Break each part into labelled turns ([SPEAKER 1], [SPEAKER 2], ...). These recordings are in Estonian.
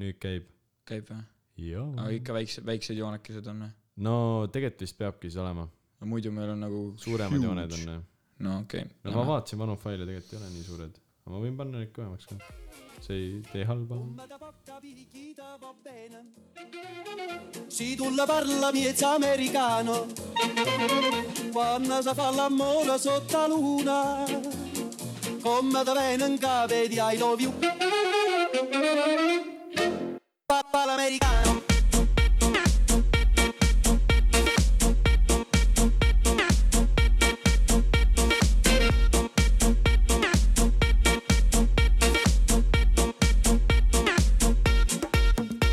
[SPEAKER 1] nüüd käib .
[SPEAKER 2] käib või ?
[SPEAKER 1] jaa
[SPEAKER 2] aga . ikka väikse , väiksed joonekesed on või ?
[SPEAKER 1] no tegelikult vist peabki siis olema ,
[SPEAKER 2] no muidu meil on nagu
[SPEAKER 1] suuremad jooned on .
[SPEAKER 2] no okei
[SPEAKER 1] no ma vaatasin vanu faile , tegelikult ei ole nii suured , aga ma võin panna neid kõvemaks ka . see ei tee halba .
[SPEAKER 3] Si tu la parlami è americano, quando si fa l'amore sotto la luna, come da venga vedi I love you. Papà l'americano.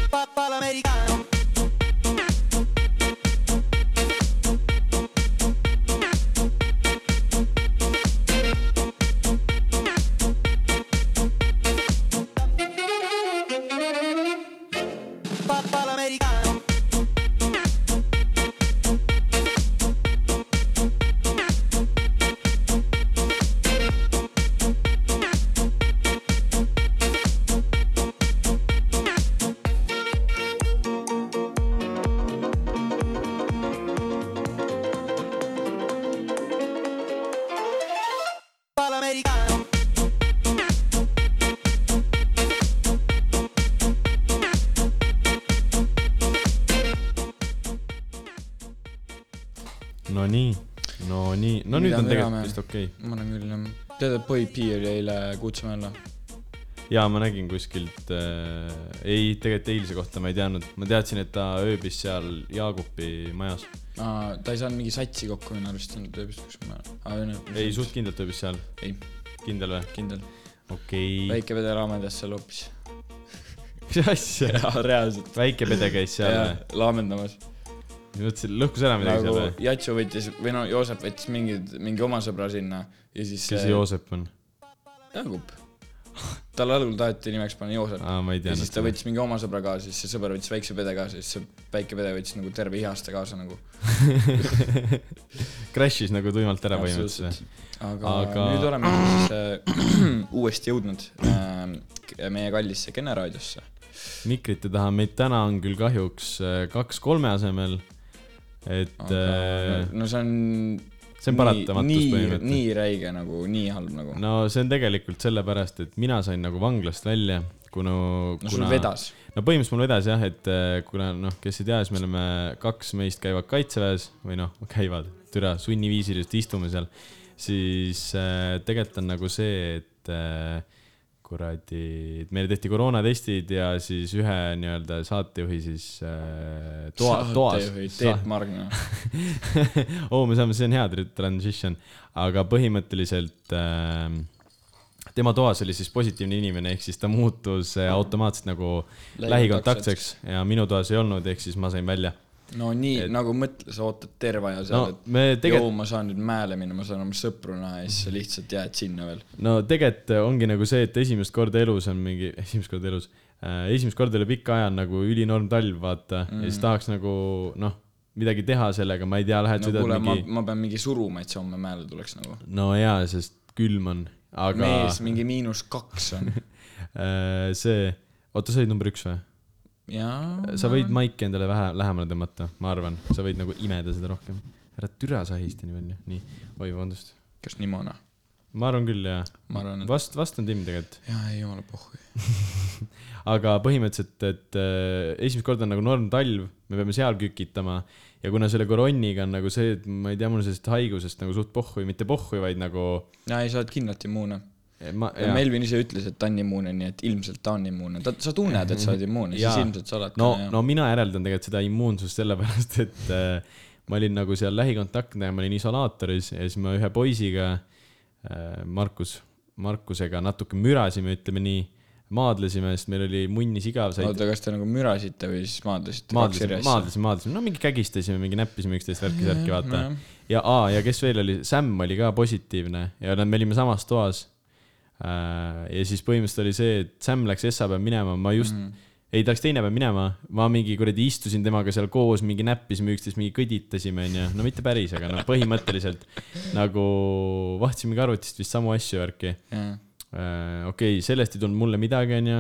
[SPEAKER 3] Papà l'americano. Papà l'americano. Papà l'americano.
[SPEAKER 1] Nonii , nonii , no nüüd
[SPEAKER 2] Mida
[SPEAKER 1] on
[SPEAKER 2] me
[SPEAKER 1] tegelikult
[SPEAKER 2] elame?
[SPEAKER 1] vist okei okay. .
[SPEAKER 2] ma olen küll jah tead et Boy P oli eile Kuutsemäe alla
[SPEAKER 1] jaa , ma nägin kuskilt äh, , ei , tegelikult eilse kohta ma ei teadnud , ma teadsin , et ta ööbis seal Jaagupi majas .
[SPEAKER 2] aa ta ei saanud mingi satsi kokku minu arust on ta ööbis kus ma aa ei no
[SPEAKER 1] ei , suht kindlalt ööbis seal ,
[SPEAKER 2] ei
[SPEAKER 1] kindel või ?
[SPEAKER 2] kindel
[SPEAKER 1] okei okay. ,
[SPEAKER 2] väike vede laamendas seal hoopis
[SPEAKER 1] mis asja ?
[SPEAKER 2] jaa reaalselt
[SPEAKER 1] väike pede käis seal
[SPEAKER 2] jaa
[SPEAKER 1] või ?
[SPEAKER 2] laamendamas
[SPEAKER 1] mõtlesin , lõhkus ära midagi
[SPEAKER 2] nagu
[SPEAKER 1] seal või ?
[SPEAKER 2] Jatsu võttis või no Joosep võttis mingid mingi oma sõbra sinna ja siis
[SPEAKER 1] kes see Joosep on ?
[SPEAKER 2] Jaagup tal algul taheti nimeks panna Joosep
[SPEAKER 1] aa , ma ei
[SPEAKER 2] ja
[SPEAKER 1] tea .
[SPEAKER 2] siis ta võttis mingi oma sõbra kaasa , siis see sõber võttis väikse pede kaasa , siis see väike pede võttis nagu terve ihaste kaasa nagu .
[SPEAKER 1] Crash'is nagu tuimalt ära põhimõtteliselt .
[SPEAKER 2] aga, aga...
[SPEAKER 1] Aga-
[SPEAKER 2] nüüd oleme siis äh, uuesti jõudnud äh, k- meie kallisse Kene raadiosse .
[SPEAKER 1] mikrite taha , meid täna on küll kahjuks äh, kaks kolme asemel . et
[SPEAKER 2] aga
[SPEAKER 1] äh,
[SPEAKER 2] no see on .
[SPEAKER 1] see on paratamatus
[SPEAKER 2] nii ,
[SPEAKER 1] põhimõtteliselt .
[SPEAKER 2] nii räige nagu , nii halb nagu . no,
[SPEAKER 1] no see on tegelikult sellepärast , et mina sain nagu vanglast välja , kuna .
[SPEAKER 2] no sul vedas .
[SPEAKER 1] no põhimõtteliselt mul vedas jah , et äh, kuna noh , kes ei tea , siis me oleme , kaks meist käivad kaitseväes või noh , käivad , türa , sunniviisiliselt istume seal , siis äh, tegelikult on nagu see , et äh, kuradi , et meile tehti koroonatestid ja siis ühe nii-öelda saatejuhi siis äh, toa , toas .
[SPEAKER 2] Teet Margna .
[SPEAKER 1] oo , Oh, me saame , see on hea tri- transition , aga põhimõtteliselt ähm, tema toas oli siis positiivne inimene , ehk siis ta muutus äh, automaatselt nagu lähikontaktseks ja minu toas ei olnud , ehk siis ma sain välja .
[SPEAKER 2] no nii
[SPEAKER 1] Et-
[SPEAKER 2] et... nagu mõtle , sa ootad terve aja
[SPEAKER 1] no
[SPEAKER 2] seal no, ,
[SPEAKER 1] me
[SPEAKER 2] et
[SPEAKER 1] tegelikult
[SPEAKER 2] joo , ma saan nüüd mäele minna , ma saan oma sõpru näha ja siis sa lihtsalt jääd sinna veel .
[SPEAKER 1] no tegelikult ongi nagu see , et esimest korda elus on mingi , esimest korda elus äh, , esimest korda üle pika aja on nagu ülinorm talv , vaata mm. , ja siis tahaks nagu noh , midagi teha sellega , ma ei tea , lähed
[SPEAKER 2] no
[SPEAKER 1] no, sõidad
[SPEAKER 2] kuule mingi... ,
[SPEAKER 1] mingi ,
[SPEAKER 2] ma , ma pean mingi suruma , et see homme mäele tuleks nagu
[SPEAKER 1] no jaa , sest külm on ,
[SPEAKER 2] aga... .
[SPEAKER 1] aga
[SPEAKER 2] mees mingi miinus kaks on .
[SPEAKER 1] äh, see , oota , sa olid number üks või ?
[SPEAKER 2] jaa .
[SPEAKER 1] sa võid maiki endale vähe lähemale tõmmata , ma arvan , sa võid nagu imeda seda rohkem . ära türa sa ahista nii palju , nii , oi vabandust .
[SPEAKER 2] kas Nimona ?
[SPEAKER 1] ma arvan küll jaa ,
[SPEAKER 2] ma arvan , et
[SPEAKER 1] vast , vast on timm tegelikult ,
[SPEAKER 2] jaa , ei jumala pohhu .
[SPEAKER 1] aga põhimõtteliselt , et äh, esimest korda on nagu norm talv , me peame seal kükitama ja kuna selle koroniga on nagu see , et ma ei tea , mul on sellest haigusest nagu suht pohhu , mitte pohhu , vaid nagu eh,
[SPEAKER 2] jaa , ei sa oled kindlalt immuune .
[SPEAKER 1] ma ,
[SPEAKER 2] Melvin ise ütles , et ta on immuune , nii et ilmselt ta on immuune . ta , sa tunned , et sa oled immuune ,
[SPEAKER 1] Jaa.
[SPEAKER 2] siis ilmselt sa oled
[SPEAKER 1] no
[SPEAKER 2] ka ,.
[SPEAKER 1] no mina järeldan tegelikult seda immuunsust sellepärast , et äh, ma olin nagu seal lähikontaktne ja ma olin isolaatoris ja siis ma ühe poisiga äh, , Markus , Markusega natuke mürasime , ütleme nii , maadlesime , sest meil oli munnis igav , said
[SPEAKER 2] oota , kas te nagu mürasite või siis maadlesite ?
[SPEAKER 1] maadlesime , maadlesime , maadlesime , no mingi kägistasime , mingi näppisime üksteist värki-särki , vaata . ja , aa , ja kes veel oli , Sam oli ka positiivne ja nad- me olime samas toas . ja siis põhimõtteliselt oli see , et Sam läks esmaspäeval minema , ma just mm. , ei , ta läks teine päev minema , ma mingi kuradi istusin temaga seal koos , mingi näppisime üksteist , mingi kõditasime , onju , no mitte päris , aga no põhimõtteliselt nagu vahtisimegi arvutist vist samu asju , värki .
[SPEAKER 2] jaa ,
[SPEAKER 1] okei okay, , sellest ei tulnud mulle midagi , onju .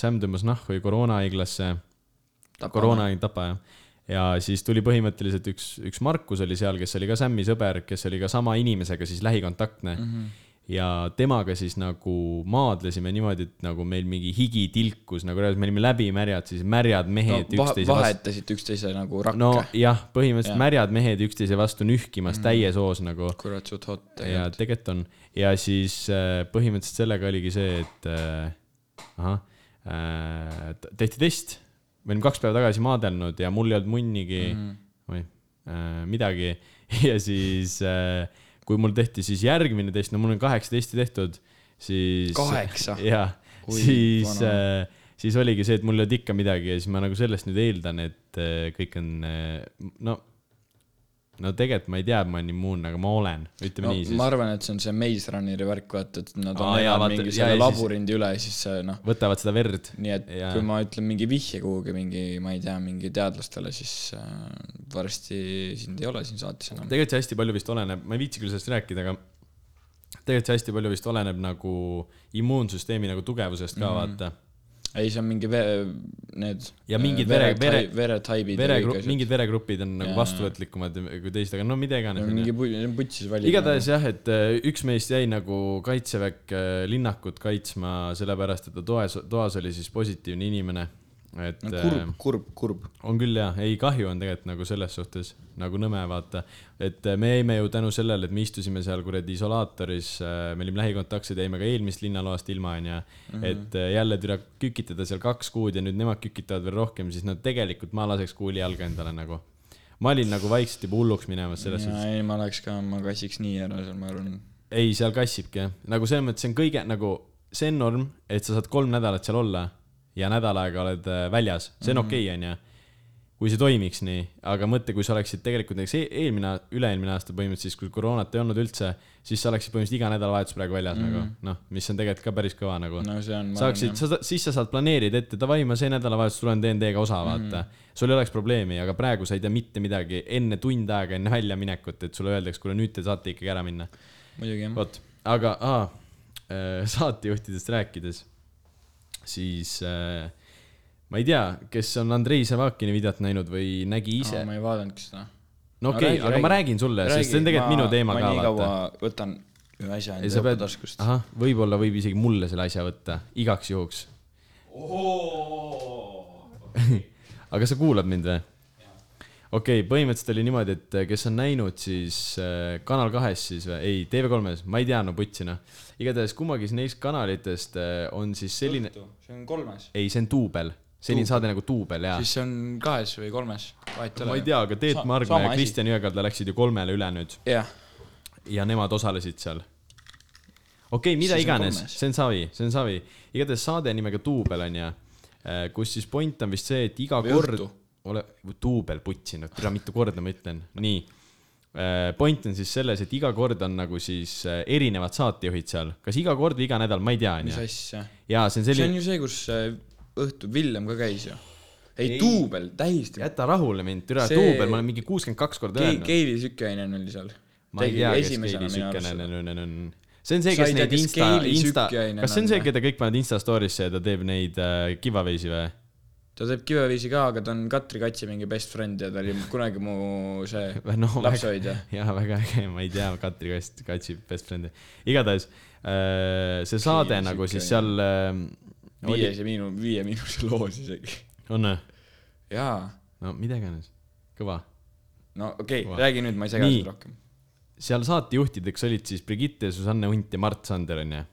[SPEAKER 1] Sam tõmbas nahku koroonahaiglasse , koroona ei tapa jah . ja siis tuli põhimõtteliselt üks , üks Markus oli seal , kes oli ka Sam'i sõber , kes oli ka sama inimesega siis lähikontaktne mm .
[SPEAKER 2] Mhm.
[SPEAKER 1] -hmm. ja temaga siis nagu maadlesime niimoodi , et nagu meil mingi higi tilkus nagu reaalselt , me olime läbimärjad , siis märjad
[SPEAKER 2] no,
[SPEAKER 1] mehed no,
[SPEAKER 2] vahe ,
[SPEAKER 1] üksteise vastu .
[SPEAKER 2] vahetasite üksteise nagu rakke
[SPEAKER 1] no
[SPEAKER 2] no. .
[SPEAKER 1] jah , põhimõtteliselt
[SPEAKER 2] Jah.
[SPEAKER 1] ja.
[SPEAKER 2] Mhm.
[SPEAKER 1] märjad mehed üksteise vastu nühkimas mm -hmm. täies hoos nagu
[SPEAKER 2] kurat , suht hot
[SPEAKER 1] ja
[SPEAKER 2] tegelikult .
[SPEAKER 1] tegelikult on ja siis äh, põhimõtteliselt sellega oligi see , et äh, ahah äh, , tehti test , me olime kaks päeva tagasi maadelnud ja mul ei olnud munnigi
[SPEAKER 2] Mhm.
[SPEAKER 1] mm. , oi äh, , midagi ja siis äh, , kui mul tehti siis järgmine test , no mul on kaheksa testi tehtud , siis .
[SPEAKER 2] Kaheksa?
[SPEAKER 1] jaa ,
[SPEAKER 2] Oi,
[SPEAKER 1] siis
[SPEAKER 2] vana.
[SPEAKER 1] äh, siis oligi see , et mul ei olnud ikka midagi ja siis ma nagu sellest nüüd eeldan , et äh, kõik on äh, no no tegelikult ma ei tea , et ma olen immuunne , aga ma olen , ütleme
[SPEAKER 2] no
[SPEAKER 1] no, nii siis
[SPEAKER 2] ma . arvan , et see on see Maze Runneri värk , vaata , et nad on
[SPEAKER 1] Aa, jaa,
[SPEAKER 2] elanud
[SPEAKER 1] vaata,
[SPEAKER 2] mingi
[SPEAKER 1] jaa,
[SPEAKER 2] selle
[SPEAKER 1] ja siis-
[SPEAKER 2] labürindi üle ja siis see noh ,
[SPEAKER 1] võtavad seda verd .
[SPEAKER 2] nii et ja.
[SPEAKER 1] Jaa.
[SPEAKER 2] kui ma ütlen mingi vihje kuhugi mingi , ma ei tea , mingi teadlastele , siis äh, varsti sind ei ole siin saates enam .
[SPEAKER 1] tegelikult see hästi palju vist oleneb , ma ei viitsi küll sellest rääkida , aga tegelikult see hästi palju vist oleneb nagu immuunsüsteemi nagu tugevusest
[SPEAKER 2] Mhm.
[SPEAKER 1] ka mm. vaata .
[SPEAKER 2] ei , see on mingi vee- , need . äh,
[SPEAKER 1] Ja mingid vere- vere-
[SPEAKER 2] veretaibid .
[SPEAKER 1] veregrupp , mingid veregrupid on nagu
[SPEAKER 2] Jaa.
[SPEAKER 1] vastuvõtlikumad kui teised , aga no mida iganes .
[SPEAKER 2] mingi pu- putsis valik .
[SPEAKER 1] igatahes jah , et äh, üks meist jäi nagu kaitseväkke linnakut kaitsma , sellepärast et ta toas , toas oli siis positiivne inimene . et
[SPEAKER 2] no, .
[SPEAKER 1] äh,
[SPEAKER 2] kurb , kurb , kurb .
[SPEAKER 1] on küll jaa , ei kahju on tegelikult nagu selles suhtes nagu nõme vaata , et äh, me jäime ju tänu sellele , et me istusime seal kuradi isolaatoris , me olime lähikontaktsed , jäime ka eelmist linnaloast ilma onju . et äh, jälle türa kükitada seal kaks kuud ja nüüd nemad kükitavad veel rohkem , siis no tegelikult ma laseks kuuli jalga endale nagu . ma olin nagu vaikselt juba hulluks minemas selles suhtes .
[SPEAKER 2] ei , ma oleks ka , ma kassiks nii ära seal , ma arvan .
[SPEAKER 1] ei , seal kassibki jah , nagu selles mõttes see on kõige nagu , see on norm , et sa saad kolm nädalat seal olla ja nädal aega oled äh, väljas , see on mm -hmm. okei okay, , onju . kui see toimiks nii , aga mõtle , kui sa oleksid tegelikult näiteks e- eelmine , üle-eelmine aasta põhimõtteliselt siis , kui koroonat ei olnud üldse , siis sa oleksid põhimõtteliselt iga nädalavahetus praegu väljas mm -hmm. nagu noh , mis on tegelikult ka päris kõva nagu
[SPEAKER 2] no see on .
[SPEAKER 1] saaksid ,. sa , siis sa saad planeerida ette , davai , ma see nädalavahetus tulen teen teiega osa , vaata mm . -hmm. sul ei oleks probleemi , aga praegu sa ei tea mitte midagi enne tund aega enne väljaminekut , et sulle öeldakse , kuule nüüd te saate ikkagi ära minna
[SPEAKER 2] muidugi jah .
[SPEAKER 1] vot , aga aa, äh, saatejuhtidest rääkides , siis äh, ma ei tea , kes on Andrei Savakini videot näinud või nägi ise .
[SPEAKER 2] ma ei vaadanudki seda .
[SPEAKER 1] no okei okay, , aga ma räägin sulle , sest see on tegelikult minu teema
[SPEAKER 2] ma
[SPEAKER 1] ka
[SPEAKER 2] nii kaua
[SPEAKER 1] vaata .
[SPEAKER 2] võtan ühe asja
[SPEAKER 1] ja
[SPEAKER 2] enda
[SPEAKER 1] sa
[SPEAKER 2] pead...
[SPEAKER 1] pead ,
[SPEAKER 2] taskust .
[SPEAKER 1] ahah , võib-olla võib isegi mulle selle asja võtta , igaks juhuks . aga sa kuulad mind või ? okei okay, , põhimõtteliselt oli niimoodi , et äh, kes on näinud , siis äh, Kanal kahes siis või , ei , TV3-s , ma ei tea , no putsi noh . igatahes kummagis neist kanalitest äh, on siis selline ,
[SPEAKER 2] see on kolmes .
[SPEAKER 1] ei , see on duubel , selline saade nagu duubel jaa .
[SPEAKER 2] siis see on kahes või kolmes , vahet ei ole .
[SPEAKER 1] ma ei tea , aga Teet
[SPEAKER 2] Sa-
[SPEAKER 1] Margna
[SPEAKER 2] sama
[SPEAKER 1] ja
[SPEAKER 2] asi.
[SPEAKER 1] Kristjan Jõekalda läksid ju kolmele üle nüüd
[SPEAKER 2] jah ,
[SPEAKER 1] ja nemad osalesid seal . okei okay, , mida
[SPEAKER 2] Siis on
[SPEAKER 1] iganes ,
[SPEAKER 2] kolmes.
[SPEAKER 1] see on savi , see on savi . igatahes saade nimega Duubel on ju , kus siis point on vist see , et iga
[SPEAKER 2] Või
[SPEAKER 1] kord
[SPEAKER 2] õhtu. ,
[SPEAKER 1] ole , Duubel putsinud , tere , mitu korda ma ütlen , nii . Point on siis selles , et iga kord on nagu siis äh, erinevad saatejuhid seal , kas iga kord või iga nädal , ma ei tea ,
[SPEAKER 2] mis
[SPEAKER 1] onju .
[SPEAKER 2] asja .
[SPEAKER 1] jaa , see on
[SPEAKER 2] see on
[SPEAKER 1] selline ,
[SPEAKER 2] ju see , kus äh, õhtul Villem ka käis ju . ei , duubel , täiesti .
[SPEAKER 1] jäta rahule mind , tere ,
[SPEAKER 2] See-
[SPEAKER 1] Duubel , ma olen mingi kuuskümmend kaks korda öelnud .
[SPEAKER 2] Keili Sükkeainen oli seal .
[SPEAKER 1] ma ei tea , kes keegi siukene on , on , on , on . see on see , kes
[SPEAKER 2] Sa ei tea,
[SPEAKER 1] neid
[SPEAKER 2] kes
[SPEAKER 1] insta ,
[SPEAKER 2] Keili
[SPEAKER 1] insta ,
[SPEAKER 2] Sükkeainen
[SPEAKER 1] kas see on
[SPEAKER 2] on
[SPEAKER 1] see ,
[SPEAKER 2] või?
[SPEAKER 1] keda kõik panevad insta story'sse ja ta teeb neid äh, kivaveisi või ?
[SPEAKER 2] ta teeb kiveviisi ka , aga ta on Katri Katsi mingi best friend ja ta oli kunagi mu see
[SPEAKER 1] või noh ,
[SPEAKER 2] lapsehoidja .
[SPEAKER 1] jaa , väga äge , ma ei tea , Katri Kast , Katsi best friend'i . igatahes äh, see saade
[SPEAKER 2] Keili
[SPEAKER 1] nagu siis seal
[SPEAKER 2] Sükkeainen.
[SPEAKER 1] äh, oli ,
[SPEAKER 2] viies ja miinus , viie miinuse loos isegi .
[SPEAKER 1] on või ?
[SPEAKER 2] jaa ,
[SPEAKER 1] no mida iganes , kõva .
[SPEAKER 2] no okei
[SPEAKER 1] Vah.
[SPEAKER 2] okay, , räägi nüüd , ma ei sega
[SPEAKER 1] Nii.
[SPEAKER 2] seda rohkem .
[SPEAKER 1] seal saatejuhtideks olid siis Brigitte , Susanne Hunt ja Mart Sander onju .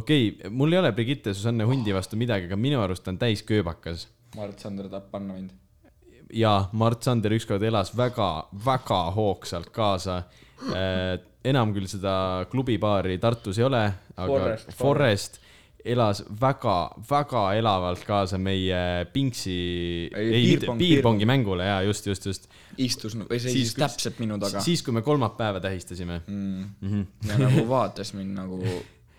[SPEAKER 1] okei okay, , mul ei ole Brigitte , Susanne Hundi vastu midagi , aga minu arust ta on täis kööbakas
[SPEAKER 2] Mart Sander tahab panna mind .
[SPEAKER 1] ja Mart Sander ükskord elas väga , väga hoogsalt kaasa . enam küll seda klubibaari Tartus ei ole , aga
[SPEAKER 2] Forest,
[SPEAKER 1] Forest, Forest elas väga , väga elavalt kaasa meie Pingsi ,
[SPEAKER 2] Ei,
[SPEAKER 1] ei mitte
[SPEAKER 2] piirpong- ,
[SPEAKER 1] piirpongi mängule ja just , just , just .
[SPEAKER 2] istus , või see istus täpselt minu taga . Mm.
[SPEAKER 1] siis , kui me kolmapäeva tähistasime .
[SPEAKER 2] ja nagu vaatas mind nagu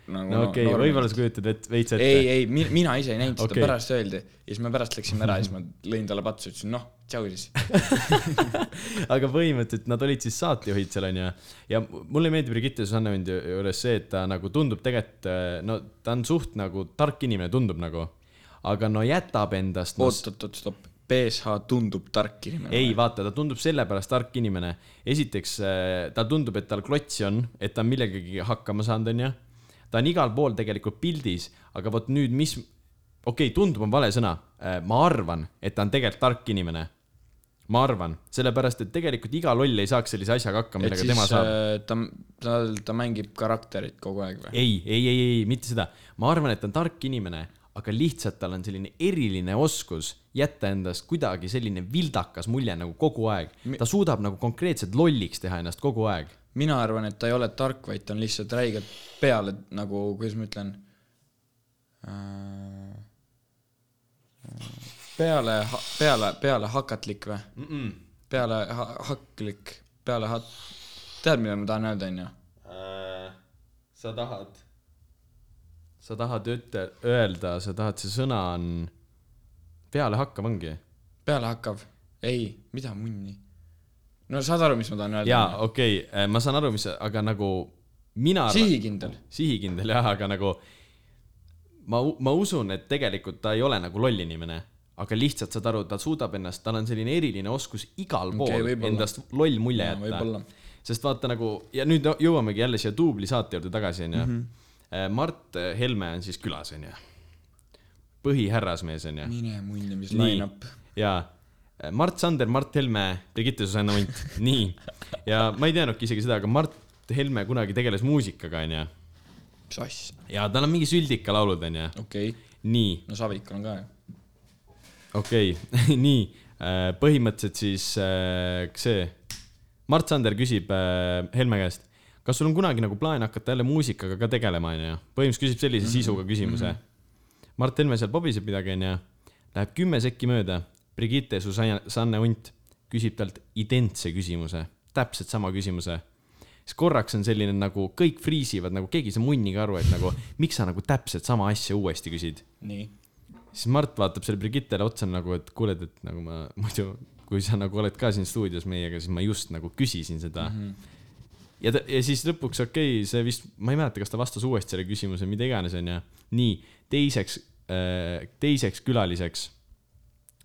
[SPEAKER 2] nagu
[SPEAKER 1] Mhm. no okei okay, ,
[SPEAKER 2] nooremad.
[SPEAKER 1] võib-olla sa kujutad et, veits ette .
[SPEAKER 2] ei , ei , mina ise ei näinud seda
[SPEAKER 1] Okei.
[SPEAKER 2] okay. , pärast öeldi ja siis me pärast läksime ära ja siis ma lõin talle patsu , ütlesin noh , tšau siis .
[SPEAKER 1] aga põhimõtteliselt nad olid siis saatejuhid seal onju ja mulle meeldib Brigitte Susannevendi juures see , et ta nagu tundub tegelikult , no ta on suht nagu tark inimene , tundub nagu , aga no jätab endast no, .
[SPEAKER 2] oot-oot-oot , stopp , BSH tundub tark inimene .
[SPEAKER 1] ei , vaata , ta tundub sellepärast tark inimene . esiteks äh, ta tundub , et tal klotsi on , et ta on millegagi hakkama saanud , onju . ta on igal pool tegelikult pildis , aga vot nüüd , mis , okei okay, , tundub on vale sõna . ma arvan , et ta on tegelikult tark inimene . ma arvan , sellepärast et tegelikult iga loll ei saaks sellise asjaga hakkama ,
[SPEAKER 2] et
[SPEAKER 1] millega
[SPEAKER 2] siis
[SPEAKER 1] tema saab .
[SPEAKER 2] äh, ta , ta , ta mängib karakterit kogu aeg või ?
[SPEAKER 1] ei , ei , ei , ei , mitte seda . ma arvan , et ta on tark inimene , aga lihtsalt tal on selline eriline oskus jätta endast kuidagi selline vildakas mulje nagu kogu aeg . ta suudab nagu konkreetselt lolliks teha ennast kogu aeg .
[SPEAKER 2] mina arvan , et ta ei ole tark , vaid ta on lihtsalt räigelt peale nagu , kuidas ma ütlen äh, , peale , peale , peale hakatlik või mm ? -mm. peale ha haklik , peale ha- , tead , mida ma tahan öelda , onju ?
[SPEAKER 1] Äh, sa tahad ? sa tahad ütle , öelda , sa tahad , see sõna on pealehakkav ongi ?
[SPEAKER 2] pealehakkav , ei , mida munni ? no saad aru , mis ma tahan öelda ?
[SPEAKER 1] jaa , okei okay, , ma saan aru , mis , aga nagu mina arvan ,
[SPEAKER 2] sihikindel .
[SPEAKER 1] sihikindel jah , aga nagu ma , ma usun , et tegelikult ta ei ole nagu loll inimene , aga lihtsalt saad aru , ta suudab ennast , tal on selline eriline oskus igal pool
[SPEAKER 2] Okei,
[SPEAKER 1] okay,
[SPEAKER 2] võib-olla.
[SPEAKER 1] endast loll mulje
[SPEAKER 2] Jaa,
[SPEAKER 1] jätta
[SPEAKER 2] võib-olla. .
[SPEAKER 1] sest vaata nagu ja nüüd no- jõuamegi jälle siia duubli saate juurde tagasi ,
[SPEAKER 2] Mhm.
[SPEAKER 1] onju . Mart Helme on siis külas , onju . põhihärrasmees , onju .
[SPEAKER 2] mine munni , mis
[SPEAKER 1] Nii.
[SPEAKER 2] line-up .
[SPEAKER 1] jaa . Mart Sander , Mart Helme , Brigitte Susanne Hunt , nii . ja ma ei teadnudki isegi seda , aga Mart Helme kunagi tegeles muusikaga , onju
[SPEAKER 2] mis asja ?
[SPEAKER 1] ja tal on mingi Süldika laulud onju .
[SPEAKER 2] okei okay. ,
[SPEAKER 1] nii ,
[SPEAKER 2] no Savikul on ka ju .
[SPEAKER 1] okei okay. , nii äh, põhimõtteliselt siis äh, see , Mart Sander küsib äh, Helme käest , kas sul on kunagi nagu plaan hakata jälle muusikaga ka tegelema onju , põhimõtteliselt küsib sellise sisuga küsimuse . Mart Helme seal pobiseb midagi onju , läheb kümme sekki mööda , Brigitte Susanne Hunt küsib talt identse küsimuse , täpselt sama küsimuse siis korraks on selline nagu kõik friisivad , nagu keegi ei saa munnigi aru , et nagu miks sa nagu täpselt sama asja uuesti küsid .
[SPEAKER 2] nii .
[SPEAKER 1] siis Mart vaatab selle Brigittele otsa nagu , et kuuled , et nagu ma muidu , kui sa nagu oled ka siin stuudios meiega , siis ma just nagu küsisin seda mm . -hmm. ja ta , ja siis lõpuks okei okay, , see vist , ma ei mäleta , kas ta vastas uuesti selle küsimuse , mida iganes onju . nii , teiseks , teiseks külaliseks ,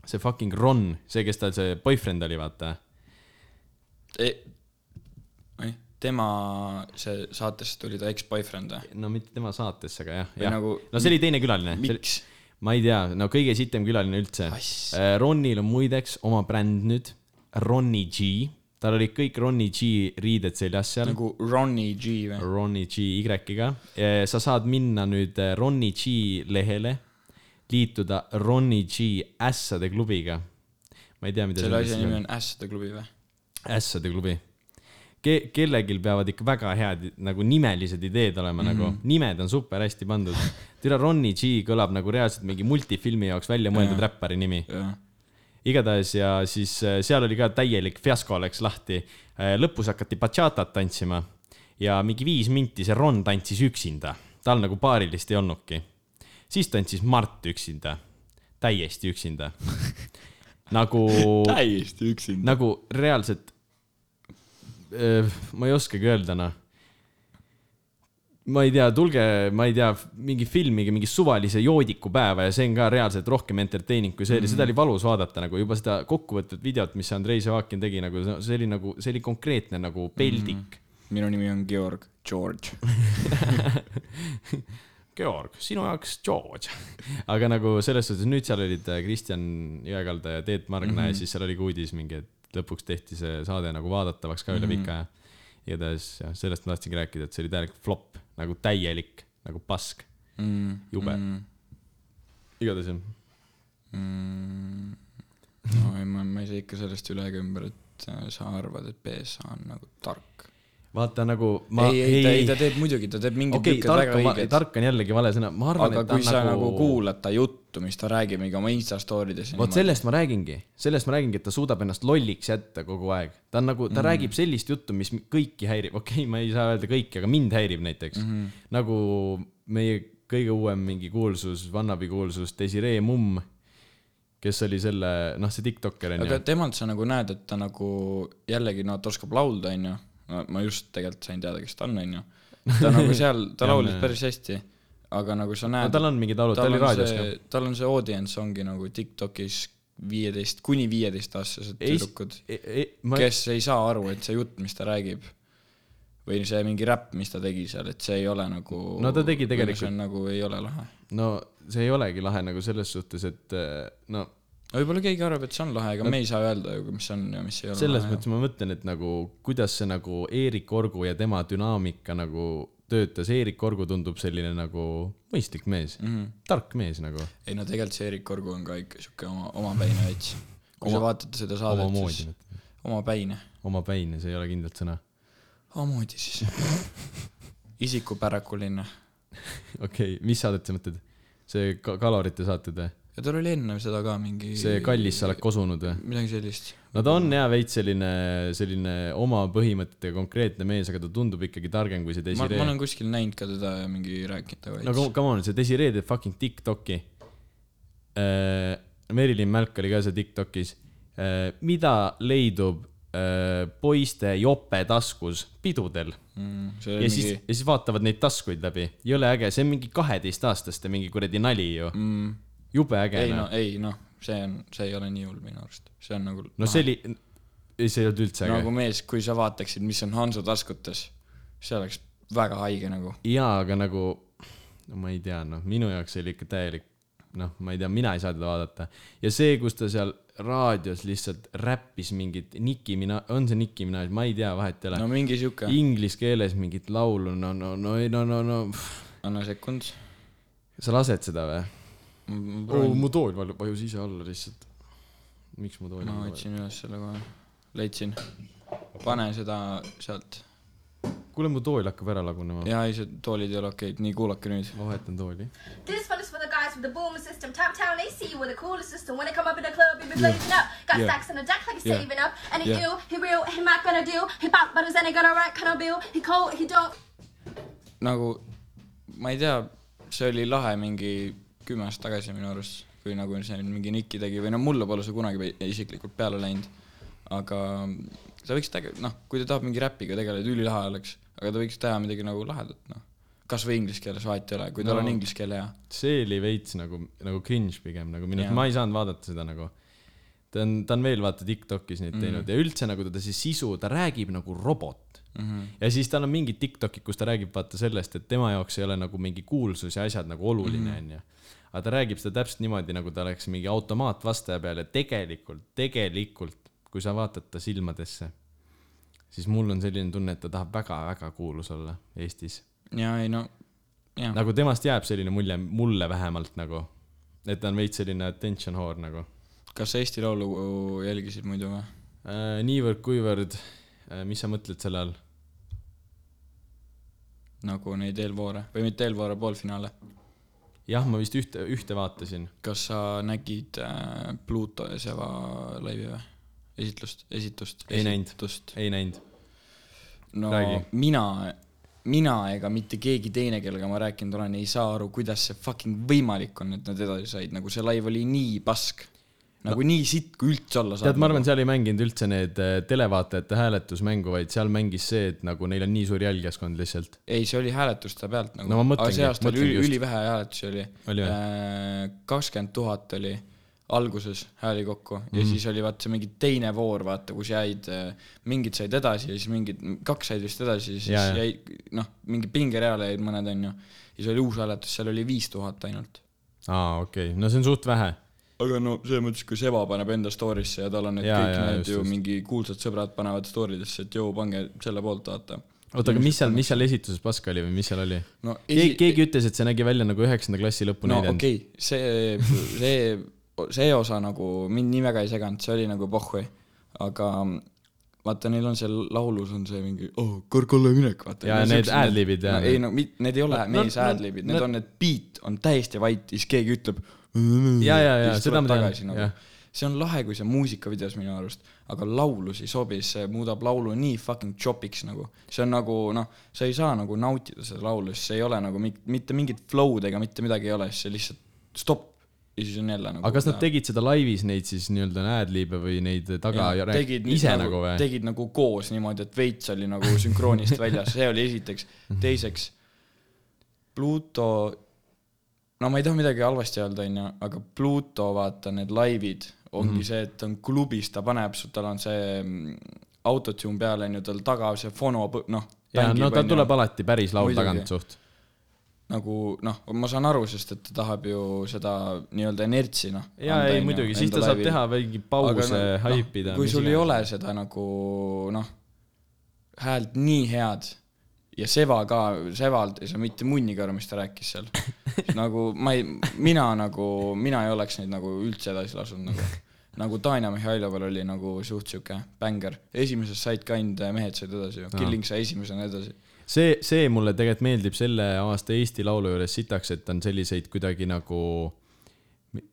[SPEAKER 1] see fucking Ron , see , kes tal see boyfriend oli , vaata .
[SPEAKER 2] E, tema , see saatesse tuli ta ex-boyfriend või ?
[SPEAKER 1] no mitte tema saatesse , aga jah ,
[SPEAKER 2] Või
[SPEAKER 1] jah nagu...
[SPEAKER 2] nagu- .
[SPEAKER 1] no see oli teine külaline .
[SPEAKER 2] miks ?
[SPEAKER 1] ma ei tea , no kõige sitem külaline üldse
[SPEAKER 2] Ass. .
[SPEAKER 1] Ronil on muideks oma bränd nüüd , Ronnie G , tal olid kõik Ronnie G riided seljas seal .
[SPEAKER 2] nagu Ronnie G või ?
[SPEAKER 1] Ronnie G Y-ga , sa saad minna nüüd eh, Ronnie G lehele , liituda Ronnie G ässade klubiga . ma ei tea , mida
[SPEAKER 2] selle asja nimi on Ässade klubi või ?
[SPEAKER 1] ässade klubi . Ke- , kellelgi peavad ikka väga head nagu nimelised ideed olema mm , -hmm. nagu nimed on super hästi pandud . türa Ronnie G kõlab nagu reaalselt mingi multifilmi jaoks välja mõeldud räppari nimi .
[SPEAKER 2] jah .
[SPEAKER 1] igatahes ja siis äh, seal oli ka täielik fiasko läks lahti . lõpus hakati bachatat tantsima ja mingi viis minti see Ron tantsis üksinda . tal nagu paarilist ei olnudki . siis tantsis Mart üksinda , täiesti üksinda . nagu
[SPEAKER 2] täiesti üksinda .
[SPEAKER 1] nagu reaalselt , ma ei oskagi öelda , noh . ma ei tea , tulge , ma ei tea , mingi filmige mingi suvalise joodiku päeva ja see on ka reaalselt rohkem entertaining kui see oli mm , -hmm. seda oli valus vaadata nagu juba seda kokkuvõtvat videot , mis Andrei Zavakin tegi , nagu see see oli nagu , see oli konkreetne nagu peldik mm . -hmm.
[SPEAKER 2] minu nimi on Georg , George .
[SPEAKER 1] Georg , sinu jaoks George . aga nagu selles suhtes , nüüd seal olid äh, Kristjan Jõekalda ja Teet Margna mm -hmm. ja
[SPEAKER 2] Mhm.
[SPEAKER 1] siis seal oli ka uudis mingi , et lõpuks tehti see saade nagu vaadatavaks ka üle
[SPEAKER 2] Mhm.
[SPEAKER 1] mm -hmm. pika aja . igatahes jah , sellest ma tahtsingi rääkida , et see oli täielik flop , nagu täielik , nagu pask , jube
[SPEAKER 2] Mhm.
[SPEAKER 1] mm . -hmm. igatahes jah ,
[SPEAKER 2] Mm, no ei , ma , ma ei saa ikka sellest üle ega ümber , et äh, sa arvad , et BSA on nagu tark .
[SPEAKER 1] vaata nagu ma
[SPEAKER 2] ei , ei , ei , ta teeb muidugi , ta teeb mingid
[SPEAKER 1] okei ,
[SPEAKER 2] tükked
[SPEAKER 1] tark
[SPEAKER 2] väga
[SPEAKER 1] on ,
[SPEAKER 2] õiged .
[SPEAKER 1] tark on jällegi vale sõna , ma arvan ,
[SPEAKER 2] aga
[SPEAKER 1] et ta on
[SPEAKER 2] kui sa
[SPEAKER 1] nagu,
[SPEAKER 2] nagu kuulad ta juttu , juttu , mis ta räägib mingi oma Insta story des .
[SPEAKER 1] vot sellest ma räägingi , sellest ma räägingi , et ta suudab ennast lolliks jätta kogu aeg . ta on nagu ,
[SPEAKER 2] Mhm.
[SPEAKER 1] ta mm. räägib sellist juttu , mis kõiki häirib , okei okay, , ma ei saa öelda kõiki , aga mind häirib näiteks
[SPEAKER 2] Mhm.
[SPEAKER 1] mm . -hmm. nagu meie kõige uuem mingi kuulsus , Vannabi kuulsus , Desiree Mumm , kes oli selle , noh , see tiktokker on
[SPEAKER 2] aga
[SPEAKER 1] ju .
[SPEAKER 2] temalt sa nagu näed , et ta nagu jällegi no ta oskab laulda , onju . ma just tegelikult sain teada , kes ta on , onju . ta nagu seal , ta
[SPEAKER 1] Jah,
[SPEAKER 2] laulis
[SPEAKER 1] jah.
[SPEAKER 2] päris hästi , aga nagu sa
[SPEAKER 1] no
[SPEAKER 2] näed .
[SPEAKER 1] tal on mingid laulud , ta oli raadios ka .
[SPEAKER 2] tal on see audience ongi nagu Tiktokis viieteist , kuni viieteistaastased
[SPEAKER 1] Ei-
[SPEAKER 2] tüdrukud ,
[SPEAKER 1] e- ma...
[SPEAKER 2] kes ei saa aru , et see jutt , mis ta räägib või see mingi räpp , mis ta tegi seal , et see ei ole nagu
[SPEAKER 1] No ta tegi tegelikult-
[SPEAKER 2] nagu ei ole lahe .
[SPEAKER 1] no see ei olegi lahe nagu selles suhtes , et eh, no
[SPEAKER 2] võib-olla keegi arvab , et see on lahe , aga me ei saa öelda ju , mis on ja mis ei ole
[SPEAKER 1] selles
[SPEAKER 2] lahe.
[SPEAKER 1] mõttes ma mõtlen , et nagu kuidas see nagu Eerik Orgu ja tema dünaamika nagu töötas , Eerik Orgu tundub selline nagu mõistlik mees mm ,
[SPEAKER 2] Mhm.
[SPEAKER 1] -hmm. tark mees nagu .
[SPEAKER 2] ei no tegelikult see Erik Orgu on ka ikka siuke oma , omapäine veits . kui sa vaatad seda saadet ,
[SPEAKER 1] omamoodi
[SPEAKER 2] siis , omapäine ,
[SPEAKER 1] omapäine , see ei ole kindlalt sõna .
[SPEAKER 2] omamoodi siis . isikupärakuline .
[SPEAKER 1] okei okay, , mis saadet sa mõtled ? see ka- kalorite saated või ?
[SPEAKER 2] ja tal oli enne seda ka mingi
[SPEAKER 1] see kallis , sa oled kosunud või ?
[SPEAKER 2] midagi sellist .
[SPEAKER 1] no ta on hea veits selline , selline oma põhimõtetega konkreetne mees , aga ta tundub ikkagi targem kui see
[SPEAKER 2] ma , ma
[SPEAKER 1] Desiree .
[SPEAKER 2] olen kuskil näinud ka teda ja mingi rääkinud ta
[SPEAKER 1] no
[SPEAKER 2] veits .
[SPEAKER 1] come come on , see Desiree teeb fucking Tiktoki . Merilin Mälk oli ka seal Tiktokis . mida leidub äh, poiste jope taskus pidudel
[SPEAKER 2] Mm, see
[SPEAKER 1] ja
[SPEAKER 2] oli
[SPEAKER 1] siis ,
[SPEAKER 2] mingi ,
[SPEAKER 1] ja siis vaatavad neid taskuid läbi . jõle äge , see on mingi kaheteistaastaste mingi kuradi nali ju . jube äge .
[SPEAKER 2] Mm. ei no , ei noh , see on , see ei ole nii hull minu arust , see on nagu
[SPEAKER 1] no see oli , ei see ei olnud üldse äge
[SPEAKER 2] nagu
[SPEAKER 1] nagu... .
[SPEAKER 2] mees , kui sa vaataksid , mis on Hanso taskutes , see oleks väga haige nagu .
[SPEAKER 1] jaa , aga nagu , no ma ei tea , noh , minu jaoks see oli ikka täielik , noh , ma ei tea , mina ei saa teda vaadata . ja see , kus ta seal raadios lihtsalt räppis mingit Nicki Mina- , on see Nicki Minaj , ma ei tea , vahet ei ole
[SPEAKER 2] no
[SPEAKER 1] no, .
[SPEAKER 2] mingi siuke ,
[SPEAKER 1] Inglise keeles mingit laulu , no , no , no , no , no , no .
[SPEAKER 2] anna sekund .
[SPEAKER 1] sa lased seda või ? oo , mu tool val- vajus ise alla lihtsalt . miks mu tool
[SPEAKER 2] ma
[SPEAKER 1] alla vajus ?
[SPEAKER 2] otsin üles selle kohe , leidsin . pane seda sealt .
[SPEAKER 1] kuule , mu tool hakkab ära lagunema .
[SPEAKER 2] jaa , ei see toolid ei ole okeid , nii kuulake nüüd .
[SPEAKER 1] ma vahetan tooli .
[SPEAKER 4] This one is for the guys with the boomer system. Top town, they see you with a cooler system. When they come up in the club, you be blazing up. Got
[SPEAKER 2] Yeah.
[SPEAKER 4] stacks in the deck like he's
[SPEAKER 2] Yeah.
[SPEAKER 4] saving up. And he
[SPEAKER 2] Yeah.
[SPEAKER 4] ill, he real, he not gonna deal. He pop butters and he gonna rock, kind of bill. He cold, he don't.
[SPEAKER 2] nagu , ma ei tea , see oli lahe mingi kümme aastat tagasi minu arust , kui nagu see mingi Nicki tegi või no mulle pole see kunagi pe- isiklikult peale läinud . aga ta võiks tege- , noh , kui ta tahab mingi räpiga tegeleda , ülilahe oleks , aga ta võiks teha midagi nagu lahedat , noh . kas või inglise keeles , vahet ei ole , kui tal
[SPEAKER 1] No.
[SPEAKER 2] on inglise keel hea .
[SPEAKER 1] see oli veits nagu , nagu cringe pigem nagu minu arust ,
[SPEAKER 2] Jaa.
[SPEAKER 1] ma ei saanud vaadata seda nagu . ta on , ta on veel vaata Tiktokis neid teinud ja üldse nagu teda see sisu , ta räägib nagu robot mm . -hmm. ja siis tal on mingid Tiktokid , kus ta räägib vaata sellest , et tema jaoks ei ole nagu mingi kuulsus ja asjad nagu oluline , onju . aga ta räägib seda täpselt niimoodi , nagu ta oleks mingi automaatvastaja peal ja tegelikult , tegelikult , kui sa vaatad ta silmadesse , siis mul on selline tunne , et ta tahab väga-väga kuulus olla Eestis
[SPEAKER 2] jaa , ei no , jaa .
[SPEAKER 1] nagu temast jääb selline mulje , mulle vähemalt nagu , et ta on veits selline attention whore nagu
[SPEAKER 2] kas sa Eesti Laulu jälgisid muidu või ?
[SPEAKER 1] äh, . niivõrd-kuivõrd äh, , mis sa mõtled selle all ?
[SPEAKER 2] nagu neid eelvoore või mitte eelvoore poolfinaale .
[SPEAKER 1] jah , ma vist ühte , ühte vaatasin .
[SPEAKER 2] kas sa nägid äh, Pluto ja Seva laivi või ? esitlust , esitust ,
[SPEAKER 1] Ei näinud.
[SPEAKER 2] esitust .
[SPEAKER 1] ei näinud .
[SPEAKER 2] no
[SPEAKER 1] Räägi.
[SPEAKER 2] mina , mina ega mitte keegi teine , kellega ma rääkinud olen , ei saa aru , kuidas see fucking võimalik on , et nad edasi said , nagu see laiv oli nii pask . nagu no. nii sitt , kui üldse olla saab .
[SPEAKER 1] tead , ma arvan , seal ei mänginud üldse need äh, televaatajate hääletusmängu , vaid seal mängis see , et nagu neil on nii suur jälgijaskond lihtsalt .
[SPEAKER 2] ei , see oli hääletuste pealt nagu
[SPEAKER 1] No ma mõtlengi,
[SPEAKER 2] aga see aasta oli
[SPEAKER 1] mõtlengi
[SPEAKER 2] üli,
[SPEAKER 1] just.
[SPEAKER 2] ülivähe hääletusi oli .
[SPEAKER 1] Oli või?
[SPEAKER 2] kakskümmend tuhat oli alguses hääli kokku mm -hmm.
[SPEAKER 1] Mhm.
[SPEAKER 2] ja siis oli vaata see mingi teine voor , vaata , kus jäid , mingid said edasi ja siis mingid , kaks said vist edasi ja siis
[SPEAKER 1] Jaa,
[SPEAKER 2] ja,
[SPEAKER 1] jaa.
[SPEAKER 2] jäid , noh , mingi pingereale jäid mõned , onju . siis oli uus hääletus , seal oli viis tuhat ainult .
[SPEAKER 1] aa , okei okay. , no see on suht vähe .
[SPEAKER 2] aga no selles mõttes , kui Seva paneb enda story'sse ja tal on need
[SPEAKER 1] Jaa,
[SPEAKER 2] ja, kõik
[SPEAKER 1] jaa,
[SPEAKER 2] ja, need
[SPEAKER 1] just,
[SPEAKER 2] ju
[SPEAKER 1] just.
[SPEAKER 2] mingi kuulsad sõbrad panevad story desse , et joo , pange selle poolt , vaata .
[SPEAKER 1] oota , aga mis seal , mis seal esituses paska oli või mis seal oli ?
[SPEAKER 2] no
[SPEAKER 1] keegi , keegi ütles , et see nägi välja nagu üheksanda klassi lõpu
[SPEAKER 2] no
[SPEAKER 1] näidend
[SPEAKER 2] okei okay, , see , see , see osa nagu mind nii väga ei seganud , see oli nagu pohhui , aga vaata , neil on seal laulus on see mingi oh, kõrgkolle minek , vaata .
[SPEAKER 1] Ja need ad-libid,
[SPEAKER 2] ja
[SPEAKER 1] jah.
[SPEAKER 2] no, . ei no , need ei ole
[SPEAKER 1] No,
[SPEAKER 2] no, mees
[SPEAKER 1] no,
[SPEAKER 2] no, ad-libid , need
[SPEAKER 1] no-
[SPEAKER 2] no, on need beat on täiesti vait ja siis keegi ütleb
[SPEAKER 1] ja , ja , ja
[SPEAKER 2] siis
[SPEAKER 1] seda
[SPEAKER 2] tuleb
[SPEAKER 1] ma
[SPEAKER 2] tagasi
[SPEAKER 1] tean ,
[SPEAKER 2] nagu
[SPEAKER 1] jah ..
[SPEAKER 2] see on lahe , kui see muusikavideos minu arust , aga laulus ei sobi , see muudab laulu nii fucking chopiks nagu . see on nagu noh , sa ei saa nagu nautida seda laulu , sest see ei ole nagu mi- mitte mingit flow'd ega mitte midagi ei ole , siis see lihtsalt stopp ja siis on jälle nagu .
[SPEAKER 1] aga kas nad tegid seda laivis neid siis nii-öelda ad-libe või neid taga ja rääk-
[SPEAKER 2] tegid
[SPEAKER 1] ise nagu või ?
[SPEAKER 2] tegid nagu koos niimoodi , et veits oli nagu sünkroonist väljas , see oli esiteks ,
[SPEAKER 1] Mhm.
[SPEAKER 2] teiseks Pluto , no ma ei taha midagi halvasti öelda , onju , aga Pluto , vaata need laivid ongi
[SPEAKER 1] Mhm.
[SPEAKER 2] mm -hmm. see , et ta on klubis , ta paneb , tal on see mm, autotune peal onju , tal taga see fono , noh .
[SPEAKER 1] ja no ta tuleb alati päris laul
[SPEAKER 2] Muidugi.
[SPEAKER 1] tagant suht .
[SPEAKER 2] nagu noh , ma saan aru , sest et ta tahab ju seda nii-öelda inertsi noh .
[SPEAKER 1] ja ei muidugi , siis ta saab teha mingi pause ,
[SPEAKER 2] noh,
[SPEAKER 1] haipida .
[SPEAKER 2] kui sul ei ole seda nagu noh , häält nii head ja Seva ka , Seval ei saa mitte munnigi aru , mis ta rääkis seal . nagu ma ei , mina nagu , mina ei oleks neid nagu üldse edasi lasknud nagu . nagu Tanja Mihhailoval oli nagu suht sihuke bängar , esimeses said ka ainult mehed said edasi ju , Killing sai esimesena edasi .
[SPEAKER 1] see , see mulle tegelikult meeldib selle aasta Eesti Laulu juures sitaks , et on selliseid kuidagi nagu ,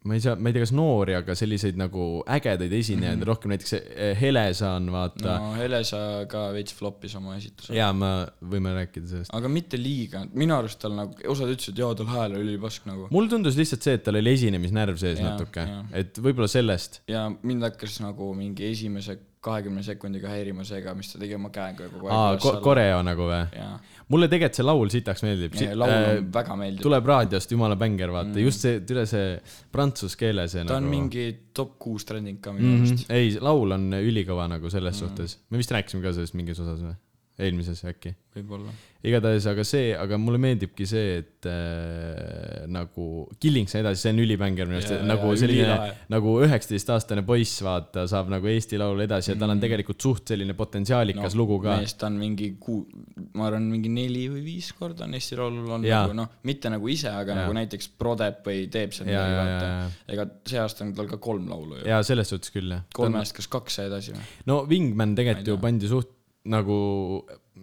[SPEAKER 1] ma ei saa , ma ei tea , kas noori , aga selliseid nagu ägedaid esinejaid mm -hmm. rohkem , näiteks eh, Helesa on vaata no. ,
[SPEAKER 2] Mhm. no Helesa ka veits flopis oma esituse .
[SPEAKER 1] ja ma , võime rääkida sellest .
[SPEAKER 2] aga mitte liiga , minu arust tal nagu , osad ütlesid , jaa , tal hääl oli pask nagu .
[SPEAKER 1] mulle tundus lihtsalt see , et tal oli esinemisnärv sees ja,
[SPEAKER 2] Jaa,
[SPEAKER 1] natuke
[SPEAKER 2] jaa. ,
[SPEAKER 1] et võib-olla sellest .
[SPEAKER 2] ja mind hakkas nagu mingi esimese kahekümne sekundiga häirima see ka , mis ta tegi oma käega kogu
[SPEAKER 1] aa ,
[SPEAKER 2] aeg
[SPEAKER 1] koreo nagu või ?
[SPEAKER 2] jaa ,
[SPEAKER 1] mulle tegelikult see laul sitaks meeldib .
[SPEAKER 2] laul on äh, väga meeldiv .
[SPEAKER 1] tuleb raadiost , jumala bänger , vaata mm. , just see , üle see prantsuse keele see
[SPEAKER 2] ta on
[SPEAKER 1] nagu Mhm.
[SPEAKER 2] mingi top kuus trending ka minu arust mm . -hmm.
[SPEAKER 1] ei , laul on ülikõva nagu selles mm. suhtes , me vist rääkisime ka sellest mingis osas või ? eelmises äkki .
[SPEAKER 2] võib-olla .
[SPEAKER 1] igatahes , aga see , aga mulle meeldibki see , et äh, nagu Killing sai edasi , see on ülibänger minu arust
[SPEAKER 2] Jaa, ,
[SPEAKER 1] nagu
[SPEAKER 2] jaa,
[SPEAKER 1] selline
[SPEAKER 2] ülilahe. ,
[SPEAKER 1] nagu üheksateistaastane poiss , vaata , saab nagu Eesti Laulu edasi ja tal
[SPEAKER 2] Mm.
[SPEAKER 1] on tegelikult suht selline potentsiaalikas no, lugu ka .
[SPEAKER 2] meest on mingi kuu , ma arvan , mingi neli või viis korda on Eesti Laulul on
[SPEAKER 1] Jaa.
[SPEAKER 2] nagu noh , mitte nagu ise , aga
[SPEAKER 1] Jaa.
[SPEAKER 2] ja. nagu näiteks prodeb või teeb seal
[SPEAKER 1] Jaa,
[SPEAKER 2] midagi ,
[SPEAKER 1] jaa, jaa,
[SPEAKER 2] vaata . ega see aasta on tal ka kolm laulu ju .
[SPEAKER 1] ja selles suhtes küll , jah .
[SPEAKER 2] kolmest , kas kaks sai edasi või ?
[SPEAKER 1] no Wingman tegelikult
[SPEAKER 2] Ma ei
[SPEAKER 1] ju
[SPEAKER 2] tea.
[SPEAKER 1] pandi suht nagu ,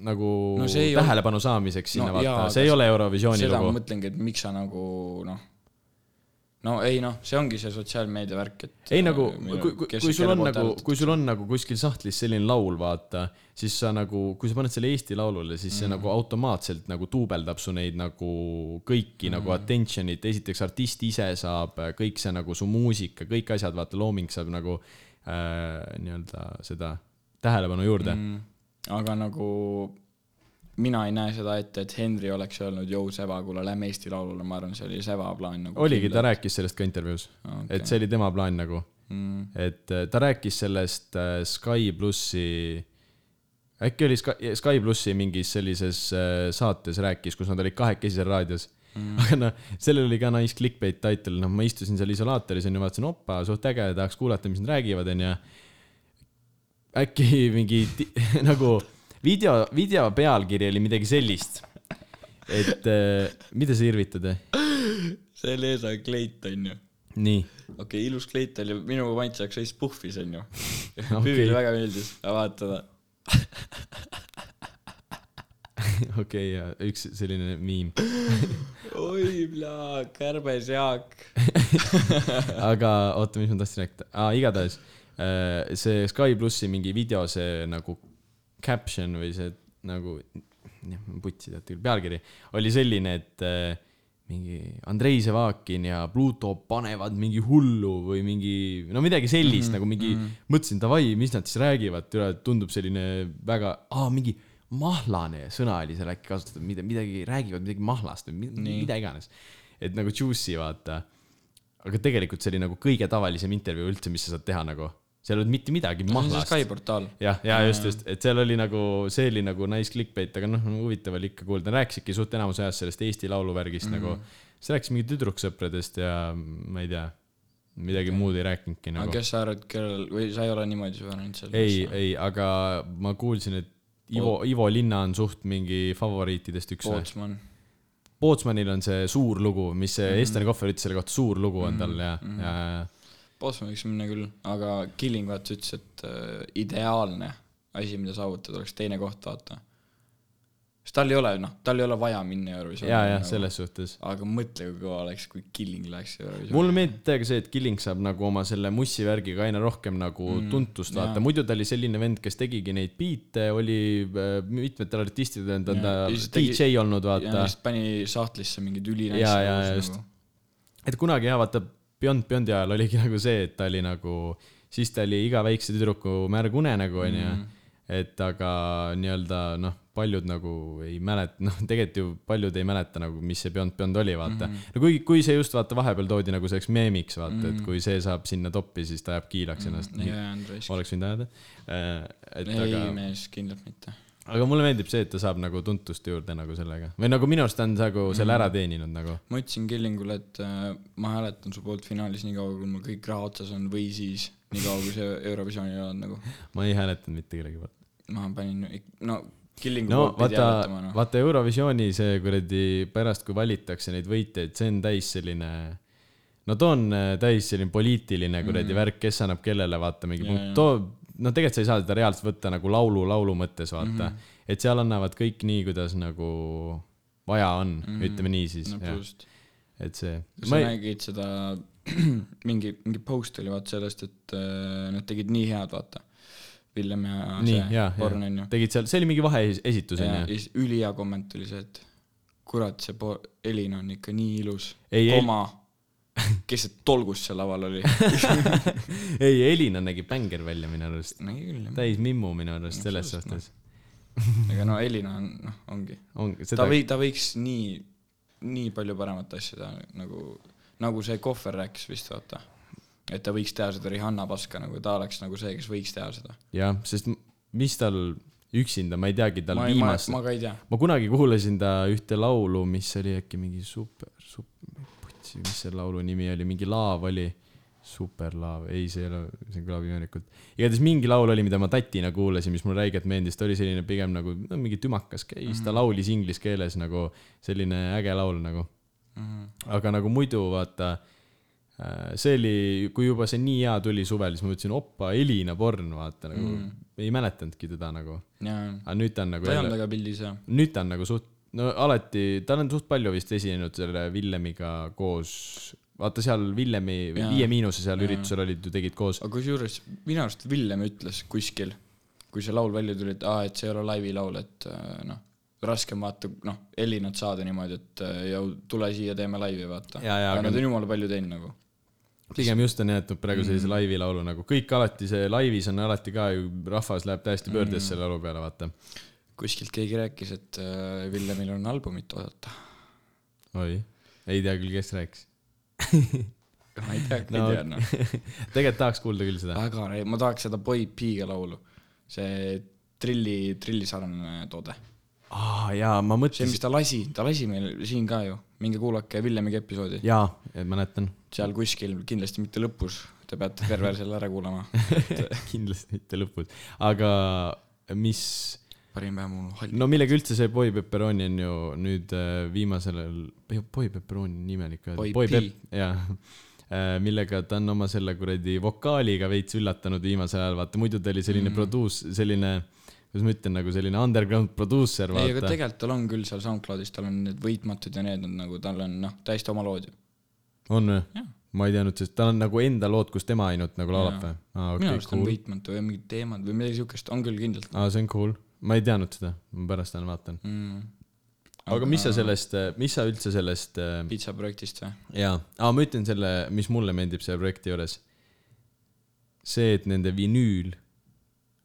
[SPEAKER 1] nagu no,
[SPEAKER 2] No see ei
[SPEAKER 1] tähelepanu olnud... saamiseks sinna
[SPEAKER 2] No
[SPEAKER 1] no, vaata
[SPEAKER 2] jaa, ,
[SPEAKER 1] see ei
[SPEAKER 2] aga
[SPEAKER 1] ole Eurovisiooni
[SPEAKER 2] seda ma
[SPEAKER 1] lugu .
[SPEAKER 2] mõtlengi , et miks sa nagu noh , no ei noh , see ongi see sotsiaalmeedia värk , et
[SPEAKER 1] ei nagu ,
[SPEAKER 2] mille-
[SPEAKER 1] kui , kui ,
[SPEAKER 2] kes
[SPEAKER 1] kui
[SPEAKER 2] ja
[SPEAKER 1] sul
[SPEAKER 2] kelle
[SPEAKER 1] on
[SPEAKER 2] poolt
[SPEAKER 1] nagu ,
[SPEAKER 2] hääletad.
[SPEAKER 1] kui sul on nagu kuskil sahtlis selline laul , vaata , siis sa nagu , kui sa paned selle Eesti Laulule , siis
[SPEAKER 2] Mhm.
[SPEAKER 1] see nagu automaatselt nagu duubeldab su neid nagu
[SPEAKER 2] Mhm.
[SPEAKER 1] kõiki mm. nagu attention'it , esiteks artist ise saab , kõik see nagu su muusika , kõik asjad , vaata , looming saab nagu äh, nii-öelda seda tähelepanu
[SPEAKER 2] Mhm.
[SPEAKER 1] juurde mm. .
[SPEAKER 2] aga nagu mina ei näe seda ette , et Henry oleks öelnud , jõu , Seva , kuule , lähme Eesti Laulule , ma arvan , see oli Seva plaan nagu .
[SPEAKER 1] oligi , ta rääkis sellest ka intervjuus okay.
[SPEAKER 2] Okei. ,
[SPEAKER 1] et see oli tema plaan nagu
[SPEAKER 2] mm. .
[SPEAKER 1] et äh, ta rääkis sellest äh, Sky plussi , äkki oli Sky , Sky plussi mingis sellises äh, saates rääkis , kus nad olid kahekesi seal raadios mm. . aga noh , sellel oli ka nice clickbait title , noh , ma istusin seal isolaatoris onju , vaatasin , opa , suht äge , tahaks kuulata , mis nad räägivad onju . äkki mingi ti- nagu video , video pealkiri oli midagi sellist , et äh, mida sa irvitad ,
[SPEAKER 2] see oli Esa Kleit , onju .
[SPEAKER 1] nii
[SPEAKER 2] okei okay, , ilus Kleit oli minu maitse jaoks veits puhvis , onju .
[SPEAKER 1] Okei.
[SPEAKER 2] Püvile väga meeldis vaatada .
[SPEAKER 1] okei okay, , ja üks selline miim .
[SPEAKER 2] oi , plaa , kärbes Jaak .
[SPEAKER 1] aga oota , mis ma tahtsin rääkida ah, , igatahes äh, see Sky plussi mingi video , see nagu caption või see nagu , putsi teate küll , pealkiri oli selline , et äh, mingi Andrei Sevakin ja Pluto panevad mingi hullu või mingi , no midagi sellist mm -hmm. nagu mingi mm , -hmm. mõtlesin davai , mis nad siis räägivad , tundub selline väga , aa mingi mahlane sõna oli seal äkki kasutatud , mida , midagi räägivad midagi mahlast või mida, mida iganes . et nagu juicy vaata aga tegelikult see oli nagu kõige tavalisem intervjuu üldse , mis sa saad teha nagu . seal ei olnud mitte midagi
[SPEAKER 2] see on see
[SPEAKER 1] mahlast
[SPEAKER 2] Sky . portaal .
[SPEAKER 1] jah , ja just , just , et seal oli nagu , see oli nagu nice clickbait , aga noh , huvitav oli ikka kuulda , rääkisidki suht enamus ajast sellest Eesti Laulu värgist mm -hmm. nagu . siis rääkis mingi tüdruksõpradest ja ma ei tea , midagi okay. muud ei rääkinudki
[SPEAKER 2] aga
[SPEAKER 1] nagu .
[SPEAKER 2] kes sa arvad , kellel või sa ei ole niimoodi süvenenud sellesse ?
[SPEAKER 1] ei , ei , aga ma kuulsin , et Ivo , Ivo Linna on suht mingi favoriitidest üks või ?
[SPEAKER 2] Pootsman .
[SPEAKER 1] Pootsmanil on see suur lugu , mis
[SPEAKER 2] Mhm.
[SPEAKER 1] see Esther Kohver ütles selle kohta , suur lugu on tal ja mm , -hmm. ja , ja ,
[SPEAKER 2] Pootsman võiks minna küll , aga Killing vaata ütles , et äh, ideaalne asi , mida saavutada , oleks teine koht , vaata . sest tal ei ole , noh , tal ei ole vaja minna Eurovisiooni .
[SPEAKER 1] ja , ja selles suhtes .
[SPEAKER 2] aga mõtle , kui kõva oleks , kui Killing läheks Eurovisiooni .
[SPEAKER 1] mulle meeldib täiega see , et Killing saab nagu oma selle Mussi värgiga aina rohkem nagu mm, tuntust vaata , muidu ta oli selline vend , kes tegigi neid biite , oli äh, mitmetel artistidel on ta
[SPEAKER 2] Jaa, ja siis
[SPEAKER 1] DJ
[SPEAKER 2] tegi-
[SPEAKER 1] olnud
[SPEAKER 2] ja
[SPEAKER 1] vaata .
[SPEAKER 2] siis pani sahtlisse mingeid nagu.
[SPEAKER 1] Jaa, jaa,
[SPEAKER 2] ülinäitsi
[SPEAKER 1] just. . et kunagi jah , vaata Beyond Beyondi ajal oligi nagu see , et ta oli nagu , siis ta oli iga väikse tüdruku märg unenägu onju mm. . et aga nii-öelda noh , paljud nagu ei mäleta , noh , tegelikult ju paljud ei mäleta nagu , mis see Beyond Beyond oli , vaata mm . -hmm. no kui , kui see just vaata vahepeal toodi nagu selleks meemiks vaata mm , -hmm. et kui see saab sinna toppi , siis ta jääb kiilaks ennast mm .
[SPEAKER 2] jaa , Andres .
[SPEAKER 1] -hmm. oleks võinud ajada . et
[SPEAKER 2] ei
[SPEAKER 1] aga ,
[SPEAKER 2] mees , kindlalt mitte .
[SPEAKER 1] aga mulle meeldib see , et ta saab nagu tuntust juurde nagu sellega või nagu minu arust ta on nagu selle ära teeninud nagu .
[SPEAKER 2] ma ütlesin Killingule , et äh, ma hääletan su poolt finaalis nii kaua , kui mul kõik raha otsas on või siis nii kaua , kui see Eurovisiooni ei olnud nagu .
[SPEAKER 1] ma ei hääletanud mitte kellegi poolt .
[SPEAKER 2] ma panin , no Killingu
[SPEAKER 1] no
[SPEAKER 2] poolt pidi
[SPEAKER 1] vaata
[SPEAKER 2] hääletama , noh .
[SPEAKER 1] vaata Eurovisiooni see kuradi pärast , kui valitakse neid võitjaid , see on täis selline , no too on äh, täis selline poliitiline kuradi mm. värk , kes annab kellele , vaata mingi
[SPEAKER 2] Mhm. Jaa,
[SPEAKER 1] punkt ,
[SPEAKER 2] jaa.
[SPEAKER 1] too , no tegelikult sa ei saa seda reaalselt võtta nagu laulu laulu mõttes , vaata mm .
[SPEAKER 2] Mhm.
[SPEAKER 1] -hmm. et seal annavad kõik nii , kuidas nagu vaja on mm , -hmm. ütleme nii siis
[SPEAKER 2] Mhm. no
[SPEAKER 1] no, ,
[SPEAKER 2] just .
[SPEAKER 1] et see .
[SPEAKER 2] sa ei... nägid seda , mingi , mingi post oli vaata sellest , et äh, nad tegid nii head , vaata . Villem ja
[SPEAKER 1] nii ,
[SPEAKER 2] noh, see
[SPEAKER 1] jaa ,
[SPEAKER 2] Born on
[SPEAKER 1] jaa
[SPEAKER 2] ju .,
[SPEAKER 1] tegid seal , see oli mingi vaheesitus
[SPEAKER 2] ja
[SPEAKER 1] onju .
[SPEAKER 2] siis ülihea komment oli see , et kurat , see po- , Elin on ikka nii ilus .
[SPEAKER 1] Ei, El-
[SPEAKER 2] koma , kes see tolgus seal laval oli ?
[SPEAKER 1] ei , Elina nägi bänger välja minu arust ,
[SPEAKER 2] nägi küll jah .
[SPEAKER 1] täis mimmu minu arust selles
[SPEAKER 2] Absoluutselt,
[SPEAKER 1] suhtes .
[SPEAKER 2] aga no Elina on , noh , ongi .
[SPEAKER 1] on ,
[SPEAKER 2] ta
[SPEAKER 1] seda
[SPEAKER 2] või- , ta võiks nii , nii palju paremat asja teha , nagu , nagu see Kohver rääkis vist , vaata . et ta võiks teha seda Rihanna paska , nagu ta oleks nagu see , kes võiks teha seda .
[SPEAKER 1] jah , sest m- mis tal üksinda , ma ei teagi , tal
[SPEAKER 2] ma ei , ma,
[SPEAKER 1] viimast , ma,
[SPEAKER 2] ma ka ei tea .
[SPEAKER 1] ma kunagi kuulasin ta ühte laulu , mis oli äkki mingi super , super , putsi , mis selle laulu nimi oli , mingi laav oli , superlaav , ei , see ei ole , see kõlab imelikult . igatahes mingi laul oli , mida ma tatina kuulasin , mis mulle räigelt meeldis , ta oli selline pigem nagu no, mingi tümakas käis mm , -hmm. ta
[SPEAKER 2] Mhm.
[SPEAKER 1] laulis inglise keeles nagu selline äge laul nagu
[SPEAKER 2] Mhm.
[SPEAKER 1] aga nagu muidu vaata , see oli , kui juba see nii hea tuli suvel , siis ma mõtlesin , opa , Elina Born , vaata nagu mm. ei mäletanudki teda nagu .
[SPEAKER 2] jaa ,
[SPEAKER 1] aga nüüd ta on nagu
[SPEAKER 2] Mhm. ta ei olnud
[SPEAKER 1] jälle ,
[SPEAKER 2] väga pildis jah .
[SPEAKER 1] nüüd ta on nagu suht , no alati , tal on suht palju vist esinenud selle Villemiga koos , vaata seal Villemi ,
[SPEAKER 2] Jaa.
[SPEAKER 1] Viie Miinuse seal üritusel olid ju , tegid koos .
[SPEAKER 2] aga kusjuures minu arust Villem ütles kuskil , kui see laul välja tuli , et aa , et see ei ole laivilaul , et äh, noh , raske on vaata , noh , Elinat saada niimoodi , et äh, jõu- , tule siia , teeme laivi , vaata .
[SPEAKER 1] Jaa, jaa,
[SPEAKER 2] aga
[SPEAKER 1] aga-
[SPEAKER 2] nad on jumala palju teinud nagu .
[SPEAKER 1] pigem just on jäetud praegu sellise
[SPEAKER 2] Mhm.
[SPEAKER 1] laivi laulu nagu , kõik alati see laivis on alati ka ju , rahvas läheb täiesti
[SPEAKER 2] Mhm.
[SPEAKER 1] pöördesse selle laulu peale , vaata .
[SPEAKER 2] kuskilt keegi rääkis , et äh, Villemil on albumit oodata .
[SPEAKER 1] oi , ei tea küll , kes rääkis .
[SPEAKER 2] ma ei tea , ei
[SPEAKER 1] No,
[SPEAKER 2] tea noh .
[SPEAKER 1] tegelikult tahaks kuulda küll seda .
[SPEAKER 2] väga , ma tahaks seda Boy P-ga laulu . see trilli , trillisarnane toode .
[SPEAKER 1] aa jaa , ma
[SPEAKER 2] Ah, see ,
[SPEAKER 1] mõtlesin ,
[SPEAKER 2] mis ta lasi , ta lasi meil siin ka ju . minge kuulake Villemiga episoodi .
[SPEAKER 1] jaa , mäletan .
[SPEAKER 2] seal kuskil , kindlasti mitte lõpus , te peate terve selle ära kuulama .
[SPEAKER 1] kindlasti mitte lõpus , aga mis ,
[SPEAKER 2] parim päev mul hall- .
[SPEAKER 1] no millega üldse see Boy Pepperoni on ju nüüd äh, viimasel ajal , Boy Pepperoni on imelik öelda
[SPEAKER 2] Boy ,
[SPEAKER 1] Boy
[SPEAKER 2] P.
[SPEAKER 1] Pep- , jaa Äh, millega ta on oma selle kuradi vokaaliga veits üllatanud viimasel ajal , vaata muidu ta oli selline mm. produus- , selline , kuidas ma ütlen , nagu selline underground produusser ,
[SPEAKER 2] ei , aga
[SPEAKER 1] vaata .
[SPEAKER 2] tegelikult tal on küll seal SoundCloudis , tal on need võitmatud ja need on nagu , tal on noh , täiesti oma lood ju .
[SPEAKER 1] on või
[SPEAKER 2] Jah. ?
[SPEAKER 1] ma ei teadnud , sest tal on nagu enda lood , kus tema ainult nagu laulab või
[SPEAKER 2] Jaa. ?
[SPEAKER 1] aa ,
[SPEAKER 2] minu
[SPEAKER 1] okei ,
[SPEAKER 2] arust on
[SPEAKER 1] cool .
[SPEAKER 2] võitmatu või mingid teemad või midagi siukest , on küll kindlalt
[SPEAKER 1] aa , see on cool . ma ei teadnud seda , ma pärast lähen vaatan .
[SPEAKER 2] mm. .
[SPEAKER 1] aga mis sa sellest , mis sa üldse sellest , äh,
[SPEAKER 2] pitsa projektist või ?
[SPEAKER 1] jaa , aa ma ütlen selle , mis mulle meeldib selle projekti juures . see , et nende vinüül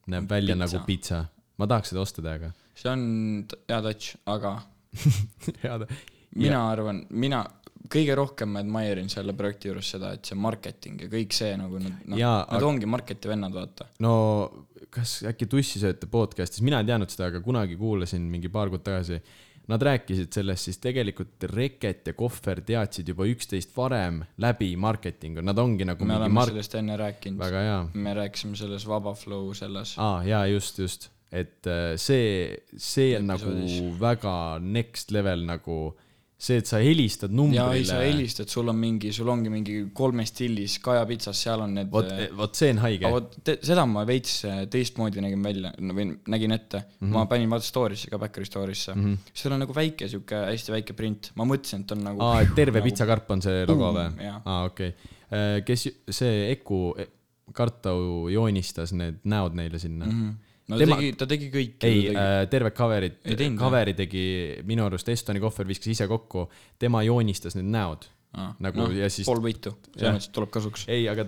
[SPEAKER 1] näeb välja
[SPEAKER 2] Pitsa.
[SPEAKER 1] nagu pitsa . ma tahaks seda osta täiega .
[SPEAKER 2] see on t- hea touch , aga mina
[SPEAKER 1] mina .
[SPEAKER 2] ja. arvan , mina kõige rohkem ma admire'in selle projekti juures seda , et see marketing ja kõik see nagu nad , noh ,
[SPEAKER 1] Jaa,
[SPEAKER 2] nad
[SPEAKER 1] aga-
[SPEAKER 2] ongi marketi vennad , vaata .
[SPEAKER 1] no kas äkki tussisööte podcast'is , mina ei teadnud seda , aga kunagi kuulasin mingi paar kuud tagasi . Nad rääkisid sellest , siis tegelikult Reket ja Kohver teadsid juba üksteist varem läbi marketingu , nad ongi nagu
[SPEAKER 2] me
[SPEAKER 1] mingi
[SPEAKER 2] oleme
[SPEAKER 1] mark- ,
[SPEAKER 2] sellest enne rääkinud ,
[SPEAKER 1] väga hea
[SPEAKER 2] me rääkisime selles Vaba Flow selles .
[SPEAKER 1] aa ah, , jaa , just , just . et äh, see , see on nagu
[SPEAKER 2] Episoodis.
[SPEAKER 1] väga next level nagu see , et sa helistad
[SPEAKER 2] ja ei , sa
[SPEAKER 1] numbrile ,
[SPEAKER 2] helistad , sul on mingi , sul ongi mingi kolmes tillis kajapitsas , seal on need äh,
[SPEAKER 1] vot , eh, vot see on haige
[SPEAKER 2] aga . vot te- seda ma veits äh, teistmoodi nägin välja no, või nägin ette mm ,
[SPEAKER 1] Mhm.
[SPEAKER 2] -hmm. ma panin vaata story'sse ka Backeri story'sse mm , -hmm. seal on nagu väike siuke , hästi väike print , ma mõtlesin , et on nagu
[SPEAKER 1] aa , et terve pitsakarp on see logo
[SPEAKER 2] Buum,
[SPEAKER 1] või
[SPEAKER 2] jah. ?
[SPEAKER 1] aa , okei . kes , see Eku , Kartau joonistas need näod neile sinna mm ? -hmm.
[SPEAKER 2] no
[SPEAKER 1] Tema-
[SPEAKER 2] tema... tegi , ta Mhm. tegi kõik
[SPEAKER 1] ei , äh, terve cover'id
[SPEAKER 2] Ei teinud, , jah?
[SPEAKER 1] cover'i tegi minu arust Estoni kohver viskas ise kokku , tema joonistas need näod . nagu
[SPEAKER 2] noh,
[SPEAKER 1] no, ja siis ,
[SPEAKER 2] Ah, pool võitu ,
[SPEAKER 1] jah.
[SPEAKER 2] selles mõttes et tuleb kasuks .
[SPEAKER 1] ei , aga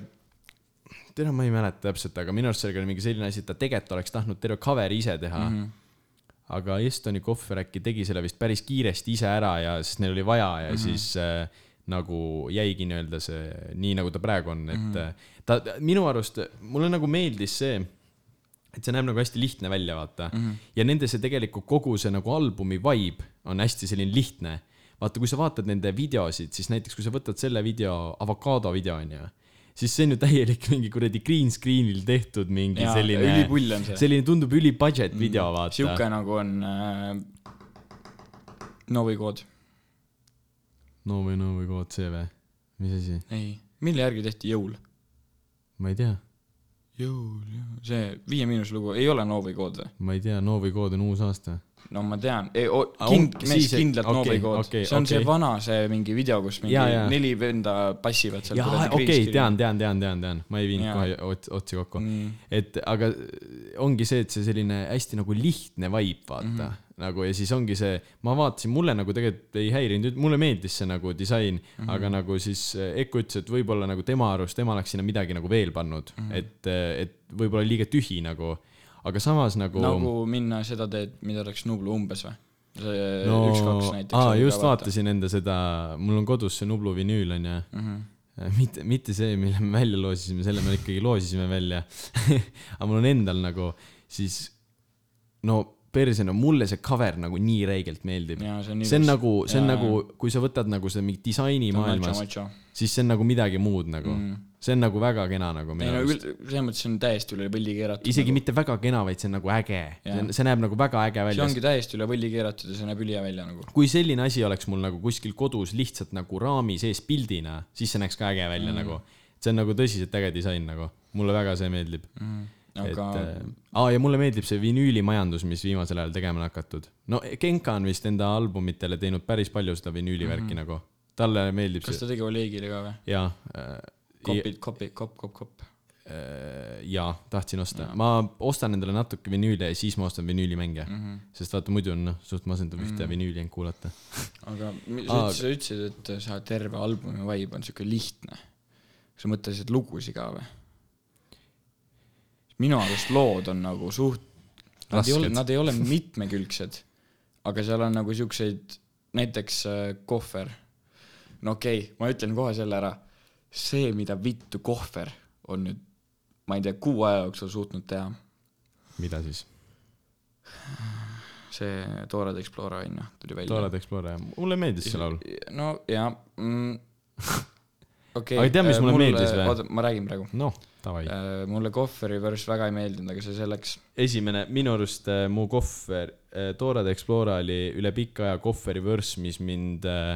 [SPEAKER 1] tead , ma ei mäleta täpselt , aga minu arust sellega oli mingi selline asi , et ta tegelikult oleks tahtnud terve cover'i ise teha mm . -hmm. aga Estoni kohver äkki tegi selle vist päris kiiresti ise ära ja , sest neil oli vaja ja mm -hmm.
[SPEAKER 2] Mhm.
[SPEAKER 1] siis äh, nagu jäigi nii-öelda see , nii nagu ta praegu on , et
[SPEAKER 2] Mhm.
[SPEAKER 1] mm -hmm. ta minu arust , mulle nagu meeldis see et see näeb nagu hästi lihtne välja , vaata mm .
[SPEAKER 2] Mhm.
[SPEAKER 1] -hmm. ja nende see tegelikult kogu see nagu albumi vibe on hästi selline lihtne . vaata , kui sa vaatad nende videosid , siis näiteks kui sa võtad selle video , avokaado video on ju , siis see on ju täielik mingi kuradi green screen'il tehtud mingi
[SPEAKER 2] Jaa,
[SPEAKER 1] selline .
[SPEAKER 2] ülipull on see.
[SPEAKER 1] selline tundub üli budget video , vaata .
[SPEAKER 2] sihuke nagu on äh, Novi kood ,
[SPEAKER 1] no või no või kood see või ? mis asi ?
[SPEAKER 2] ei , mille järgi tehti jõul ?
[SPEAKER 1] ma ei tea ,
[SPEAKER 2] jõul , jõul , see Viie Miinuse lugu ei ole Novi kood või ?
[SPEAKER 1] ma ei tea , no või kood on uus aasta .
[SPEAKER 2] no ma
[SPEAKER 1] Aa,
[SPEAKER 2] tean , kind- ,
[SPEAKER 1] Ah, on-
[SPEAKER 2] mees
[SPEAKER 1] siis-
[SPEAKER 2] kindlalt
[SPEAKER 1] okei,
[SPEAKER 2] okay, Novi kood
[SPEAKER 1] okei,
[SPEAKER 2] okay, , see on
[SPEAKER 1] okei.
[SPEAKER 2] okay. see vana , see mingi video , kus mingi
[SPEAKER 1] Jaa,
[SPEAKER 2] ja,
[SPEAKER 1] jaa.
[SPEAKER 2] ja. neli venda passivad seal .
[SPEAKER 1] jaa , okei okay, , tean , tean , tean , tean , tean , ma ei viinud
[SPEAKER 2] Jaa.
[SPEAKER 1] kohe ots- , otsi kokku mm.
[SPEAKER 2] Mm. .
[SPEAKER 1] et aga äh, ongi see , et see selline hästi nagu lihtne vibe , vaata mm . -hmm. nagu ja siis ongi see , ma vaatasin , mulle nagu tegelikult ei häirinud , mulle meeldis see nagu disain mm , -hmm. aga nagu siis Eku ütles , et võib-olla nagu tema arust , tema oleks sinna midagi nagu veel pannud mm , -hmm. et , et võib-olla liiga tühi nagu , aga samas nagu,
[SPEAKER 2] nagu minna seda teed , mida läks Nublu umbes või ? see no,
[SPEAKER 1] no
[SPEAKER 2] Äh, üks-kaks näiteks .
[SPEAKER 1] aa , just . vaatasin enda seda , mul on kodus see Nublu vinüül onju mm .
[SPEAKER 2] Mhm.
[SPEAKER 1] -hmm. mitte , mitte see , mille me välja loosisime , selle me ikkagi loosisime välja . aga mul on endal nagu siis no perse , no mulle see cover nagu nii räigelt meeldib .
[SPEAKER 2] Jaa, see on nii
[SPEAKER 1] see on
[SPEAKER 2] ilus.
[SPEAKER 1] nagu , see on
[SPEAKER 2] Jaa,
[SPEAKER 1] nagu , kui sa võtad nagu seda mingit disaini maailmas , siis see on nagu midagi muud nagu mm. . see on nagu väga kena nagu
[SPEAKER 2] ei
[SPEAKER 1] minu
[SPEAKER 2] no
[SPEAKER 1] arust .
[SPEAKER 2] üld- , selles mõttes on täiesti üle võlli keeratud .
[SPEAKER 1] isegi
[SPEAKER 2] nagu.
[SPEAKER 1] mitte väga kena , vaid see on nagu äge .
[SPEAKER 2] Jaa.
[SPEAKER 1] see näeb nagu väga äge
[SPEAKER 2] see
[SPEAKER 1] välja .
[SPEAKER 2] ongi täiesti üle võlli keeratud ja see näeb ülihea välja nagu .
[SPEAKER 1] kui selline asi oleks mul nagu kuskil kodus lihtsalt nagu raami sees pildina , siis see näeks ka äge välja mm. nagu . see on nagu tõsiselt äge disain nagu , mulle väga see meeldib mm.
[SPEAKER 2] aga
[SPEAKER 1] et äh, , aa ja mulle meeldib see vinüülimajandus , mis viimasel ajal tegema on hakatud . no Genka on vist enda albumitele teinud päris palju seda vinüülivärki mm. nagu , talle meeldib
[SPEAKER 2] kas
[SPEAKER 1] see
[SPEAKER 2] ta tegi Olegile ka või ?
[SPEAKER 1] ja äh, ,
[SPEAKER 2] Kopid , kopi , kopp , kopp , kopp .
[SPEAKER 1] ja tahtsin osta , ma ostan endale natuke vinüüle ja siis ma ostan vinüülimänge mm , -hmm. sest vaata muidu on noh , suht masendav mm -hmm. ühte vinüüli ainult kuulata
[SPEAKER 2] aga mi-
[SPEAKER 1] Aa,
[SPEAKER 2] sa ütlesid , sa ütlesid , et sa terve albumi vibe on siuke lihtne . kas sa mõtlesid lugusid ka või ? minu arust lood on nagu suht , nad ei ole ,
[SPEAKER 1] Rasked.
[SPEAKER 2] nad ei ole mitmekülgsed , aga seal on nagu siukseid , näiteks äh, kohver . no okei okay, , ma ütlen kohe selle ära . see , mida vittu kohver on nüüd , ma ei tea , kuu aja jooksul suutnud teha ,
[SPEAKER 1] mida siis ?
[SPEAKER 2] see Toored Explora on ju , tuli välja .
[SPEAKER 1] Toilet Explorer , mulle meeldis see laul .
[SPEAKER 2] no jaa mm, . okei äh,
[SPEAKER 1] Aga tead, mis mulle meeldis või?
[SPEAKER 2] oota , ma räägin praegu .
[SPEAKER 1] noh , davai .
[SPEAKER 2] mulle kohveri päris väga ei meeldinud , aga see selleks .
[SPEAKER 1] esimene , minu arust äh, mu kohver , Toilet Explorer oli üle pika aja kohveri vürss , mis mind äh,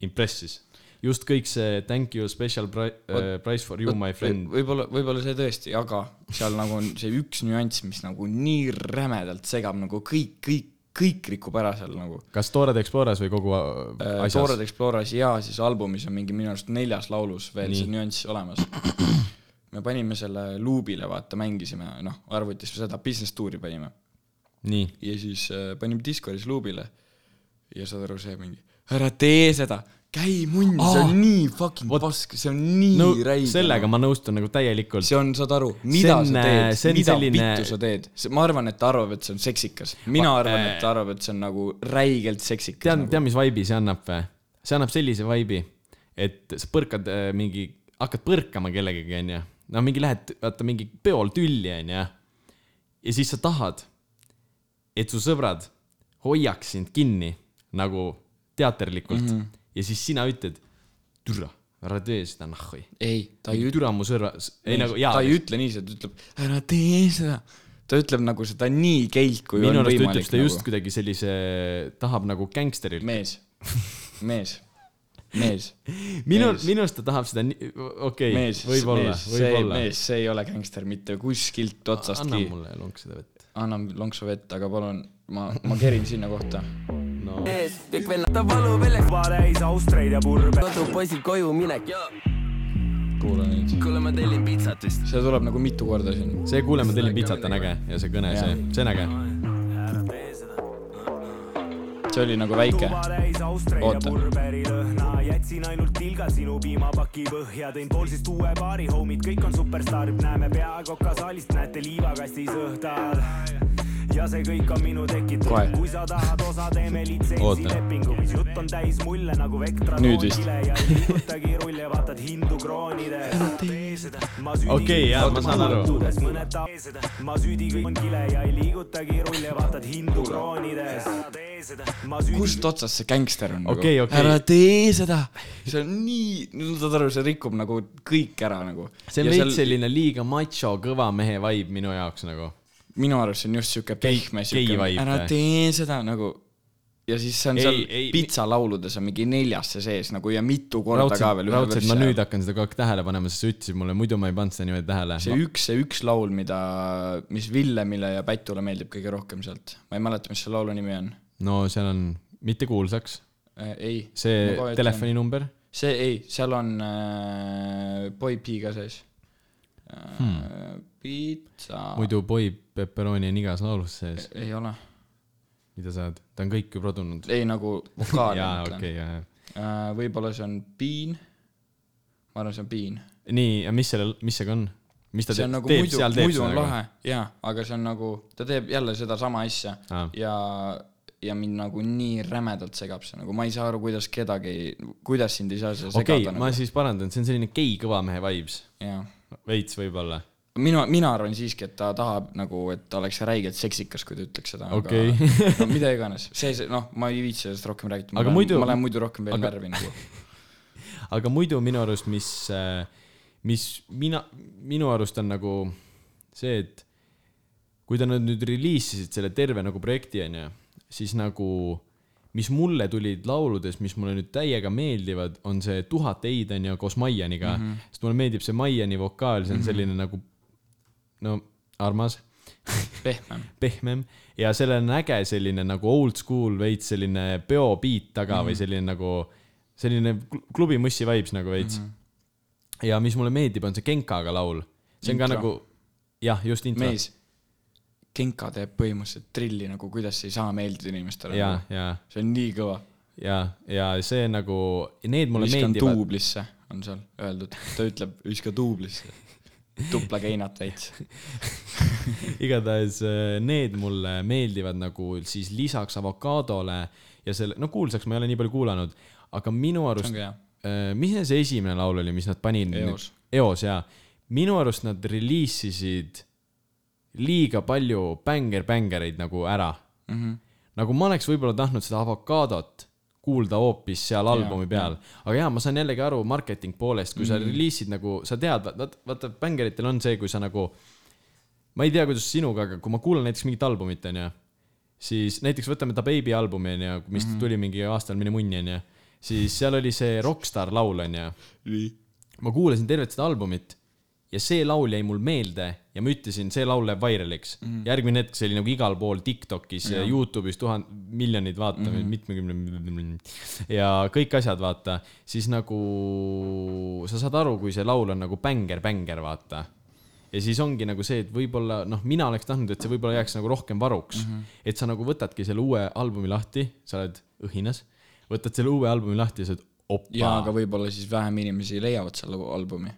[SPEAKER 1] impressis . just kõik see thank you special pri- , äh, price for you my friend .
[SPEAKER 2] võib-olla , võib-olla see tõesti , aga seal nagu on see üks nüanss , mis nagu nii rämedalt segab nagu kõik , kõik , kõik rikub ära seal nagu .
[SPEAKER 1] kas Toilet Explorers või kogu äh,
[SPEAKER 2] Toored
[SPEAKER 1] asjas ?
[SPEAKER 2] Exploreris ja siis albumis on mingi minu arust neljas laulus veel
[SPEAKER 1] Nii.
[SPEAKER 2] see nüanss olemas . me panime selle luubile , vaata , mängisime , noh , arvutis seda business tuuri panime
[SPEAKER 1] nii ,
[SPEAKER 2] ja siis äh, panime Discordis luubile ja saad aru , see mingi , ära tee seda , käi munni oh, , see on nii fucking
[SPEAKER 1] Ah! vot-
[SPEAKER 2] vot, pask , see on nii
[SPEAKER 1] no
[SPEAKER 2] no, räige .
[SPEAKER 1] sellega ma nõustun nagu täielikult .
[SPEAKER 2] see on , saad aru , mida
[SPEAKER 1] on,
[SPEAKER 2] sa
[SPEAKER 1] see on
[SPEAKER 2] teed , mida
[SPEAKER 1] selline-
[SPEAKER 2] selline... vittu sa teed , ma arvan , et ta arvab , et see on seksikas , mina
[SPEAKER 1] Ma-
[SPEAKER 2] ma, arvan ,
[SPEAKER 1] äh,
[SPEAKER 2] et ta arvab , et see on nagu räigelt seksikas .
[SPEAKER 1] tead ,
[SPEAKER 2] nagu.
[SPEAKER 1] tead , mis vibe'i see annab või ? see annab sellise vibe'i , et sa põrkad äh, mingi , hakkad põrkama kellegagi , onju . no mingi lähed , vaata mingi peol tülli , onju . ja siis sa tahad , et su sõbrad hoiaks sind kinni nagu teaterlikult mm
[SPEAKER 2] Mhm.
[SPEAKER 1] -hmm. ja siis sina ütled , türa , ära tee seda nahhu .
[SPEAKER 2] ei , ta ei ütle ,
[SPEAKER 1] türa mu sõbra , ei nagu jaa
[SPEAKER 2] ta . ei ütle niiviisi , ta ütleb , ära tee seda . ta ütleb nagu seda nii keilt , kui
[SPEAKER 1] minu
[SPEAKER 2] on
[SPEAKER 1] arust
[SPEAKER 2] võimalik
[SPEAKER 1] ütleb seda
[SPEAKER 2] nagu.
[SPEAKER 1] just kuidagi sellise , tahab nagu gängsterilt .
[SPEAKER 2] mees , mees , mees ,
[SPEAKER 1] minu
[SPEAKER 2] Mees. ,
[SPEAKER 1] minu arust ta tahab seda nii , okei okay,
[SPEAKER 2] mees ,,
[SPEAKER 1] võib-olla ,
[SPEAKER 2] mees , see
[SPEAKER 1] võib-olla .
[SPEAKER 2] mees , see ei ole gängster mitte kuskilt
[SPEAKER 1] anna
[SPEAKER 2] otsastki .
[SPEAKER 1] mulle lonks seda vett .
[SPEAKER 2] anna lonksu vett , aga palun , ma , ma kerin sinna kohta .
[SPEAKER 1] no
[SPEAKER 5] ees , kõik vennad ta valu veljaks ,
[SPEAKER 6] juba täis austreid ja purbe .
[SPEAKER 5] kodupoisid koju minek .
[SPEAKER 2] kuula nüüd .
[SPEAKER 5] kuule , ma tellin pitsat vist .
[SPEAKER 2] see tuleb nagu mitu korda siin .
[SPEAKER 1] see Kuule ma tellin pitsat on äge ja see kõne , see , see on äge .
[SPEAKER 6] ära tee seda .
[SPEAKER 2] see oli nagu väike .
[SPEAKER 6] juba täis austreid ja
[SPEAKER 2] Oota.
[SPEAKER 6] purberi lõhna , jätsin ainult tilga sinu piimapaki põhja , tõin poolsist uue paari , homid , kõik on superstaar , näeme peakoka saalist , näete liivakastis õhtal ja see kõik on minu
[SPEAKER 2] Kohe.
[SPEAKER 6] tekitatud , kui sa tahad osa , teeme
[SPEAKER 1] Oota.
[SPEAKER 6] litsentsilepingu , jutt on täis mulle nagu Vectra
[SPEAKER 2] Nüüd vist.
[SPEAKER 6] toonile ja ei liigutagi rulle , vaatad hindu kroonide .
[SPEAKER 1] Okei, jaa, ma saan aru.
[SPEAKER 6] mõned taesed , ma süüdi kõik on kile ja ei liigutagi rulle , vaatad hindu kroonides . ma süüdi
[SPEAKER 2] kust otsast see gängster on
[SPEAKER 1] Okei,
[SPEAKER 2] nagu
[SPEAKER 1] okei.
[SPEAKER 2] ära tee seda , see on nii , no saad aru , see rikub nagu kõik ära nagu .
[SPEAKER 1] see on veits selline liiga macho kõva mehe vibe minu jaoks nagu .
[SPEAKER 2] minu arust see on just siuke pehme siuke
[SPEAKER 1] gei , vibe,
[SPEAKER 2] ära
[SPEAKER 1] või?
[SPEAKER 2] tee seda nagu . ja siis see on
[SPEAKER 1] Ei,
[SPEAKER 2] seal
[SPEAKER 1] ei,
[SPEAKER 2] pitsalauludes on mingi neljasse sees nagu ja mitu korda ka
[SPEAKER 1] raudselt ,
[SPEAKER 2] veel ühe
[SPEAKER 1] raudselt ma nüüd hakkan seda kogu aeg tähele panema , sest sa ütlesid mulle , muidu ma ei pannud seda niimoodi tähele .
[SPEAKER 2] see üks , see üks laul , mida , mis Villemile ja Pätule meeldib kõige rohkem sealt , ma ei mäleta , mis selle laulu nimi on .
[SPEAKER 1] no seal on , mitte kuulsaks ,
[SPEAKER 2] ei .
[SPEAKER 1] see . telefoninumber ,
[SPEAKER 2] see ei , seal on äh, Boy P ka sees hmm. . Pitsa .
[SPEAKER 1] muidu Boy Pepperoni on igas laulus sees ,
[SPEAKER 2] ei ole ,
[SPEAKER 1] mida sa oled , ta on kõik ju produnud .
[SPEAKER 2] ei nagu vokaal
[SPEAKER 1] jaa , okei , jaa , jaa .
[SPEAKER 2] Äh, võib-olla see on piin . ma arvan , see on piin .
[SPEAKER 1] nii , ja mis selle , mis see ka on ? mis ta
[SPEAKER 2] see
[SPEAKER 1] teeb
[SPEAKER 2] on , nagu
[SPEAKER 1] teeb
[SPEAKER 2] muidu ,
[SPEAKER 1] seal , teeb
[SPEAKER 2] muidu
[SPEAKER 1] seda
[SPEAKER 2] on
[SPEAKER 1] nagu ?
[SPEAKER 2] lahe , jaa , aga see on nagu , ta teeb jälle sedasama asja
[SPEAKER 1] Aa.
[SPEAKER 2] ja , ja mind nagu nii rämedalt segab see nagu , ma ei saa aru , kuidas kedagi , kuidas sind ei saa seda segada
[SPEAKER 1] okei , ma
[SPEAKER 2] nagu .
[SPEAKER 1] siis parandan , see on selline gei kõva mehe vibes ,
[SPEAKER 2] jaa .
[SPEAKER 1] veits võib-olla .
[SPEAKER 2] mina , mina arvan siiski , et ta tahab nagu , et ta oleks räigelt seksikas , kui ta ütleks seda , aga
[SPEAKER 1] Okei.
[SPEAKER 2] no mida iganes , see , see , noh , ma ei viitsi sellest rohkem rääkida , ma
[SPEAKER 1] Aga
[SPEAKER 2] lähen
[SPEAKER 1] muidu- ,
[SPEAKER 2] ma lähen muidu rohkem veel
[SPEAKER 1] aga-
[SPEAKER 2] närvi nagu .
[SPEAKER 1] aga muidu minu arust , mis , mis mina , minu arust on nagu see , et kui ta nad nüüd reliisisid selle terve nagu projekti , onju , siis nagu , mis mulle tulid lauludes , mis mulle nüüd täiega meeldivad , on see Tuhat eid , onju , koos Maianiga mm . -hmm. sest mulle meeldib see Maiani vokaal , see on mm -hmm. selline nagu , no armas
[SPEAKER 2] pehmem .
[SPEAKER 1] pehmem ja sellel on äge selline nagu old school veits selline peopiit taga mm
[SPEAKER 2] Mhm.
[SPEAKER 1] -hmm. või selline nagu selline kl- klubimussi vibes nagu veits
[SPEAKER 2] Mhm.
[SPEAKER 1] mm . -hmm. ja mis mulle meeldib , on see Genkaga laul , see on ka
[SPEAKER 2] Intro.
[SPEAKER 1] nagu jah , just intro .
[SPEAKER 2] mees , Genka teeb põhimõtteliselt trilli nagu , kuidas ei saa meeldida inimestele .
[SPEAKER 1] ja , ja ,
[SPEAKER 2] see on nii kõva .
[SPEAKER 1] ja , ja see nagu , need mulle
[SPEAKER 2] viskan
[SPEAKER 1] meeldivad .
[SPEAKER 2] duublisse , on seal öeldud , ta ütleb viska duublisse . tupla keinat täitsa .
[SPEAKER 1] igatahes äh, need mulle meeldivad nagu siis lisaks avokaadole ja selle , no kuulsaks ma ei ole nii palju kuulanud , aga minu
[SPEAKER 2] see
[SPEAKER 1] arust
[SPEAKER 2] on ka hea .
[SPEAKER 1] Äh, mis see- see esimene laul oli , mis nad panid ?
[SPEAKER 2] Eos. .
[SPEAKER 1] eos jaa , minu arust nad reliisisid liiga palju bänger-bängereid nagu ära mm . -hmm. nagu ma oleks võib-olla tahtnud seda avokaadot kuulda hoopis seal albumi peal , aga jaa , ma saan jällegi aru marketing poolest , kui sa reliisid nagu , sa tead , vaata , vaata bängeritel on see , kui sa nagu ma ei tea , kuidas sinuga , aga kui ma kuulan näiteks mingit albumit , onju , siis näiteks võtame Da Baby albumi , onju , mis mm -hmm. tuli mingi aastal mine munni , onju , siis seal oli see Rockstar laul , onju . ma kuulasin tervet seda albumit ja see laul jäi mul meelde ja ma ütlesin , see laul läheb vairaliks
[SPEAKER 2] Mhm.
[SPEAKER 1] mm . -hmm. järgmine hetk see oli nagu igal pool Tiktokis ja Youtube'is tuhat , miljonid vaatame
[SPEAKER 2] Mhm.
[SPEAKER 1] mm -hmm. , mitmekümne ja kõik asjad , vaata , siis nagu sa saad aru , kui see laul on nagu bänger-bänger , vaata ja siis ongi nagu see , et võib-olla noh , mina oleks tahtnud , et see võib-olla jääks nagu rohkem varuks
[SPEAKER 2] Mhm.
[SPEAKER 1] mm . -hmm. et sa nagu võtadki selle uue albumi lahti , sa oled õhinas , võtad selle uue albumi lahti ja sa oled opa .
[SPEAKER 2] jaa , aga võib-olla siis vähem inimesi leiavad selle albumi .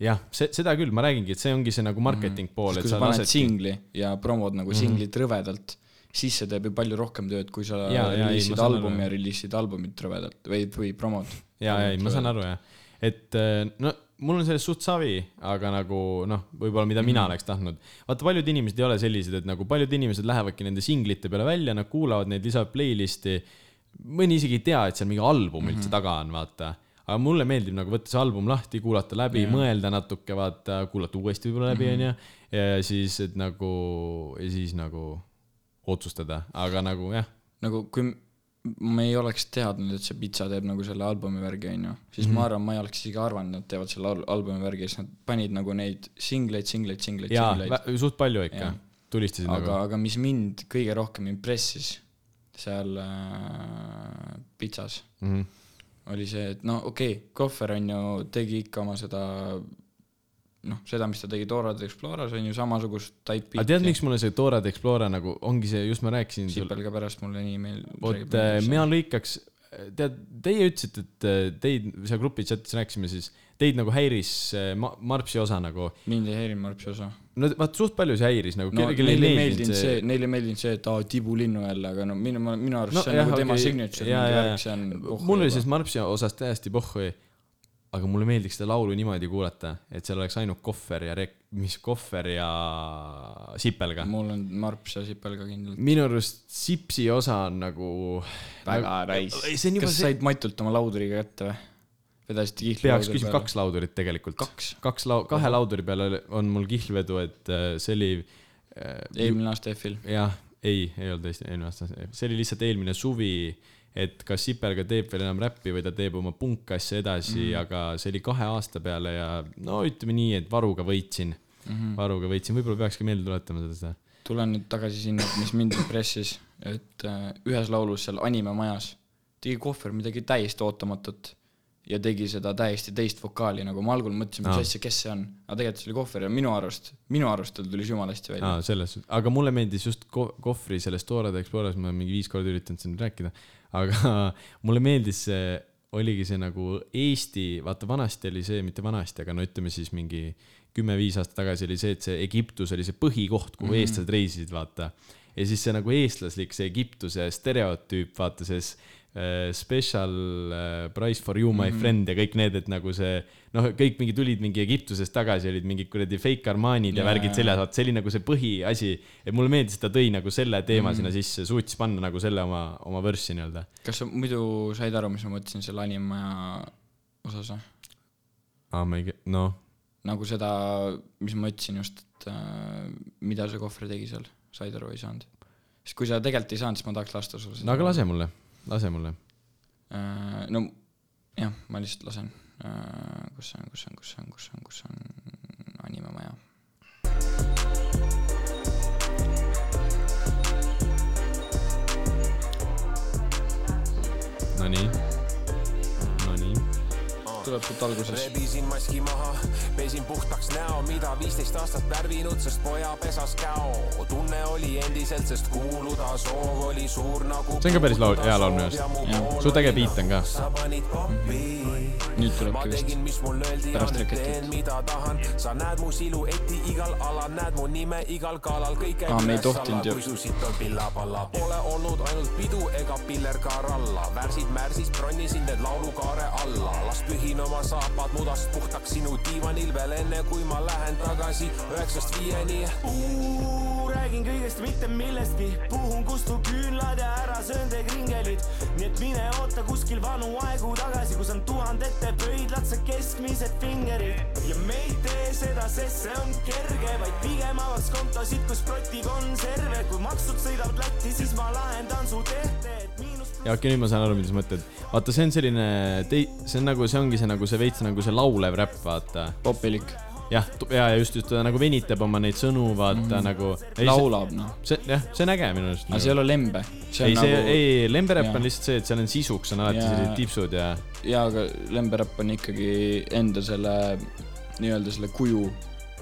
[SPEAKER 1] jah , see , seda küll , ma räägingi , et see ongi see nagu marketing pool , et
[SPEAKER 2] Mhm. kui
[SPEAKER 1] sa
[SPEAKER 2] sa paned
[SPEAKER 1] lased .
[SPEAKER 2] singli ja promod nagu
[SPEAKER 1] Mhm.
[SPEAKER 2] singlit rõvedalt , siis see teeb ju palju rohkem tööd , kui sa
[SPEAKER 1] Jaa, jaa, ei, ma
[SPEAKER 2] reliisid
[SPEAKER 1] saan aru,
[SPEAKER 2] albumi
[SPEAKER 1] jah.
[SPEAKER 2] ja reliisid albumit rõvedalt või , või promod .
[SPEAKER 1] ja , ja , ei , ma saan aru jah , et eh, no mul on sellest suht savi , aga nagu noh , võib-olla mida mina
[SPEAKER 2] Mhm.
[SPEAKER 1] oleks tahtnud . vaata , paljud inimesed ei ole sellised , et nagu paljud inimesed lähevadki nende singlite peale välja , nad kuulavad neid , lisavad playlist'i . mõni isegi ei tea , et seal mingi album üldse mm
[SPEAKER 2] Mhm.
[SPEAKER 1] -hmm. taga on , vaata . aga mulle meeldib nagu võtta see album lahti , kuulata läbi yeah. , mõelda natuke , vaata , kuulata uuesti võib-olla läbi ,
[SPEAKER 2] Mhm.
[SPEAKER 1] onju . ja siis , et nagu , ja siis nagu otsustada , aga nagu jah ,
[SPEAKER 2] nagu kui ma ei oleks teadnud , et see Pitsa teeb nagu selle albumi värgi , onju . siis
[SPEAKER 1] Mhm.
[SPEAKER 2] mm -hmm. ma arvan , ma ei oleks isegi arvanud , et nad teevad selle al- albumi värgi , siis nad panid nagu neid singleid , singleid , singleid ,
[SPEAKER 1] jaa
[SPEAKER 2] singleid .,
[SPEAKER 1] suht palju ikka
[SPEAKER 2] Jah. .
[SPEAKER 1] tulistasid
[SPEAKER 2] aga
[SPEAKER 1] nagu .,
[SPEAKER 2] aga mis mind kõige rohkem impressis seal äh, Pitsas
[SPEAKER 1] Mhm.
[SPEAKER 2] oli see , et no okei okay, , Kohver on ju , tegi ikka oma seda noh , seda , mis ta tegi Dorad Exploras on ju samasugust taipi .
[SPEAKER 1] aga tead , miks mulle see Dorad Explora nagu ongi see , just ma rääkisin sulle ,
[SPEAKER 2] Sipel ka pärast mulle nii meeldib .
[SPEAKER 1] vot äh, mina lõikaks , tead , teie ütlesite , et äh, teid seal grupi chat'is rääkisime siis , teid nagu häiris äh, ma- Marpsi osa nagu .
[SPEAKER 2] mind ei häirinud Marpsi osa .
[SPEAKER 1] no vaat suht palju see häiris nagu
[SPEAKER 2] no
[SPEAKER 1] kellelegi
[SPEAKER 2] neile ei meeldinud see , neile ei meeldinud see , et aa , tibulinnu jälle , aga no minu , minu arust no, see on nagu tema okay. signature mingi värk , see on .
[SPEAKER 1] mul oli sellest Marpsi osast täiesti pohhui , aga mulle meeldiks seda laulu niimoodi kuulata , et seal oleks ainult kohver ja rek- , mis kohver ja sipelga .
[SPEAKER 2] mul on Marps ja Sipel ka kindlalt .
[SPEAKER 1] minu arust Sipsi osa on nagu
[SPEAKER 2] väga raisk .
[SPEAKER 1] Ei, see on juba
[SPEAKER 2] kas
[SPEAKER 1] see ,
[SPEAKER 2] said matult oma lauduriga kätte või ? vedasite kihla
[SPEAKER 1] peaks küsima kaks laudurit tegelikult .
[SPEAKER 2] Kaks?
[SPEAKER 1] kaks lau- , kahe lauduri peal oli- on mul kihlvedu , et äh, see oli äh, ,
[SPEAKER 2] eelmine aasta EF-il .
[SPEAKER 1] jah , ei , ei olnud tõesti eelmine aasta , see oli lihtsalt eelmine suvi , et kas Sipelga teeb veel enam räppi või ta teeb oma punkasja edasi mm , -hmm. aga see oli kahe aasta peale ja no ütleme nii , et varuga võitsin mm . -hmm. varuga võitsin , võib-olla peakski meelde tuletama seda, seda.
[SPEAKER 2] tulen nüüd tagasi sinna , et mis mind impressis , et äh, ühes laulus seal animemajas tegi kohver midagi täiesti ootamatut ja tegi seda täiesti teist vokaali , nagu ma algul mõtlesin , mis
[SPEAKER 1] Aa.
[SPEAKER 2] asja , kes see on , aga tegelikult see oli kohver ja minu arust , minu arust tal tuli see jumala hästi välja
[SPEAKER 1] aa , selles suhtes , aga mulle meeldis just ko- , kohvri sellest Dorad Exploras , ma olen mingi viis korda üritanud siin rääkida , aga mulle meeldis see , oligi see nagu Eesti , vaata vanasti oli see , mitte vanasti , aga no ütleme siis mingi kümme-viis aastat tagasi oli see , et see Egiptus oli see põhikoht , kuhu mm -hmm. eestlased reisisid , vaata . ja siis see nagu eestlaslik , see Egiptuse stereotüüp , vaata see s- äh, special äh, price for you
[SPEAKER 2] Mhm.
[SPEAKER 1] my mm -hmm. friend ja kõik need , et nagu see noh , kõik mingi tulid mingi Egiptusest tagasi , olid mingid kuradi fake Armanid ja
[SPEAKER 2] Jaa,
[SPEAKER 1] värgid
[SPEAKER 2] jaa.
[SPEAKER 1] seljas vaata , see oli nagu see põhiasi , et mulle meeldis , et ta tõi nagu selle
[SPEAKER 2] Mhm.
[SPEAKER 1] teema mm. sinna sisse , suutis panna nagu selle oma , oma võrssi nii-öelda .
[SPEAKER 2] kas sa muidu said aru , mis ma mõtlesin selle animemaja osas või ?
[SPEAKER 1] aa , ma ei , noh ,
[SPEAKER 2] nagu seda , mis ma ütlesin just , et äh, mida see kohver tegi seal , said aru või ei saanud ? sest kui sa tegelikult ei saanud , siis ma tahaks lasta sulle
[SPEAKER 1] no aga lase mulle , lase mulle .
[SPEAKER 2] Äh, no jah , ma lihtsalt lasen . kus see on , kus see on , kus see on , kus see on , kus see on animemaja ?
[SPEAKER 1] Nonii , nonii .
[SPEAKER 2] tuleb sealt alguses .
[SPEAKER 7] rebisin maski maha , pesin puhtaks näo , mida viisteist aastat värvinud , sest poja pesas käo . tunne oli endiselt , sest kuuluda soov oli soov nagu
[SPEAKER 1] see on ka päris laul , hea laul minu arust . suht äge beat on ka . Mhm.
[SPEAKER 7] sa panid pappi .
[SPEAKER 2] nüüd
[SPEAKER 7] ma
[SPEAKER 2] tulebki vist
[SPEAKER 7] tegin , mis mul öeldi ja
[SPEAKER 2] Pärast
[SPEAKER 7] nüüd
[SPEAKER 2] raketit.
[SPEAKER 7] teen , mida tahan . sa näed mu silueti igal alal , näed mu nime igal kalal , kõik
[SPEAKER 2] Aa, me ei
[SPEAKER 7] üles
[SPEAKER 2] tohtinud
[SPEAKER 7] alla,
[SPEAKER 2] ju.
[SPEAKER 7] kui su sitt on pilla-palla . Pole olnud ainult pidu ega pillerkaar alla . värsid märsis , bronnisin need laulukaare alla . las pühin oma saapad mudast puhtaks sinu diivanil veel enne , kui ma lähen tagasi üheksast viieni .
[SPEAKER 6] räägin kõigest , mitte millestki , puhun , kustu küünlad ja ära söön teie kringelid . nii et mine oota kuskil vanu aegu tagasi , kus on tuhandete pöidlad , sa keskmised fingerid . ja me ei tee seda , sest see on kerge , vaid pigem avaks kontosid , kus protib konserve . kui maksud sõidavad Lätti , siis ma lahendan su tehte , et miinus .
[SPEAKER 1] ja okei , nüüd ma saan aru , mida sa mõtled . vaata , see on selline , see on nagu , see ongi see nagu see veits nagu see laulev räpp , vaata .
[SPEAKER 2] popilik ,
[SPEAKER 1] jah , ja , ja just , just ta nagu venitab oma neid sõnu , vaata mm. nagu .
[SPEAKER 2] Mhm. laulab noh .
[SPEAKER 1] see , jah , see on äge minu arust .
[SPEAKER 2] aga see ei ole lembe . see
[SPEAKER 1] ei ,
[SPEAKER 2] on
[SPEAKER 1] see nagu... ,
[SPEAKER 2] nagu ,
[SPEAKER 1] ei , lemberäpp on
[SPEAKER 2] jaa.
[SPEAKER 1] lihtsalt see , et seal on sisuks on alati
[SPEAKER 2] Jaa.
[SPEAKER 1] sellised tipsud ja
[SPEAKER 2] jaa , aga lemberäpp on ikkagi enda selle , nii-öelda selle kuju .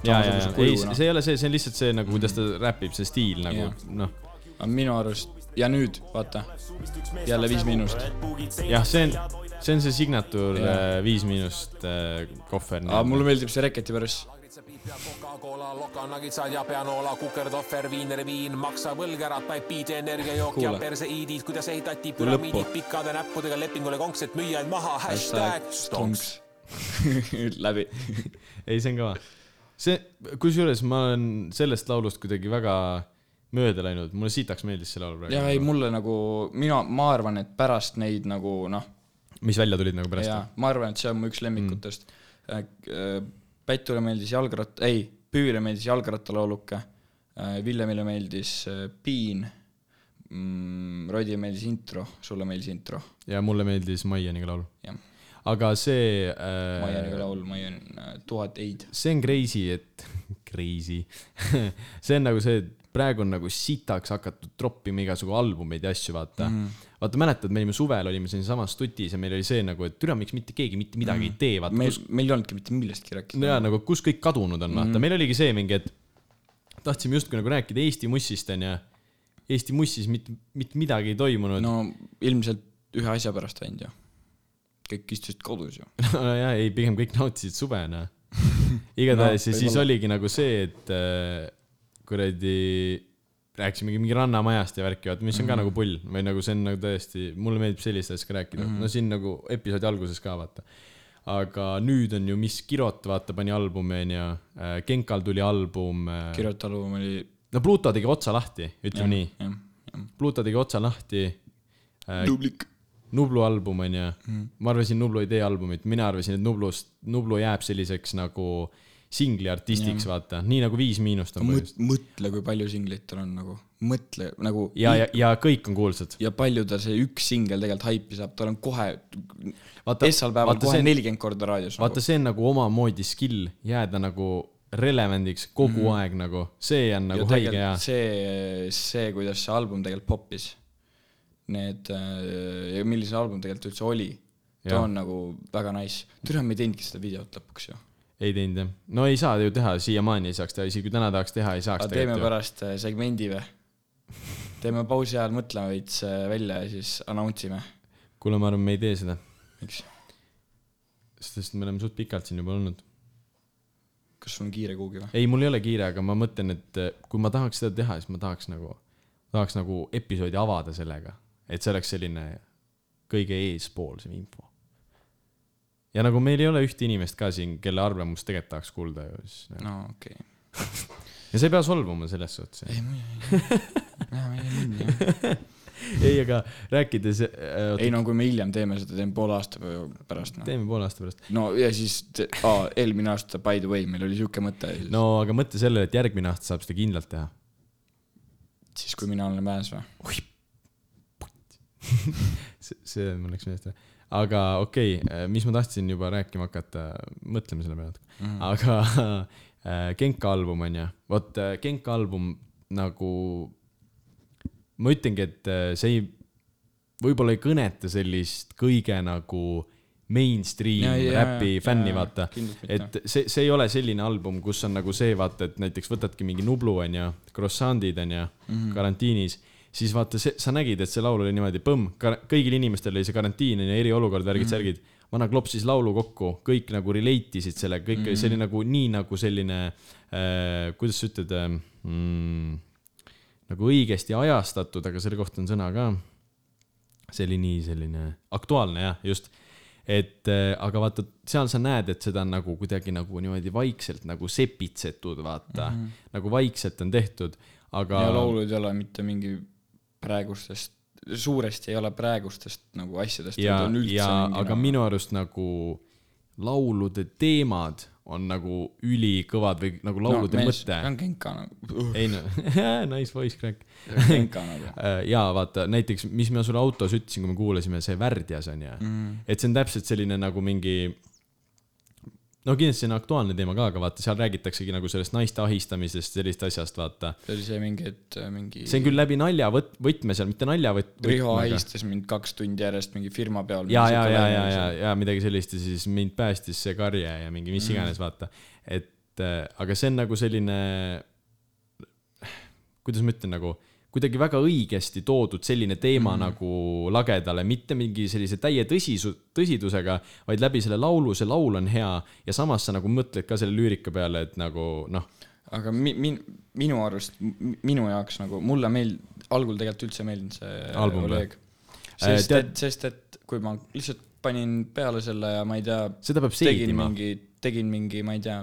[SPEAKER 1] ja , ja , ja , ei ,
[SPEAKER 2] noh.
[SPEAKER 1] see ei ole see , see on lihtsalt see nagu , kuidas ta
[SPEAKER 2] Mhm.
[SPEAKER 1] räpib , see stiil nagu
[SPEAKER 2] Jah. ,
[SPEAKER 1] noh .
[SPEAKER 2] aga minu arust , ja nüüd , vaata , jälle viis miinust .
[SPEAKER 1] jah , see on , see on see signatuur
[SPEAKER 2] Jah.
[SPEAKER 1] äh, Viis Miinust äh, kohver .
[SPEAKER 2] aga mulle meeldib see Reketi päris .
[SPEAKER 7] Coca-Cola , lokanagitsad ja peanoola , kukertohver , viiner , viin , maksa võlg ära , päpid , energiajook ja
[SPEAKER 2] Kuule.
[SPEAKER 7] perseiidid , kuidas ehitati
[SPEAKER 2] Kui lõppu.
[SPEAKER 7] püramiidid pikkade näppudega lepingule konkset müüjaid maha , hashtag stonks .
[SPEAKER 2] läbi .
[SPEAKER 1] ei , see on kõva . see , kusjuures ma olen sellest laulust kuidagi väga mööda läinud , mulle sitaks meeldis see laul
[SPEAKER 2] jaa , ei
[SPEAKER 1] praegu .
[SPEAKER 2] mulle nagu , mina , ma arvan , et pärast neid nagu noh
[SPEAKER 1] mis välja tulid nagu pärast
[SPEAKER 2] jaa , ma arvan , et see on mu üks lemmikutest mm. . Pätule meeldis jalgrat- , ei , Püüle meeldis jalgrattalauluke , Villemile meeldis äh, Piin , mm, Rodile meeldis intro , sulle meeldis intro .
[SPEAKER 1] ja mulle meeldis Maianiga laul .
[SPEAKER 2] jah ,
[SPEAKER 1] aga see
[SPEAKER 2] Maianiga
[SPEAKER 1] äh, ,
[SPEAKER 2] laul , Maian , tuhat eid .
[SPEAKER 1] see on crazy , et crazy , see on nagu see , et praegu on nagu sitaks hakatud troppima igasugu albumeid ja asju , vaata mm . -hmm. vaata , mäletad , me olime suvel , olime siinsamas tutis ja meil oli see nagu , et türa , miks mitte keegi mitte midagi mm -hmm. ei tee , vaata
[SPEAKER 2] meil
[SPEAKER 1] kus ,,
[SPEAKER 2] meil ei olnudki mitte millestki rääkida .
[SPEAKER 1] no jaa , nagu kus kõik kadunud on , vaata mm , -hmm. meil oligi see mingi , et tahtsime justkui nagu rääkida Eesti mussist , onju . Eesti mussis mitte , mitte midagi ei toimunud
[SPEAKER 2] no ilmselt ühe asja pärast ainult ju . kõik istusid kodus ju .
[SPEAKER 1] nojah , ei , pigem kõik nautisid suve , noh . igatahes
[SPEAKER 2] No,
[SPEAKER 1] no, ja siis
[SPEAKER 2] võib-olla.
[SPEAKER 1] oligi nagu see , et äh, kuradi , rääkisimegi mingi rannamajast ja värki , vaata , mis on mm -hmm. ka nagu pull või nagu see on nagu tõesti , mulle meeldib sellist asja ka rääkida mm , -hmm. no siin nagu episoodi alguses ka , vaata . aga nüüd on ju , mis Kirot , vaata , pani albumi , onju . Äh, Genkal tuli album .
[SPEAKER 2] Kirjuta album oli ,
[SPEAKER 1] no Pluto tegi otsa lahti , ütleme nii .
[SPEAKER 2] jah , jah .
[SPEAKER 1] Pluto tegi otsa lahti äh, .
[SPEAKER 2] tublik .
[SPEAKER 1] Nublu album onju mm. , ma arvasin , Nublu ei tee albumit , mina arvasin , et Nublust , Nublu jääb selliseks nagu singli artistiks yeah. , vaata , nii nagu Viis Miinust on põhjust .
[SPEAKER 2] mõtle , kui palju singleid tal on nagu , mõtle nagu
[SPEAKER 1] ja , ja , ja kõik on kuulsad .
[SPEAKER 2] ja palju ta see üks singel tegelikult haipi saab , tal on kohe ,
[SPEAKER 1] Vaata-
[SPEAKER 2] esmal päeval
[SPEAKER 1] vaata
[SPEAKER 2] kohe
[SPEAKER 1] see-
[SPEAKER 2] nelikümmend korda raadios
[SPEAKER 1] vaata ,
[SPEAKER 2] nagu. .
[SPEAKER 1] see on nagu omamoodi skill jääda nagu relevandiks kogu mm. aeg nagu , see on
[SPEAKER 2] Mhm. ja
[SPEAKER 1] nagu haige ja
[SPEAKER 2] tegelikult see , see , kuidas see album tegelikult popis , need äh, ja milline see album tegelikult üldse oli , ta
[SPEAKER 1] Jah.
[SPEAKER 2] on nagu väga nice . türa , me ei teinudki seda videot lõpuks ju .
[SPEAKER 1] ei teinud jah . no ei saa ju teha , siiamaani ei saaks teha , isegi kui täna tahaks teha , ei saaks
[SPEAKER 2] aga teeme
[SPEAKER 1] ju.
[SPEAKER 2] pärast äh, segmendi või ? teeme pausi ajal , mõtleme veits äh, välja ja siis announce ime ,
[SPEAKER 1] kuule , ma arvan , me ei tee seda ,
[SPEAKER 2] miks .
[SPEAKER 1] sest me oleme suht pikalt siin juba olnud .
[SPEAKER 2] kas sul on kiire kuhugi või ?
[SPEAKER 1] ei , mul ei ole kiire , aga ma mõtlen , et eh, kui ma tahaks seda teha , siis ma tahaks nagu , tahaks nagu episoodi avada sellega , et see oleks selline kõige eespoolsem info . ja nagu meil ei ole ühte inimest ka siin , kelle arvamust tegelikult tahaks kuulda ju , siis no.
[SPEAKER 2] no okei okay. .
[SPEAKER 1] ja sa ei pea solvuma selles suhtes . ei , aga rääkides ,
[SPEAKER 2] ei no kui me hiljem teeme seda , teeme poole aasta pä- pärast noh .
[SPEAKER 1] teeme poole aasta pärast .
[SPEAKER 2] no ja siis te, aa, eelmine aasta by the way meil oli siuke mõte no. ,
[SPEAKER 1] no aga mõtle sellele , et järgmine aasta saab seda kindlalt teha .
[SPEAKER 2] siis kui mina olen väes või ?
[SPEAKER 1] see , see mul läks meelest ära . aga okei okay, , mis ma tahtsin juba rääkima hakata , mõtleme selle peale natuke mm . -hmm. aga äh, Genka album on ju , vot äh, Genka album nagu , ma ütlengi , et äh, see ei , võib-olla ei kõneta sellist kõige nagu
[SPEAKER 2] Jaa,
[SPEAKER 1] mainstream
[SPEAKER 2] jaa,
[SPEAKER 1] räpi
[SPEAKER 2] jaa,
[SPEAKER 1] fänni ,
[SPEAKER 2] jaa,
[SPEAKER 1] vaata
[SPEAKER 2] kindlasti .
[SPEAKER 1] et
[SPEAKER 2] mitte.
[SPEAKER 1] see , see ei ole selline album , kus on nagu see , vaata , et näiteks võtadki mingi Nublu , onju , croissant'id , onju mm -hmm. , karantiinis , siis vaata , see , sa nägid , et see laul oli niimoodi põmm , kõigil inimestel oli see karantiin , onju , eriolukord , värgid mm , -hmm. särgid . vana klopsis laulu kokku , kõik nagu relate isid sellega , kõik mm , -hmm. see oli nagu nii nagu selline äh, , kuidas sa ütled äh, , mm, nagu õigesti ajastatud , aga selle kohta on sõna ka see oli nii selline aktuaalne jah , just . et äh, aga vaata , seal sa näed , et seda on nagu kuidagi nagu niimoodi vaikselt nagu sepitsetud , vaata mm . -hmm. nagu vaikselt on tehtud , aga
[SPEAKER 2] Mhm. ja . laulud ei ole mitte mingi praegustest , suuresti ei ole praegustest nagu asjadest .
[SPEAKER 1] ja , ja ,
[SPEAKER 2] noh,
[SPEAKER 1] aga . minu arust nagu laulude teemad on nagu ülikõvad või nagu laulude no, mõte .
[SPEAKER 2] see on kenka nagu ,
[SPEAKER 1] ei no , nice voice crack .
[SPEAKER 2] kenka nagu .
[SPEAKER 1] Äh, jaa , vaata näiteks , mis ma sulle autos ütlesin , kui me kuulasime , see Värdjas on ju mm. , et see on täpselt selline nagu mingi . no kindlasti see on aktuaalne teema ka , aga vaata , seal räägitaksegi nagu sellest naiste ahistamisest , sellist asjast , vaata .
[SPEAKER 2] see oli see mingi , et äh, mingi
[SPEAKER 1] see on küll läbi nalja võt- , võtme seal , mitte nalja võt- .
[SPEAKER 2] Riho . ahistas mind kaks tundi järjest mingi firma peal .
[SPEAKER 1] ja , ja , ja , ja , ja , ja midagi sellist ja siis mind päästis see karje ja mingi mis
[SPEAKER 2] Mhm.
[SPEAKER 1] iganes , vaata . et äh, aga see on nagu selline , kuidas ma ütlen nagu , kuidagi väga õigesti toodud selline teema
[SPEAKER 2] Mhm.
[SPEAKER 1] mm. nagu lagedale , mitte mingi sellise täie tõsisu- , tõsidusega , vaid läbi selle laulu , see laul on hea ja samas sa nagu mõtled ka selle lüürika peale , et nagu noh ,
[SPEAKER 2] aga mi- , min- , minu arust , minu jaoks nagu , mulle meeld- , algul tegelikult üldse ei meeldinud see
[SPEAKER 1] Album või? Äh,
[SPEAKER 2] Oleg. sest
[SPEAKER 1] tead-
[SPEAKER 2] et , sest et kui ma lihtsalt panin peale selle ja ma ei tea ,
[SPEAKER 1] seda peab
[SPEAKER 2] tegin
[SPEAKER 1] seedima .
[SPEAKER 2] mingi , tegin mingi , ma ei tea ,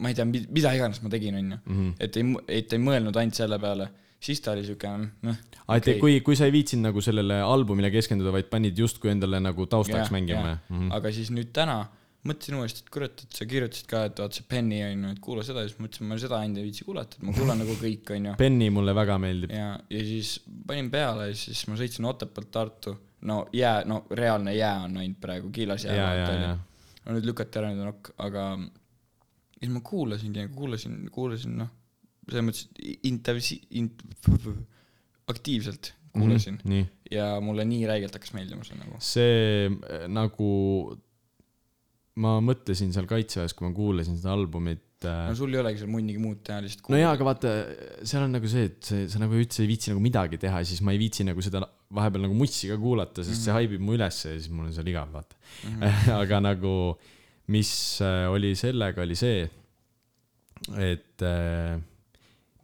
[SPEAKER 2] ma ei tea , mida iganes ma tegin ,
[SPEAKER 1] Mhm.
[SPEAKER 2] onju . et ei , et ei mõelnud ainult selle peale , siis ta oli siuke , noh .
[SPEAKER 1] aa , et kui , kui sa ei viitsinud nagu sellele albumile keskenduda , vaid panid justkui endale nagu taustaks
[SPEAKER 2] Jah,
[SPEAKER 1] mängima
[SPEAKER 2] jah.
[SPEAKER 1] ja. ,
[SPEAKER 2] aga siis nüüd täna mõtlesin uuesti , et kurat , et sa kirjutasid ka , et vaat see Penny on ju , et kuula seda ja siis mõtlesin , ma seda ainult ei viitsi kuulata , et ma kuulan nagu kõik , on ju .
[SPEAKER 1] Penny mulle väga meeldib .
[SPEAKER 2] ja , ja siis panin peale ja siis ma sõitsin Otepäält Tartu . no jää , no reaalne jää on ainult praegu , kiilas jää .
[SPEAKER 1] Jaa, jaa, jaa.
[SPEAKER 2] no nüüd lükati ära nüüd on ok , aga siis ma kuulasingi , kuulasin , kuulasin noh , selles mõttes et intensi- , int- , aktiivselt kuulasin mm .
[SPEAKER 1] Mhm, nii ,
[SPEAKER 2] -hmm. ja mulle nii räigelt hakkas meeldima see nagu .
[SPEAKER 1] see äh, nagu , ma mõtlesin seal kaitseväes , kui ma kuulasin seda albumit äh,
[SPEAKER 2] no . sul ei olegi seal munnigi muud teha , lihtsalt
[SPEAKER 1] no jaa , aga vaata , seal on nagu see , et see, sa nagu üldse ei viitsi nagu midagi teha ja siis ma ei viitsi nagu seda vahepeal nagu mussi ka kuulata , sest mm -hmm. see haibib mu ülesse ja siis mul on seal igav , vaata mm . -hmm. aga nagu , mis äh, oli sellega , oli see , et äh,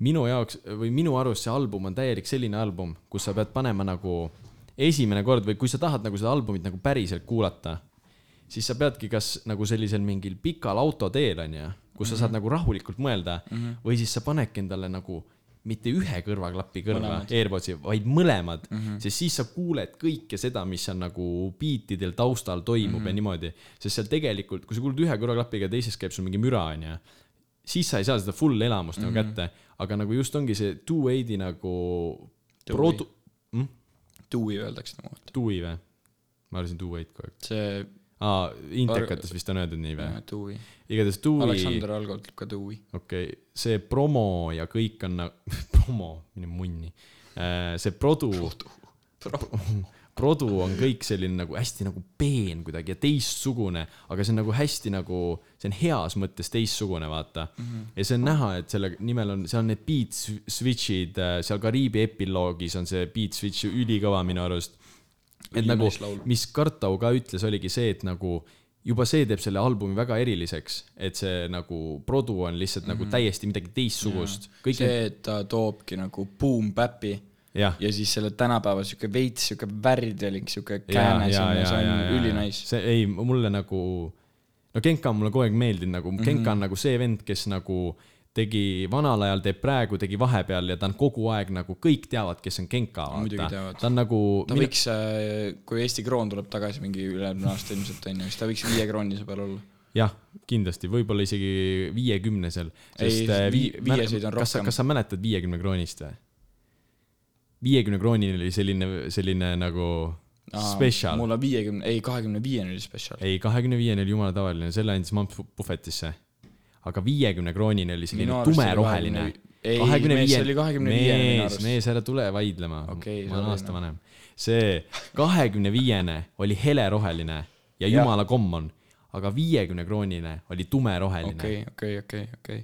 [SPEAKER 1] minu jaoks või minu arust see album on täielik selline album , kus sa pead panema nagu esimene kord või kui sa tahad nagu seda albumit nagu päriselt kuulata , siis sa peadki kas nagu sellisel mingil pikal autoteel onju , kus sa saad nagu rahulikult mõelda mm -hmm. või siis sa panedki endale nagu mitte ühe kõrvaklapi kõrva , AirPodsi , vaid mõlemad mm , -hmm. sest siis sa kuuled kõike seda , mis seal nagu biitidel taustal toimub mm -hmm. ja niimoodi , sest seal tegelikult , kui sa kuuled ühe kõrvaklapiga , teises käib sul mingi müra onju siis sa ei saa seda full elamust mm -hmm. nagu kätte , aga nagu just ongi see two-eighty nagu
[SPEAKER 2] Two-way.
[SPEAKER 1] produ- ,
[SPEAKER 2] tuui öeldakse nagu .
[SPEAKER 1] two-i või ? ma arvasin two-eight kogu aeg .
[SPEAKER 2] see
[SPEAKER 1] aa , Intekates vist on öeldud nii või ?
[SPEAKER 2] tuui ,
[SPEAKER 1] igatahes two-i ,
[SPEAKER 2] Aleksander Algo ütleb ka tuui .
[SPEAKER 1] okei , see promo ja kõik on na- , promo , mine munni . see produ , produ on kõik selline nagu hästi nagu peen kuidagi ja teistsugune , aga see on nagu hästi nagu , see on heas mõttes teistsugune , vaata mm . -hmm. ja see on näha , et selle nimel on , seal on need beat sw- switch'id , seal Kariibi epiloogis on see beat switch ülikõva minu arust . et nagu
[SPEAKER 2] Ülinais laul. ,
[SPEAKER 1] mis Kartau ka ütles , oligi see , et nagu juba see teeb selle albumi väga eriliseks , et see nagu produ on lihtsalt mm -hmm.
[SPEAKER 2] Mhm.
[SPEAKER 1] nagu täiesti midagi teistsugust . kõik see... ,
[SPEAKER 2] see , et ta toobki nagu boom bap'i
[SPEAKER 1] jah .
[SPEAKER 2] ja siis selle tänapäeva sihuke veits sihuke värvilik sihuke kääne sinna , see on ülinais .
[SPEAKER 1] see ei , mulle nagu , no Genka on mulle kogu aeg meeldinud
[SPEAKER 2] Mhm.
[SPEAKER 1] nagu , Genka mm -hmm. on nagu see vend , kes nagu tegi vanal ajal , teeb praegu , tegi vahepeal ja ta on kogu aeg nagu , kõik teavad , kes on Genka ,
[SPEAKER 2] Muidugi
[SPEAKER 1] vaata
[SPEAKER 2] teavad. .
[SPEAKER 1] ta on nagu ,
[SPEAKER 2] ta Minu... võiks , kui Eesti kroon tuleb tagasi mingi ülejärgmine aasta ilmselt onju , siis ta võiks viie kroonise peal olla .
[SPEAKER 1] jah , kindlasti , võib-olla isegi viiekümnesel .
[SPEAKER 2] Ei, vi- viieseid on
[SPEAKER 1] äh, kas sa ,
[SPEAKER 2] rohkem.
[SPEAKER 1] kas sa mäletad viiekümne kroonist või ? viiekümne kroonil oli selline , selline nagu spetsial .
[SPEAKER 2] mul on viiekümne , ei kahekümne viiene oli spetsial .
[SPEAKER 1] ei , kahekümne viiene oli jumala tavaline , selle andis mamps puhvetisse . aga viiekümne kroonine oli selline tumeroheline .
[SPEAKER 2] ei , mees , see oli kahekümne viiene minu
[SPEAKER 1] mees ,
[SPEAKER 2] arust .
[SPEAKER 1] mees , ära tule vaidlema
[SPEAKER 2] Okei,
[SPEAKER 1] ma olen
[SPEAKER 2] sorry,
[SPEAKER 1] aasta
[SPEAKER 2] noh.
[SPEAKER 1] vanem . see kahekümne viiene oli heleroheline ja
[SPEAKER 2] Jah.
[SPEAKER 1] jumala kommon , aga viiekümne kroonine oli tumeroheline okay. .
[SPEAKER 2] okei , okei , okei , okei .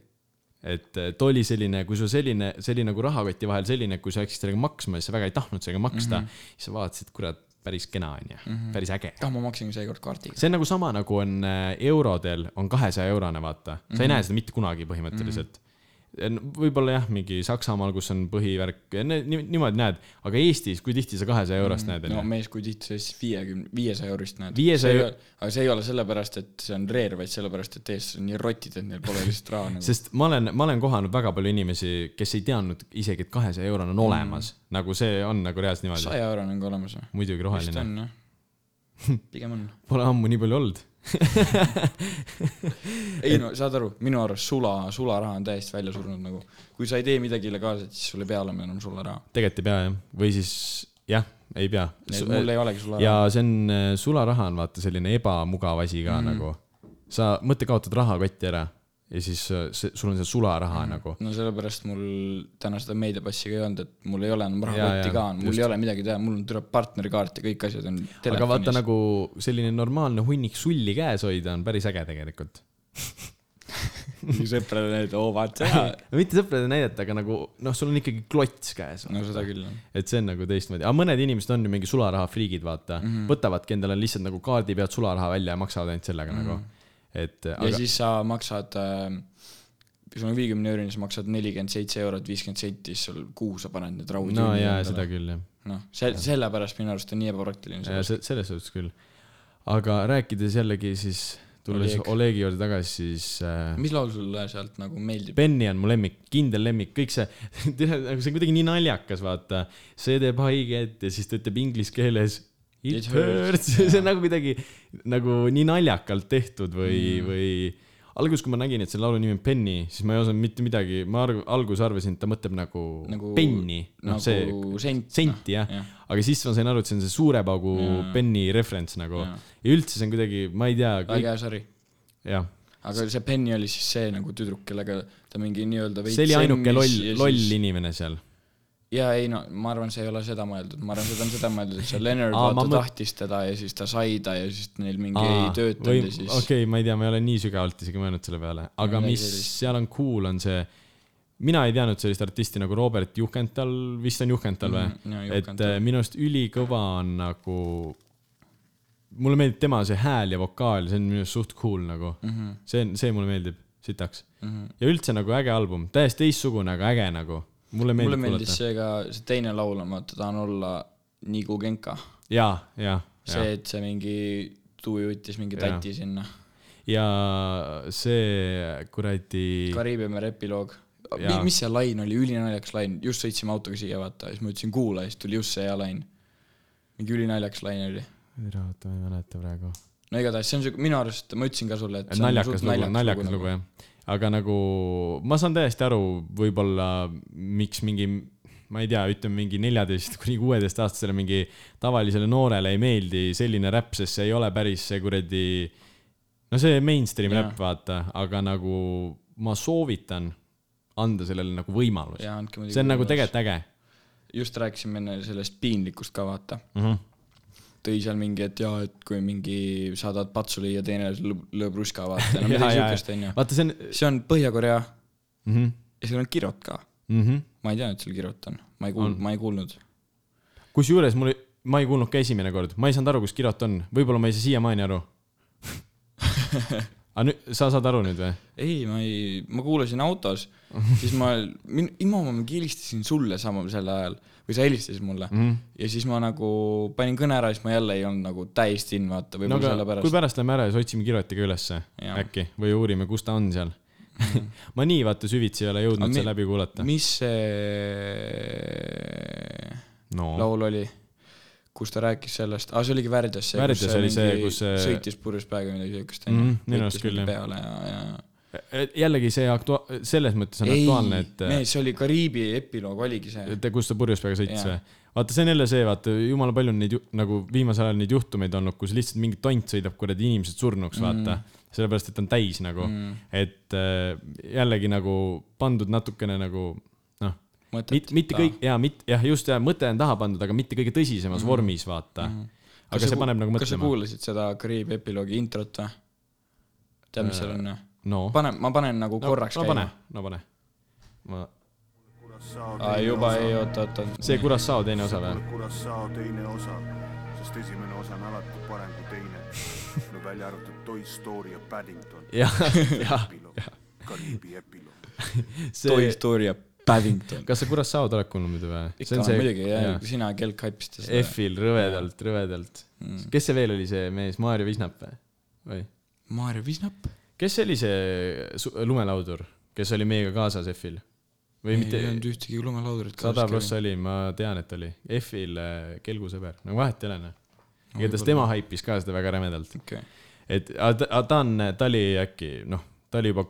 [SPEAKER 1] et eh, too oli selline , kui sul selline , see oli nagu rahakoti vahel selline , kui sa läksid sellega maksma ja sa väga ei tahtnud sellega maksta mm ,
[SPEAKER 2] Mhm.
[SPEAKER 1] -hmm. siis sa vaatasid , kurat , päris kena on ju , päris äge
[SPEAKER 2] ah , ma maksin seekord kaardiga .
[SPEAKER 1] see on nagu sama , nagu on äh, eurodel on kahesaja eurone , vaata . sa mm
[SPEAKER 2] Mhm.
[SPEAKER 1] -hmm. ei näe seda mitte kunagi põhimõtteliselt mm . -hmm. võib-olla jah , mingi Saksamaal , kus on põhivärk , niimoodi näed , aga Eestis , kui tihti sa kahesaja eurost näed ,
[SPEAKER 2] Mhm. no
[SPEAKER 1] onju ?
[SPEAKER 2] mees , kui tihti sa siis viiekümne , viiesaja eurist näed .
[SPEAKER 1] 500
[SPEAKER 2] aga see ei ole sellepärast , et see on rare , vaid sellepärast , et eestlased on nii rotid , et neil pole lihtsalt raha nagu .
[SPEAKER 1] sest ma olen , ma olen kohanud väga palju inimesi , kes ei teadnud isegi , et kahesaja eurone on olemas mm , -hmm. nagu see on nagu reaalselt niimoodi .
[SPEAKER 2] Mhm. saja eurone on ka olemas või ?
[SPEAKER 1] muidugi
[SPEAKER 2] vist
[SPEAKER 1] roheline ,
[SPEAKER 2] on jah , pigem on .
[SPEAKER 1] pole ammu nii palju olnud .
[SPEAKER 2] ei no saad aru , minu arust sula , sularaha on täiesti välja surnud nagu . kui sa ei tee midagi illegaalset , siis sul ei pea olema enam sularaha .
[SPEAKER 1] tegelikult ei pea jah , või siis jah , ei pea .
[SPEAKER 2] mul ei olegi
[SPEAKER 1] ja
[SPEAKER 2] sularaha .
[SPEAKER 1] see on , sularaha on vaata selline ebamugav asi ka mm. nagu . sa mõtle , kaotad rahakotti ära ja siis äh, see, sul on see sularaha mm. nagu .
[SPEAKER 2] no sellepärast mul täna seda meediapassi ka ei olnud , et mul ei ole enam
[SPEAKER 1] Jaa, jaa,
[SPEAKER 2] rahakotti ka , mul
[SPEAKER 1] just.
[SPEAKER 2] ei ole midagi teha , mul on tuleb partnerikaart ja kõik asjad on
[SPEAKER 1] aga vaata
[SPEAKER 2] telefonis .
[SPEAKER 1] nagu selline normaalne hunnik sulli käes hoida on päris äge tegelikult .
[SPEAKER 2] sõpradele näidata , oo vaata seda .
[SPEAKER 1] mitte sõpradele näidata , aga nagu noh , sul on ikkagi klots käes .
[SPEAKER 2] no seda küll jah .
[SPEAKER 1] et see on nagu teistmoodi , aga mõned inimesed on ju mingi sularahafriigid , vaata mm ,
[SPEAKER 2] Mhm.
[SPEAKER 1] -hmm. võtavadki endale lihtsalt nagu kaardi pealt sularaha välja ja maksavad ainult sellega mm -hmm. nagu , et
[SPEAKER 2] Mhm. ja
[SPEAKER 1] aga
[SPEAKER 2] aga... siis sa maksad äh, , sul on viiekümne eurine , siis maksad nelikümmend seitse eurot , viiskümmend senti , siis sul kuu sa paned need raudid .
[SPEAKER 1] no jaa , seda . küll jah
[SPEAKER 2] noh , see , sellepärast minu arust on nii ebapraktiline see
[SPEAKER 1] Ja se- selles suhtes küll . aga rääkides jällegi siis , tulles
[SPEAKER 2] Oleg.
[SPEAKER 1] Olegi juurde tagasi , siis äh,
[SPEAKER 2] mis laul sulle sealt nagu meeldib ?
[SPEAKER 1] Benny on mu lemmik , kindel lemmik , kõik see , nagu see on kuidagi nii naljakas , vaata . see teeb haiget ja siis ta ütleb inglise keeles It hurts , see on nagu kuidagi nagu nii naljakalt tehtud või mm. , või alguses , kui ma nägin , et selle laulu nimi on Penny , siis ma ei osanud mitte midagi , ma arv- , alguses arvasin , et ta mõtleb nagu,
[SPEAKER 2] Nagu-
[SPEAKER 1] nagu penni , noh
[SPEAKER 2] nagu
[SPEAKER 1] nagu see
[SPEAKER 2] sent,
[SPEAKER 1] senti jah
[SPEAKER 2] jah.
[SPEAKER 1] ja. , aga siis ma sain aru , et see on see suure paugu ja.
[SPEAKER 2] Jaa.
[SPEAKER 1] penni referents nagu
[SPEAKER 2] Jaa.
[SPEAKER 1] ja. ja üldse see on kuidagi , ma ei tea ,
[SPEAKER 2] väga hea sari .
[SPEAKER 1] jah ,
[SPEAKER 2] aga see Penny oli siis see nagu tüdruk , kellega ta mingi nii-öelda
[SPEAKER 1] see oli ainuke loll , loll inimene seal .
[SPEAKER 2] jaa , ei no ma arvan , see ei ole seda mõeldud , ma arvan , seda on seda mõeldud , et see Leonard
[SPEAKER 1] Aa,
[SPEAKER 2] vaata
[SPEAKER 1] ma mõt-
[SPEAKER 2] tahtis teda ja siis ta sai ta ja siis neil mingi ei töötanud ja siis
[SPEAKER 1] okei , ma ei tea , ma ei ole nii sügavalt isegi mõelnud selle peale , aga
[SPEAKER 2] midagi
[SPEAKER 1] mis
[SPEAKER 2] sellist.
[SPEAKER 1] seal on cool , on see , mina ei teadnud sellist artisti nagu Robert Juhkental , vist on Juhkental või
[SPEAKER 2] Mhm, jaa,
[SPEAKER 1] et
[SPEAKER 2] Juhkental.
[SPEAKER 1] äh, minu arust ülikõva on nagu , mulle meeldib tema see hääl ja vokaal , see on minu arust suht cool nagu mm .
[SPEAKER 2] Mhm.
[SPEAKER 1] -hmm. see on , see mulle meeldib sitaks mm . -hmm. ja üldse nagu äge album , täiesti teistsugune , aga äge nagu . mulle
[SPEAKER 2] mulle
[SPEAKER 1] meeldib
[SPEAKER 2] meeldis
[SPEAKER 1] kuulata .
[SPEAKER 2] see ka , see teine laul on vaata , tahan olla Nigu Genka .
[SPEAKER 1] jaa , jaa , jaa .
[SPEAKER 2] see , et see mingi tuu jutis mingi
[SPEAKER 1] Jaa.
[SPEAKER 2] tati sinna .
[SPEAKER 1] ja see kuradi ,
[SPEAKER 2] Kariibia mere epiloog .
[SPEAKER 1] Jaa.
[SPEAKER 2] mis see lain oli , ülinaljakas lain , just sõitsime autoga siia vaata , siis ma ütlesin kuula ja siis tuli just see hea lain . mingi ülinaljakas lain oli .
[SPEAKER 1] oota , ma ei mäleta praegu
[SPEAKER 2] no igatahes see on siuke , minu arust ma ütlesin ka sulle , et see on
[SPEAKER 1] naljakas
[SPEAKER 2] suht
[SPEAKER 1] lugu , naljakas lugu
[SPEAKER 2] nagu.
[SPEAKER 1] jah . aga nagu ma saan täiesti aru , võib-olla miks mingi , ma ei tea , ütleme mingi neljateist kuni kuueteistaastasele mingi tavalisele noorele ei meeldi selline räpp , sest see ei ole päris see kuradi , no see mainstream
[SPEAKER 2] Jaa.
[SPEAKER 1] räpp , vaata , aga nagu ma soovitan anda sellele nagu võimaluse .
[SPEAKER 2] Jaa, andke muidugi
[SPEAKER 1] see on nagu
[SPEAKER 2] võimalus.
[SPEAKER 1] tegelikult äge
[SPEAKER 2] just rääkisime enne sellest piinlikust ka vaata .
[SPEAKER 1] mm . -hmm.
[SPEAKER 2] tõi seal mingi , et jaa , et kui mingi saadad patsu lüüa , teine lõõb , lõõb ruska vaata , no midagi siukest onju .
[SPEAKER 1] vaata , see on
[SPEAKER 2] see on Põhja-Korea
[SPEAKER 1] mm . -hmm.
[SPEAKER 2] ja seal on kirot ka .
[SPEAKER 1] Mm -hmm.
[SPEAKER 2] ma ei teadnud , et seal kirot on , ma ei kuulnud , ma ei kuulnud .
[SPEAKER 1] kusjuures mul , ma ei kuulnud ka esimene kord , ma ei saanud aru , kus Kirot on , võib-olla ma ei saa siiamaani aru . aga nüüd , sa saad aru nüüd või ?
[SPEAKER 2] ei , ma ei , ma kuulasin autos , siis ma , imama ma mingi helistasin sulle sama sel ajal või sa helistasid mulle mm
[SPEAKER 1] Mhm.
[SPEAKER 2] -hmm. ja siis ma nagu panin kõne ära , siis ma jälle ei olnud nagu täiesti in vaata ,
[SPEAKER 1] no
[SPEAKER 2] võib-olla no,
[SPEAKER 1] aga kui
[SPEAKER 2] sellepärast .
[SPEAKER 1] pärast lähme ära ja siis otsime Kiroti ka ülesse
[SPEAKER 2] Jaa.
[SPEAKER 1] äkki või uurime , kus ta on seal . ma nii vaata süvitsi ei ole jõudnud
[SPEAKER 2] Aga
[SPEAKER 1] seda
[SPEAKER 2] mi-
[SPEAKER 1] läbi kuulata .
[SPEAKER 2] mis see
[SPEAKER 1] no
[SPEAKER 2] laul oli , kus ta rääkis sellest , aa see oligi Värdjas see ,
[SPEAKER 1] Värdjas oli see, kus see-
[SPEAKER 2] sõitis purjus päega või midagi siukest
[SPEAKER 1] Mhm, minu arust küll, jah.
[SPEAKER 2] peale ja , ja
[SPEAKER 1] Et E, jällegi see aktua- , selles mõttes on
[SPEAKER 2] ei
[SPEAKER 1] aktuaalne ,, et äh,
[SPEAKER 2] mees , see oli Kariibi epiloog oligi see .
[SPEAKER 1] et kus ta purjus peaga sõitis
[SPEAKER 2] Jaa.
[SPEAKER 1] või ? vaata , see on jälle see , vaata , jumala palju on neid ju- nagu viimasel ajal neid juhtumeid olnud , kus lihtsalt mingi tont sõidab kuradi inimesed surnuks , vaata mm. . sellepärast , et ta on täis nagu mm. , et äh, jällegi nagu pandud natukene nagu noh , mitte , mitte kõik , jaa , mitte , jah , just , jaa , mõte on taha pandud , aga mitte kõige tõsisemas mm. vormis , vaata mm. . aga see paneb nagu
[SPEAKER 2] kas sa
[SPEAKER 1] mõtlema .
[SPEAKER 2] kuulasid seda Kariibi epiloogi introt või ? tead , mis seal on või ?
[SPEAKER 1] no,
[SPEAKER 2] pane , ma panen nagu
[SPEAKER 1] Äh, oh. no
[SPEAKER 2] korraks
[SPEAKER 1] no
[SPEAKER 2] käima
[SPEAKER 1] pane ., no pane . ma ,
[SPEAKER 2] aa , juba ei , oota , oota .
[SPEAKER 1] see Curaçao teine osa või ?
[SPEAKER 8] Curaçao teine osa , sest esimene osa on alati parem kui teine . no välja arvatud Toy Story ja Paddington .
[SPEAKER 1] jah , jah ,
[SPEAKER 8] Kariibi epiloog .
[SPEAKER 2] Toy
[SPEAKER 1] see ,
[SPEAKER 2] Story ja Paddington .
[SPEAKER 1] kas sa Curaçao'd oled kuulnud muidu või ?
[SPEAKER 2] ikka muidugi , jah , sina ja Kelk haipisid seda .
[SPEAKER 1] F-il rõvedalt , rõvedalt mm. . kes see veel oli , see mees , Maarja Visnap või? või ?
[SPEAKER 2] Maarja Visnap ?
[SPEAKER 1] kes see oli see su- lumelaudur , kes oli meiega kaasas F-il ? või
[SPEAKER 2] ei
[SPEAKER 1] mitte ,
[SPEAKER 2] olnud ühtegi lumelaudurit
[SPEAKER 1] sada pluss oli , ma tean , et oli . F-il äh, kelgusõber , no vahet ei ole , noh . igatahes tema haipis ka seda väga rämedalt .
[SPEAKER 2] okei .
[SPEAKER 1] et aga ta- aga ta on , ta oli äkki noh , ta oli juba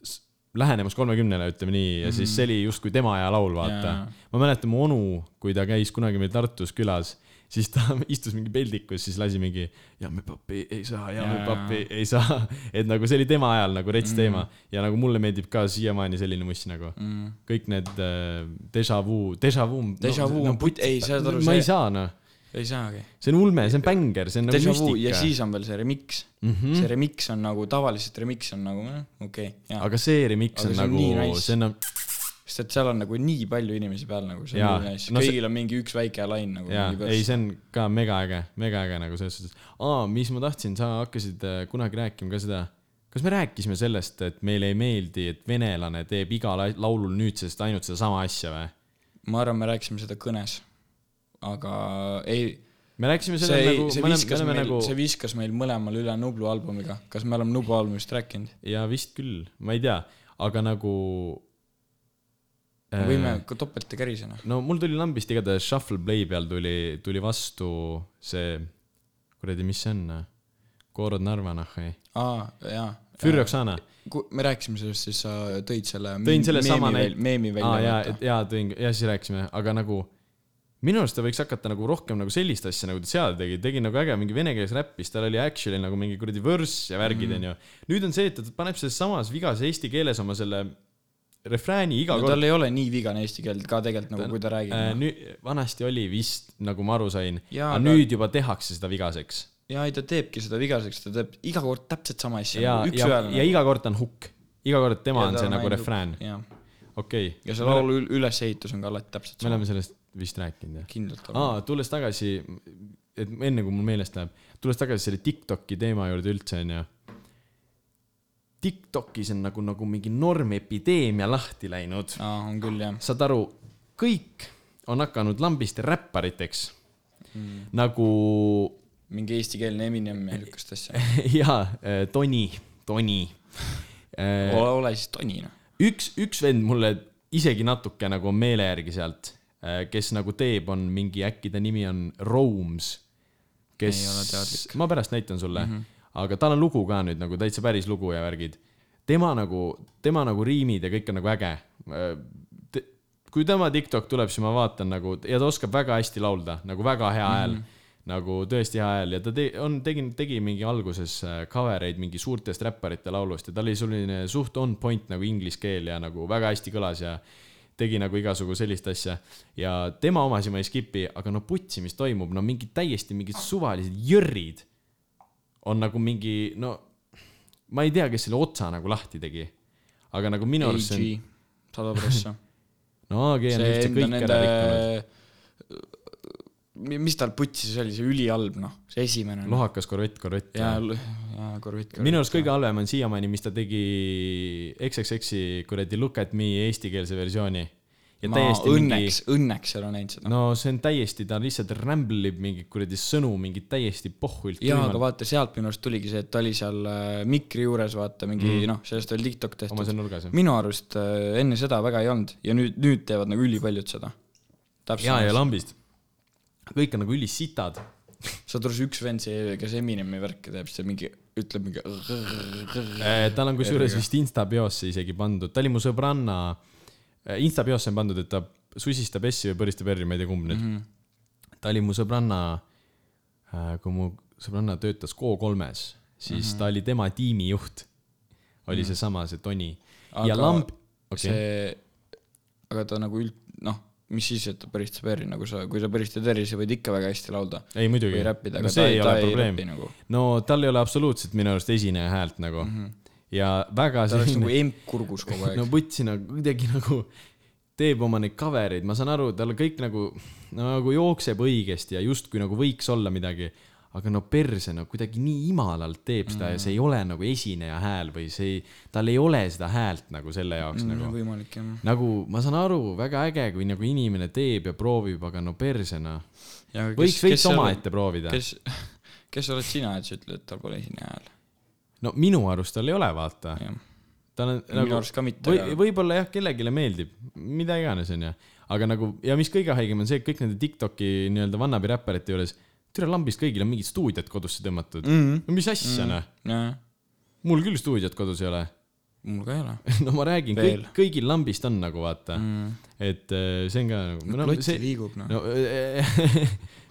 [SPEAKER 1] s- lähenemas kolmekümnele , ütleme nii , ja siis see oli justkui tema aja laul , vaata
[SPEAKER 2] Mhm. Jaa. .
[SPEAKER 1] ma mäletan , mu onu , kui ta käis kunagi meil Tartus külas , siis ta istus mingi peldikus , siis lasi mingi ja me papi ei saa , ja me
[SPEAKER 2] Jaa. Mhm.
[SPEAKER 1] papi ei saa . et nagu see oli tema ajal nagu rets teema ja nagu mulle meeldib ka siiamaani selline muss nagu
[SPEAKER 2] Mhm.
[SPEAKER 1] mm. . kõik need äh, déjà vu , déjà vu .
[SPEAKER 2] Déjà vu on put- ei, saad aru,
[SPEAKER 1] ma
[SPEAKER 2] see-
[SPEAKER 1] ei saa noh ,
[SPEAKER 2] ei saagi .
[SPEAKER 1] see on ulme , see on bängar , see on nagu
[SPEAKER 2] Deja vu ja
[SPEAKER 1] müstika . Mhm.
[SPEAKER 2] siis on veel see remix mm . -hmm. see remix on nagu , tavaliselt remix on nagu noh, okei okay, , jaa .
[SPEAKER 1] aga see remix
[SPEAKER 2] Aga
[SPEAKER 1] on
[SPEAKER 2] see on
[SPEAKER 1] nagu
[SPEAKER 2] nii , nice.
[SPEAKER 1] see on ,
[SPEAKER 2] sest et seal on nagu nii palju inimesi peal nagu , see
[SPEAKER 1] Jaa.
[SPEAKER 2] on nii nice
[SPEAKER 1] No
[SPEAKER 2] no, ,
[SPEAKER 1] see-
[SPEAKER 2] kõigil see... on mingi üks väike lain nagu .
[SPEAKER 1] jaa , ei , see on ka megaäge , megaäge nagu selles suhtes . aa , mis ma tahtsin , sa hakkasid äh, kunagi rääkima ka seda , kas me rääkisime sellest , et meile ei meeldi , et venelane teeb igal ai- laulul nüüdsest ainult sedasama asja või ?
[SPEAKER 2] ma arvan , me rääkisime seda kõnes . aga ei ,
[SPEAKER 1] me rääkisime
[SPEAKER 2] see
[SPEAKER 1] sellele
[SPEAKER 2] ei ,
[SPEAKER 1] nagu ,
[SPEAKER 2] see
[SPEAKER 1] me oleme ,
[SPEAKER 2] viskas
[SPEAKER 1] me
[SPEAKER 2] meil
[SPEAKER 1] oleme
[SPEAKER 2] nagu...
[SPEAKER 1] nagu ,
[SPEAKER 2] see viskas meil mõlemal üle Nublu albumiga . kas me oleme Nublu albumist rääkinud ?
[SPEAKER 1] ja vist küll , ma ei tea , aga nagu
[SPEAKER 2] me võime ka topelta kärisena .
[SPEAKER 1] no mul tuli lambist igatahes Shuffle Play peal tuli , tuli vastu see , kuradi , mis see on ? Koorod Narva nahhi ,
[SPEAKER 2] aa , jaa .
[SPEAKER 1] Fürr . Oksana .
[SPEAKER 2] me rääkisime sellest , siis sa tõid selle .
[SPEAKER 1] tõin selle sama näite .
[SPEAKER 2] meemi
[SPEAKER 1] aa jaa
[SPEAKER 2] välja .,
[SPEAKER 1] jaa tõin , ja siis rääkisime , aga nagu minu arust ta võiks hakata nagu rohkem nagu sellist asja , nagu ta seal tegi , tegi nagu äge mingi venekeelse räppis , tal oli actually nagu mingi kuradi vürss ja värgid
[SPEAKER 2] Mhm.
[SPEAKER 1] onju mm. . nüüd on see , et ta paneb selles samas vigas eesti keeles oma selle refrääni iga
[SPEAKER 2] no
[SPEAKER 1] kord .
[SPEAKER 2] tal ei ole nii vigane eesti keelt ka tegelikult nagu , kui ta
[SPEAKER 1] Äh,
[SPEAKER 2] räägib .
[SPEAKER 1] nüüd , vanasti oli vist , nagu ma aru sain ,
[SPEAKER 2] Jaa,
[SPEAKER 1] aga
[SPEAKER 2] aga-
[SPEAKER 1] nüüd juba tehakse seda vigaseks .
[SPEAKER 2] jaa , ei ta teebki seda vigaseks , ta teeb iga kord täpselt sama asja
[SPEAKER 1] ja ,, ja ,
[SPEAKER 2] nagu üks-ühele .
[SPEAKER 1] ja iga kord on hukk , iga kord tema on see nagu refrään ,
[SPEAKER 2] jah ,
[SPEAKER 1] okei .
[SPEAKER 2] ja see laulu ül- ülesehitus on ka alati täpselt
[SPEAKER 1] me
[SPEAKER 2] sama .
[SPEAKER 1] oleme sellest vist rääkinud jah ?
[SPEAKER 2] kindlalt oleme .
[SPEAKER 1] aa , tulles tagasi , et enne kui mul meelest läheb , tulles tagasi selle Tiktoki teema juurde üldse onju . Tiktokis on nagu , nagu mingi normepideemia lahti läinud ,
[SPEAKER 2] aa , on küll jah .
[SPEAKER 1] saad aru , kõik on hakanud lambist räppariteks mm. . nagu
[SPEAKER 2] mingi eestikeelne Eminem ja niisugust asja .
[SPEAKER 1] jaa , äh, Toni , Toni .
[SPEAKER 2] ole , ole siis Toni noh .
[SPEAKER 1] üks , üks vend mulle isegi natuke nagu on meele järgi sealt , kes nagu teeb , on mingi , äkki ta nimi on Roams ,
[SPEAKER 2] Ei ole
[SPEAKER 1] kes
[SPEAKER 2] teadlik. , Mhm.
[SPEAKER 1] ma pärast näitan sulle mm , -hmm. aga tal on lugu ka nüüd nagu täitsa päris lugu ja värgid . tema nagu , tema nagu riimid ja kõik on nagu äge . kui tema TikTok tuleb , siis ma vaatan nagu ja ta oskab väga hästi laulda , nagu väga hea hääl mm .
[SPEAKER 2] Mhm.
[SPEAKER 1] -hmm nagu tõesti hea hääl ja ta te, on , tegi , tegi mingi alguses äh, cover eid mingi suurtest räpparite laulust ja tal oli selline suht on point nagu inglise keel ja nagu väga hästi kõlas ja tegi nagu igasugu sellist asja ja tema omasid ma ei skip'i , aga no putsi , mis toimub , no mingid täiesti mingid suvalised jõrrid on nagu mingi , no ma ei tea , kes selle otsa nagu lahti tegi , aga nagu minu arust see on ,
[SPEAKER 2] AG , sada prossa .
[SPEAKER 1] no AG on
[SPEAKER 2] see
[SPEAKER 1] üldse
[SPEAKER 2] enda
[SPEAKER 1] kõik ära
[SPEAKER 2] nende
[SPEAKER 1] rikkunud ,,
[SPEAKER 2] mis tal putsi see oli , see ülihalb noh , see esimene .
[SPEAKER 1] lohakas korvett , korvett .
[SPEAKER 2] ja , ja korvit .
[SPEAKER 1] minu arust kõige halvem on siiamaani , mis ta tegi XXX-i kuradi Look at me eestikeelse versiooni . ja
[SPEAKER 2] ma
[SPEAKER 1] täiesti Noh,
[SPEAKER 2] õnneks , õnneks ei ole näinud
[SPEAKER 1] mingi ,
[SPEAKER 2] seda .
[SPEAKER 1] no see on täiesti , ta lihtsalt rämblib mingit kuradi sõnu , mingit täiesti pohhuilt .
[SPEAKER 2] jaa , aga vaata , sealt minu arust tuligi see , et ta oli seal äh, mikri juures , vaata mingi
[SPEAKER 1] Mhm.
[SPEAKER 2] mm. noh , sellest oli TikTok
[SPEAKER 1] oma seal
[SPEAKER 2] tehtud .
[SPEAKER 1] nurgas .
[SPEAKER 2] minu arust äh, enne seda väga ei olnud ja nüüd , nüüd teevad nagu ülipaljud seda .
[SPEAKER 1] ja , ja
[SPEAKER 2] täpselt .
[SPEAKER 1] lambist . kõik on nagu ülisitad .
[SPEAKER 2] saad aru , see üks vend , see , kes Eminemi värki teeb , see mingi , ütleb mingi
[SPEAKER 1] tal Äh, on nagu kusjuures vist insta peosse isegi pandud , ta oli mu sõbranna . insta peosse on pandud , et ta susistab S-i või põristab R-i , ma ei tea , kumb nüüd mm .
[SPEAKER 2] Mhm.
[SPEAKER 1] -hmm. ta oli mu sõbranna , kui mu sõbranna töötas K3-s , siis
[SPEAKER 2] Mhm.
[SPEAKER 1] mm -hmm. ta oli tema tiimijuht . oli mm -hmm. seesama , see Toni . ja
[SPEAKER 2] Aga
[SPEAKER 1] lamb ,
[SPEAKER 2] okay.
[SPEAKER 1] okei ,
[SPEAKER 2] see , aga ta nagu üld- , noh , mis siis , et ta päristab R-i nagu sa , kui sa päristad R-i , sa võid ikka väga hästi laulda .
[SPEAKER 1] ei muidugi
[SPEAKER 2] või räppida ,
[SPEAKER 1] no
[SPEAKER 2] aga
[SPEAKER 1] see
[SPEAKER 2] ta
[SPEAKER 1] ei
[SPEAKER 2] ei-
[SPEAKER 1] ole
[SPEAKER 2] ta ei
[SPEAKER 1] probleem
[SPEAKER 2] räpi nagu. .
[SPEAKER 1] no tal ei ole absoluutselt minu arust esineja häält nagu mm . -hmm. ja väga
[SPEAKER 2] ta oleks nagu emp kurgus kogu aeg
[SPEAKER 1] no
[SPEAKER 2] no, .
[SPEAKER 1] võtsi nagu kuidagi nagu teeb oma neid cover eid , ma saan aru , tal kõik nagu , nagu jookseb õigesti ja justkui nagu võiks olla midagi , aga no perse , no kuidagi nii imalalt teeb seda
[SPEAKER 2] Mhm.
[SPEAKER 1] mm. ja see ei ole nagu esineja hääl või see ei , tal ei ole seda häält nagu selle jaoks mm, nagu .
[SPEAKER 2] võimalik jah .
[SPEAKER 1] nagu ma saan aru , väga äge , kui nagu inimene teeb ja proovib , aga no perse noh .
[SPEAKER 2] Ja kes-
[SPEAKER 1] võiks , võiks
[SPEAKER 2] kes seal-
[SPEAKER 1] omaette proovida .
[SPEAKER 2] kes , kes oled sina , et sa ütled , et tal pole esineja hääl ?
[SPEAKER 1] no minu arust tal ei ole , vaata .
[SPEAKER 2] Jah.
[SPEAKER 1] tal on nagu
[SPEAKER 2] Minu arust ka mitte,
[SPEAKER 1] või,
[SPEAKER 2] aga- .
[SPEAKER 1] võib-olla jah , kellelegi meeldib , mida iganes , onju . aga nagu ja mis kõige haigem on see , et kõik nende Tiktoki nii-öelda vannabi räpparite juures , türa lambist kõigil on mingid stuudiod kodusse tõmmatud mm . -hmm.
[SPEAKER 2] Mhm.
[SPEAKER 1] no mis asja mm -hmm. noh ,
[SPEAKER 2] nojah ,
[SPEAKER 1] mul küll stuudiot kodus ei ole .
[SPEAKER 2] mul ka ei ole .
[SPEAKER 1] no ma räägin ,
[SPEAKER 2] Veel.
[SPEAKER 1] kõik , kõigil lambist on nagu vaata mm . -hmm. et äh, see on ka nagu .
[SPEAKER 2] plott liigub, noh.
[SPEAKER 1] no, .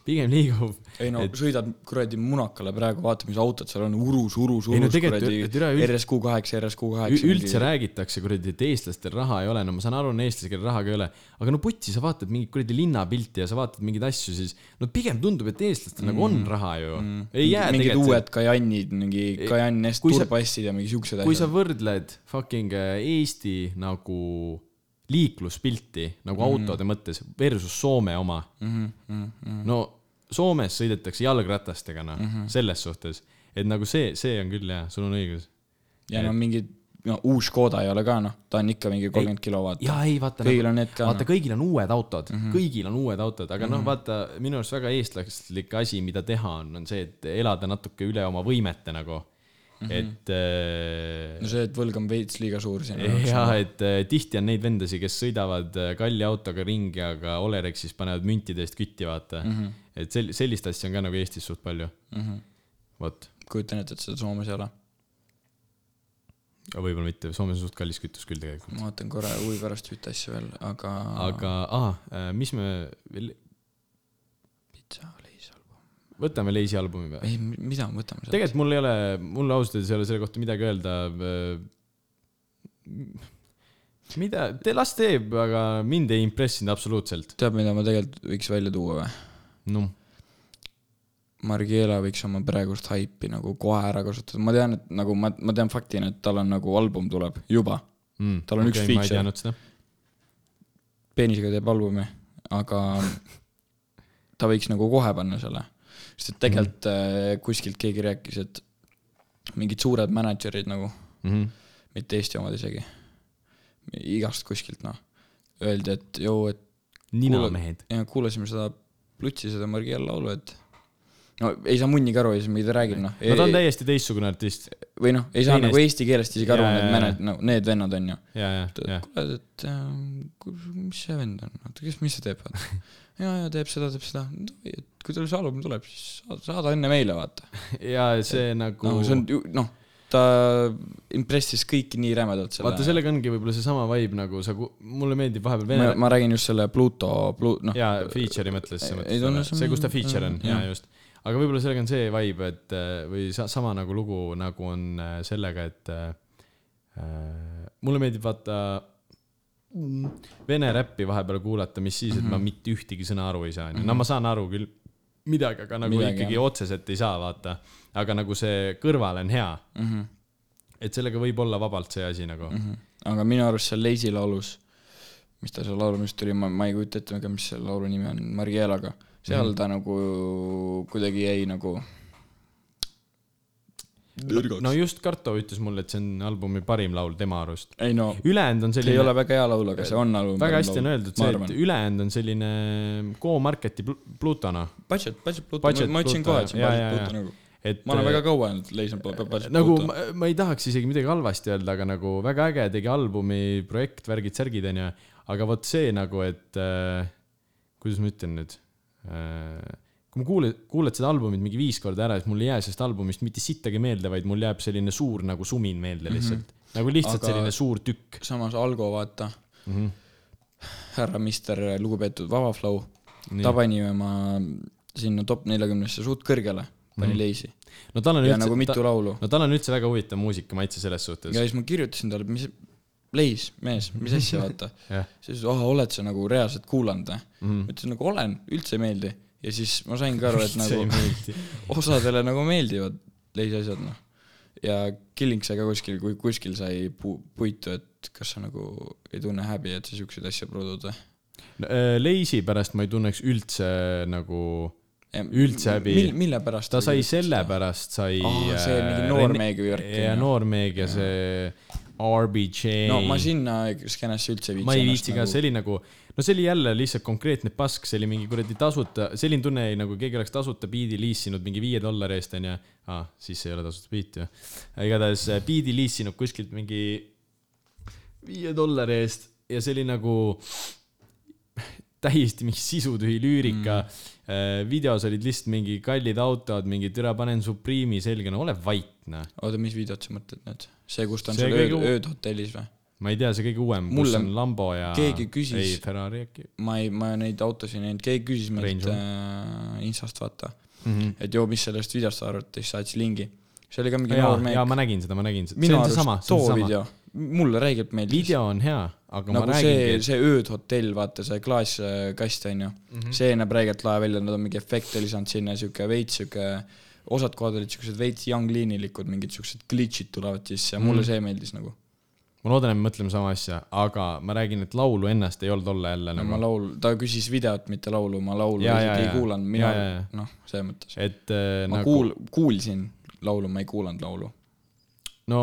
[SPEAKER 1] pigem liigub .
[SPEAKER 2] ei no et... sõidad kuradi munakale praegu , vaata , mis autod seal on , urus , urus ,
[SPEAKER 1] Ei no
[SPEAKER 2] urus ,
[SPEAKER 1] tegelikult
[SPEAKER 2] kuradi
[SPEAKER 1] üt- üt- üra- üld-
[SPEAKER 2] RSQ kaheksa , RSQ
[SPEAKER 1] Ü-
[SPEAKER 2] kaheksa .
[SPEAKER 1] üldse räägitakse kuradi , et eestlastel raha ei ole , no ma saan aru , on eestlasi , kellel raha ka ei ole , aga no putsi , sa vaatad mingit kuradi linnapilti ja sa vaatad mingeid asju , siis no pigem tundub , et eestlastel mm. nagu on raha ju mm. . ei jää
[SPEAKER 2] mingid
[SPEAKER 1] tegelikult
[SPEAKER 2] uued Kajannid , mingi Kajann S
[SPEAKER 1] kui sa-
[SPEAKER 2] turbassid ja mingi siuksed
[SPEAKER 1] kui sa
[SPEAKER 2] asjad .
[SPEAKER 1] võrdled fucking äh, Eesti nagu liikluspilti nagu mm. autode mõttes versus Soome oma mm .
[SPEAKER 2] Mhm,
[SPEAKER 1] -hmm. no Soomes sõidetakse jalgratastega noh mm
[SPEAKER 2] Mhm.
[SPEAKER 1] -hmm. , selles suhtes , et nagu see , see on küll jah , sul on õigus .
[SPEAKER 2] ja no mingid , no uus Škoda ei ole ka noh , ta on ikka mingi kolmkümmend kilo , vaata .
[SPEAKER 1] jaa , ei vaata .
[SPEAKER 2] Kõigil on Mhm. need ka,
[SPEAKER 1] vaata ,
[SPEAKER 2] noh.
[SPEAKER 1] kõigil on uued autod mm , -hmm. kõigil on uued autod , aga mm -hmm.
[SPEAKER 2] Mhm.
[SPEAKER 1] noh , vaata minu arust väga eestlaslik asi , mida teha on , on see , et elada natuke üle oma võimete nagu . et
[SPEAKER 2] Mhm. no
[SPEAKER 1] äh,
[SPEAKER 2] see , et võlg on veits liiga suur noh, sinu
[SPEAKER 1] ja et äh, tihti on neid vendasid , kes sõidavad äh, kalli autoga ringi , aga Olerexis panevad müntide eest kütti , vaata mm .
[SPEAKER 2] Mhm.
[SPEAKER 1] -hmm. et sel- , sellist asja on ka nagu Eestis suht palju . vot ,
[SPEAKER 2] kujutan ette , et seda Soomes ei ole .
[SPEAKER 1] aga võib-olla mitte , Soomes on suht kallis kütus küll tegelikult .
[SPEAKER 2] ma vaatan korra huvi pärast ühte asja veel , aga,
[SPEAKER 1] aga ah, , mis me ,
[SPEAKER 2] pitsa oli seal .
[SPEAKER 1] võtame Leisi albumi või ?
[SPEAKER 2] ei , mida me võtame sealt ?
[SPEAKER 1] tegelikult mul ei ole , mul ausalt öeldes ei ole selle kohta midagi öelda . mida , te las teeb , aga mind ei impressinud absoluutselt .
[SPEAKER 2] tead , mida ma tegelikult võiks välja tuua või ?
[SPEAKER 1] noh ,
[SPEAKER 2] Margiela võiks oma praegust haipi nagu kohe ära kasutada , ma tean , et nagu ma , ma tean faktina , et tal on nagu album tuleb juba , Tal on üks
[SPEAKER 1] mm. ma ei
[SPEAKER 2] feature.
[SPEAKER 1] teadnud seda .
[SPEAKER 2] peenisega teeb albumi , aga ta võiks nagu kohe panna selle . sest et tegelikult mm. kuskilt keegi rääkis , et mingid suured mänedžerid nagu ,
[SPEAKER 1] Mhm.
[SPEAKER 2] mitte Eesti omad isegi , igast kuskilt noh , öeldi , et joo , et
[SPEAKER 1] ninamehed .
[SPEAKER 2] ja kuulasime seda Plutsi , seda Margiela laulu , et no ei saa munnigi aru ja siis mida ta räägib noh .
[SPEAKER 1] no ta on täiesti teistsugune artist .
[SPEAKER 2] või noh , ei saa
[SPEAKER 1] Teine-
[SPEAKER 2] nagu eesti keelest isegi aru ,
[SPEAKER 1] Jaa,
[SPEAKER 2] need
[SPEAKER 1] jaa,
[SPEAKER 2] mehed , no need vennad on ju .
[SPEAKER 1] ja , ja , ja .
[SPEAKER 2] kuule , et äh, kus- mis see vend on , oota , kes , mis see teeb , vaata . ja , ja teeb seda , teeb seda , et kui tal see album tuleb , siis saada, saada enne meile , vaata .
[SPEAKER 1] ja see nagu
[SPEAKER 2] no
[SPEAKER 1] no, ,
[SPEAKER 2] see on ju , noh , ta impressis kõiki nii rämedalt
[SPEAKER 1] vaata ,
[SPEAKER 2] selle .
[SPEAKER 1] sellega ongi võib-olla seesama vibe nagu sa , mulle meeldib vahepeal
[SPEAKER 2] ma,
[SPEAKER 1] vene
[SPEAKER 2] ma räägin just selle Pluto , Plu- , noh ,
[SPEAKER 1] jaa , feature'i mõttes
[SPEAKER 2] ei-
[SPEAKER 1] sa
[SPEAKER 2] ei
[SPEAKER 1] mõtled
[SPEAKER 2] tunne
[SPEAKER 1] seda ,
[SPEAKER 2] sama-
[SPEAKER 1] see , kus ta feature on , jaa
[SPEAKER 2] jah. ,
[SPEAKER 1] just . aga võib-olla sellega on see vibe , et äh, või sa- sama nagu lugu , nagu on äh, sellega , et äh, mulle meeldib vaata mm, vene räppi vahepeal kuulata , mis siis ,
[SPEAKER 2] Mhm.
[SPEAKER 1] et ma mitte ühtegi sõna aru ei saa , onju . no ma saan aru küll midagi , aga nagu midagi,
[SPEAKER 2] Midagi,
[SPEAKER 1] ikkagi
[SPEAKER 2] jah.
[SPEAKER 1] otseselt ei saa , vaata . aga nagu see kõrval on hea mm .
[SPEAKER 2] Mhm.
[SPEAKER 1] -hmm. et sellega võib olla vabalt see asi nagu mm . -hmm.
[SPEAKER 2] aga minu arust seal Leisi laulus , mis ta seal laulmis tuli , ma , ma ei kujuta ette väga , mis selle laulu nimi on , Margielaga , seal
[SPEAKER 1] Mhm.
[SPEAKER 2] ta nagu kuidagi jäi nagu
[SPEAKER 1] no just Karto ütles mulle , et see on albumi parim laul tema arust .
[SPEAKER 2] ei no
[SPEAKER 1] ülejäänud on
[SPEAKER 2] see
[SPEAKER 1] selline
[SPEAKER 2] ei ole väga hea laul , aga see on nagu laul .
[SPEAKER 1] väga hästi on öeldud see , et
[SPEAKER 2] et .
[SPEAKER 1] ülejäänud on selline Go-Marketi pl- Plutona .
[SPEAKER 2] Budget , budget Pluto ,
[SPEAKER 1] Budget
[SPEAKER 2] ma ütlesin
[SPEAKER 1] Pluto,
[SPEAKER 2] kohe , et see on
[SPEAKER 1] jaa,
[SPEAKER 2] budget
[SPEAKER 1] jaa,
[SPEAKER 2] Pluto
[SPEAKER 1] jaa.
[SPEAKER 2] nagu .
[SPEAKER 1] et äh,
[SPEAKER 2] ma olen väga kaua öelnud , et Leis on bu- bu- budget
[SPEAKER 1] nagu
[SPEAKER 2] Pluto .
[SPEAKER 1] ma, ma ei tahaks isegi midagi halvasti öelda , aga nagu väga äge tegi albumi , projekt , värgid , särgid onju , aga vot see nagu , et äh, kuidas ma ütlen nüüd äh, , kui ma kuulen , kuuled seda albumit mingi viis korda ära , siis mul ei jää sellest albumist mitte sittagi meelde , vaid mul jääb selline suur nagu sumin meelde lihtsalt mm . -hmm. nagu lihtsalt
[SPEAKER 2] Mhm. Aga-
[SPEAKER 1] aga... selline suur tükk .
[SPEAKER 2] samas Algo , vaata mm .
[SPEAKER 1] Mhm.
[SPEAKER 2] -hmm. härra meister , lugupeetud Vaba Flow , ta pani oma sinna top neljakümnesse suht kõrgele , pani mm -hmm. Leisi .
[SPEAKER 1] Mhm. no tal on
[SPEAKER 2] ja nagu mitu
[SPEAKER 1] ta,
[SPEAKER 2] laulu .
[SPEAKER 1] no tal on üldse väga huvitav muusikamaitse selles suhtes
[SPEAKER 2] ja . siis ma kirjutasin talle , mis , Leis , mees , mis asja , vaata .
[SPEAKER 1] jah ,
[SPEAKER 2] siis , ah , oled sa nagu reaalselt kuulanud või
[SPEAKER 1] Mhm.
[SPEAKER 2] mm. ? ma ütlesin nagu olen , üldse ei meeldi . ja siis ma saingi aru , et
[SPEAKER 1] see ei
[SPEAKER 2] nagu
[SPEAKER 1] meeldi .
[SPEAKER 2] osadele nagu meeldivad Leisi asjad , noh . ja Killing sai ka kuskil , kui kuskil sai pu- , puitu , et kas sa nagu ei tunne häbi , et sa siukseid asju produd või ?
[SPEAKER 1] No, äh, Leisi pärast ma ei tunneks üldse nagu , Üldse häbi.
[SPEAKER 2] mil, . mille pärast ?
[SPEAKER 1] ta sai selle . pärast , sai
[SPEAKER 2] Aa, see mingi
[SPEAKER 1] äh,
[SPEAKER 2] noormeegi
[SPEAKER 1] Rene-
[SPEAKER 2] värk,
[SPEAKER 1] ja
[SPEAKER 2] onju.
[SPEAKER 1] noormeeg ja see RBJ .
[SPEAKER 2] no ma sinna skeenesse üldse ei viitsi .
[SPEAKER 1] ma ei viitsi ka , see oli nagu , no see oli jälle lihtsalt konkreetne pask , see oli mingi kuradi tasuta , selline tunne oli nagu keegi oleks tasuta biidi liisinud mingi viie dollari eest onju . aa , siis ei ole tasuta biit ju . igatahes äh, biidi liisinud kuskilt mingi viie dollari eest ja see oli nagu täiesti mingi sisutühi lüürika mm. . videos olid lihtsalt mingi kallid autod , mingi türa panen Supreme'i selga , no ole vait noh .
[SPEAKER 2] oota , mis videot sa mõtled nüüd ? see , kus ta on
[SPEAKER 1] See
[SPEAKER 2] seal
[SPEAKER 1] kõige
[SPEAKER 2] ööd ,
[SPEAKER 1] uu-
[SPEAKER 2] ööd hotellis või ?
[SPEAKER 1] ma ei tea , see kõige uuem , kus
[SPEAKER 2] Mulle-
[SPEAKER 1] on Lambo ja .
[SPEAKER 2] keegi küsis-
[SPEAKER 1] ei , Ferrari äkki .
[SPEAKER 2] ma ei , ma neid autosid ei näinud , keegi küsis meilt
[SPEAKER 1] Range Mhm.
[SPEAKER 2] äh, Instast , vaata mm . -hmm. et joo , mis sellest videost sa arvad , siis saatis lingi . see oli ka mingi
[SPEAKER 1] ja
[SPEAKER 2] noor , mees
[SPEAKER 1] ja . ma nägin seda , ma nägin seda . see
[SPEAKER 2] minu
[SPEAKER 1] on
[SPEAKER 2] arust
[SPEAKER 1] seesama , see
[SPEAKER 2] too
[SPEAKER 1] on seesama .
[SPEAKER 2] video , mulle räigelt meeldis .
[SPEAKER 1] video on hea , aga
[SPEAKER 2] nagu
[SPEAKER 1] ma
[SPEAKER 2] see ,
[SPEAKER 1] räägingi ,
[SPEAKER 2] see öödhotell , vaata see klaaskast on ju mm ,
[SPEAKER 1] Mhm.
[SPEAKER 2] -hmm. see näeb räigelt lae välja , nad on mingi efekte lisanud sinna , sihuke veits sihuke , osad kohad olid siuksed veits young leanilikud , mingid siuksed glitch'id tulevad sisse ja mulle
[SPEAKER 1] Mhm.
[SPEAKER 2] mm -hmm. see meeldis nagu .
[SPEAKER 1] ma loodan , et me mõtleme sama asja , aga ma räägin , et laulu ennast ei olnud olla jälle
[SPEAKER 2] no ma
[SPEAKER 1] nagu ,
[SPEAKER 2] laul , ta küsis videot , mitte laulu , ma laulu
[SPEAKER 1] Jaa,
[SPEAKER 2] isegi
[SPEAKER 1] jaa,
[SPEAKER 2] ei
[SPEAKER 1] jaa.
[SPEAKER 2] kuulanud , mina
[SPEAKER 1] Jaa, jaa, jaa. ,
[SPEAKER 2] noh , selles mõttes .
[SPEAKER 1] et äh,
[SPEAKER 2] ma nagu...
[SPEAKER 1] nagu ,
[SPEAKER 2] kuul- , kuulsin laulu , ma ei kuulanud laulu ,
[SPEAKER 1] no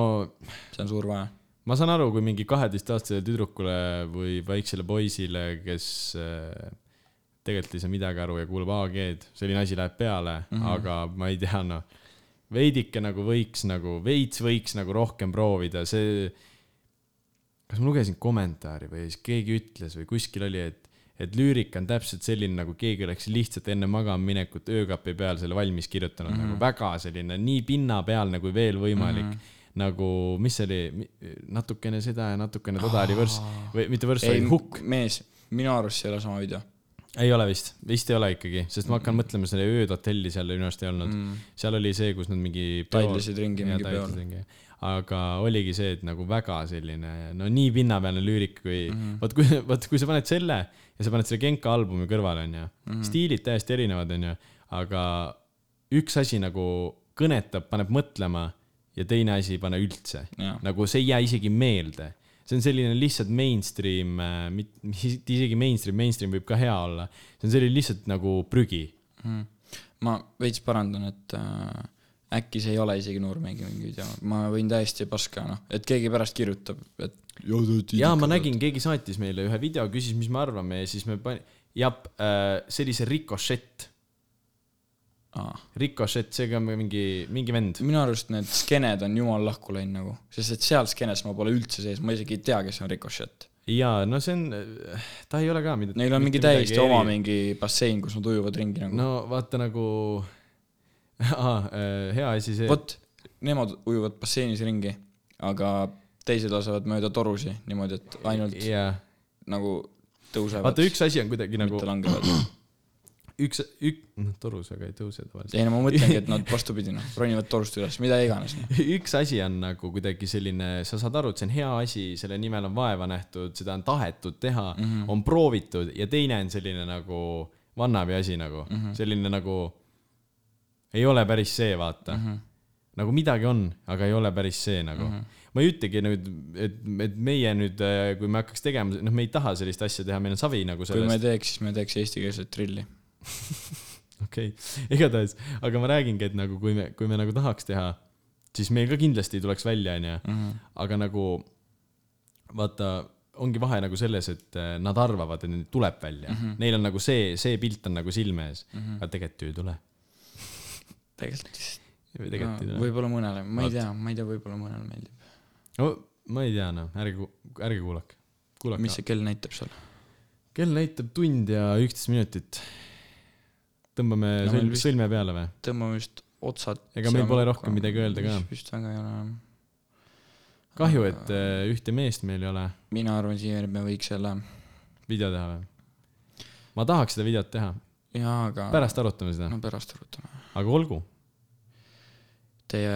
[SPEAKER 2] see on suur vahe .
[SPEAKER 1] ma saan aru , kui mingi kaheteistaastasele tüdrukule või väiksele poisile , kes äh,
[SPEAKER 2] Mhm.
[SPEAKER 1] tegelikult ei saa midagi aru ja kuulab AG-d , selline asi läheb peale mm , -hmm. aga ma ei tea , noh . veidike nagu võiks nagu , veits võiks nagu rohkem proovida , see . kas ma lugesin kommentaari või siis keegi ütles või kuskil oli , et , et lüürika on täpselt selline , nagu keegi oleks lihtsalt enne magamaminekut öökapi peal selle valmis kirjutanud mm , -hmm.
[SPEAKER 2] Mhm.
[SPEAKER 1] nagu väga selline nii pinnapealne kui veel võimalik mm . -hmm nagu , mis see oli , natukene seda ja natukene toda oli võrss või mitte võrss ,
[SPEAKER 2] ei
[SPEAKER 1] vaid , hukk .
[SPEAKER 2] mees , minu arust see ei ole sama video .
[SPEAKER 1] ei ole vist , vist ei ole ikkagi , sest ma
[SPEAKER 2] Mhm.
[SPEAKER 1] hakkan mõtlema selle ööd hotelli seal minu arust ei olnud mm. . seal oli see , kus nad mingi .
[SPEAKER 2] Taidlesid ringi mingi peol. .
[SPEAKER 1] aga oligi see , et nagu väga selline , no nii pinnapealne lüürik kui mm. , vot kui , vot kui sa paned selle ja sa paned selle Genka albumi kõrvale , onju mm. . stiilid täiesti erinevad , onju , aga üks asi nagu kõnetab , paneb mõtlema ja teine asi ei pane üldse
[SPEAKER 2] Jah. .
[SPEAKER 1] nagu see ei jää isegi meelde . see on selline lihtsalt mainstream , mitte isegi mainstream , mainstream võib ka hea olla . see on selline lihtsalt nagu prügi .
[SPEAKER 2] ma veits parandan , et äh, äkki see ei ole isegi Noormägi mingi video , ma võin täiesti paska , noh , et keegi pärast kirjutab , et .
[SPEAKER 1] ja ma nägin , keegi saatis meile ühe video , küsis , mis me arvame ja siis me äh, pan- , jah , see oli see Ricochet .
[SPEAKER 2] Aa.
[SPEAKER 1] Ricochet , see ka mingi , mingi vend .
[SPEAKER 2] minu arust need skeened on jumal lahku läinud nagu , sest et seal skeenes ma pole üldse sees , ma isegi ei tea , kes on Ricochet .
[SPEAKER 1] ja no see on , ta ei ole ka midagi .
[SPEAKER 2] Neil on mingi täiesti oma mingi bassein , kus nad ujuvad ringi nagu no. .
[SPEAKER 1] no vaata nagu ah, , hea asi see .
[SPEAKER 2] vot , nemad ujuvad basseinis ringi , aga teised lasevad mööda torusi niimoodi , et ainult yeah.
[SPEAKER 1] jah ,
[SPEAKER 2] nagu tõusevad .
[SPEAKER 1] vaata üks asi on kuidagi nagu
[SPEAKER 2] mitte langevad .
[SPEAKER 1] üks , ük- , noh torus , aga ei tõuse tavaliselt .
[SPEAKER 2] ei no ma mõtlengi , et nad vastupidi noh , ronivad torust üles , mida iganes noh .
[SPEAKER 1] üks asi on nagu kuidagi selline , sa saad aru , et see on hea asi , selle nimel on vaeva nähtud , seda on tahetud teha mm ,
[SPEAKER 2] Mhm.
[SPEAKER 1] -hmm. on proovitud ja teine on selline nagu vannabi asi nagu mm ,
[SPEAKER 2] Mhm.
[SPEAKER 1] -hmm. selline nagu ei ole päris see , vaata
[SPEAKER 2] Mhm.
[SPEAKER 1] mm . -hmm. nagu midagi on , aga ei ole päris see nagu mm . -hmm. ma ei ütlegi nüüd , et , et meie nüüd , kui me hakkaks tegema , noh , me ei taha sellist asja teha , meil on savi nagu
[SPEAKER 2] kui me
[SPEAKER 1] sellest .
[SPEAKER 2] teeks , siis me teeks eestikeelset trilli .
[SPEAKER 1] okei okay. , igatahes , aga ma räägingi , et nagu kui me , kui me nagu tahaks teha , siis meil ka kindlasti ei tuleks välja ,
[SPEAKER 2] Mhm.
[SPEAKER 1] onju . aga nagu vaata , ongi vahe nagu selles , et eh, nad arvavad , et neil tuleb välja mm .
[SPEAKER 2] Mhm.
[SPEAKER 1] -hmm. Neil on nagu see , see pilt on nagu silme ees mm , -hmm. aga tegelikult ju ei tule .
[SPEAKER 2] tegelikult vist .
[SPEAKER 1] või tegelikult ei tule .
[SPEAKER 2] võib-olla mõnele , ma ei tea , ma ei tea , võib-olla mõnele meeldib .
[SPEAKER 1] no ma ei tea , noh , ärge , ärge kuulake .
[SPEAKER 2] mis
[SPEAKER 1] kuulake .
[SPEAKER 2] see kell näitab seal ?
[SPEAKER 1] kell näitab tund ja üksteist minutit . tõmbame
[SPEAKER 2] No
[SPEAKER 1] no,
[SPEAKER 2] meil
[SPEAKER 1] sõlme,
[SPEAKER 2] vist-
[SPEAKER 1] sõlme peale või ?
[SPEAKER 2] tõmbame vist otsad .
[SPEAKER 1] Ega meil pole rohkem midagi öelda ka.
[SPEAKER 2] vist väga ei ole enam .
[SPEAKER 1] kahju , et eh, ühte meest meil ei ole
[SPEAKER 2] mina arvan , siiani me võiks jälle ,
[SPEAKER 1] video teha või ? ma tahaks seda videot teha ,
[SPEAKER 2] jaa , aga .
[SPEAKER 1] pärast arutame seda ,
[SPEAKER 2] no pärast arutame .
[SPEAKER 1] aga olgu .
[SPEAKER 2] Teie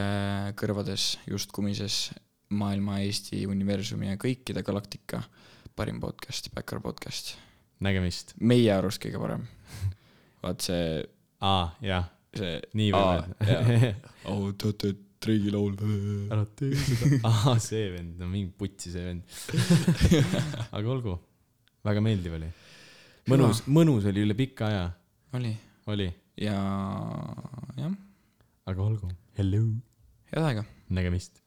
[SPEAKER 2] kõrvades just kumises maailma , Eesti , universumi ja kõikide galaktika parim podcast , Backyard podcast .
[SPEAKER 1] nägemist .
[SPEAKER 2] meie arust kõige parem . vaat see ,
[SPEAKER 1] aa , jah ,
[SPEAKER 2] see .
[SPEAKER 1] nii või
[SPEAKER 2] või ?
[SPEAKER 1] või ?
[SPEAKER 2] au , teate , Triigi laul .
[SPEAKER 1] ära tee seda . ahah , see vend , no mingi putsi see vend . aga olgu , väga meeldiv oli . mõnus , mõnus oli üle pika aja ,
[SPEAKER 2] oli
[SPEAKER 1] oli ,
[SPEAKER 2] ja jah ,
[SPEAKER 1] aga olgu . Hello .
[SPEAKER 2] head aega
[SPEAKER 1] nägemist .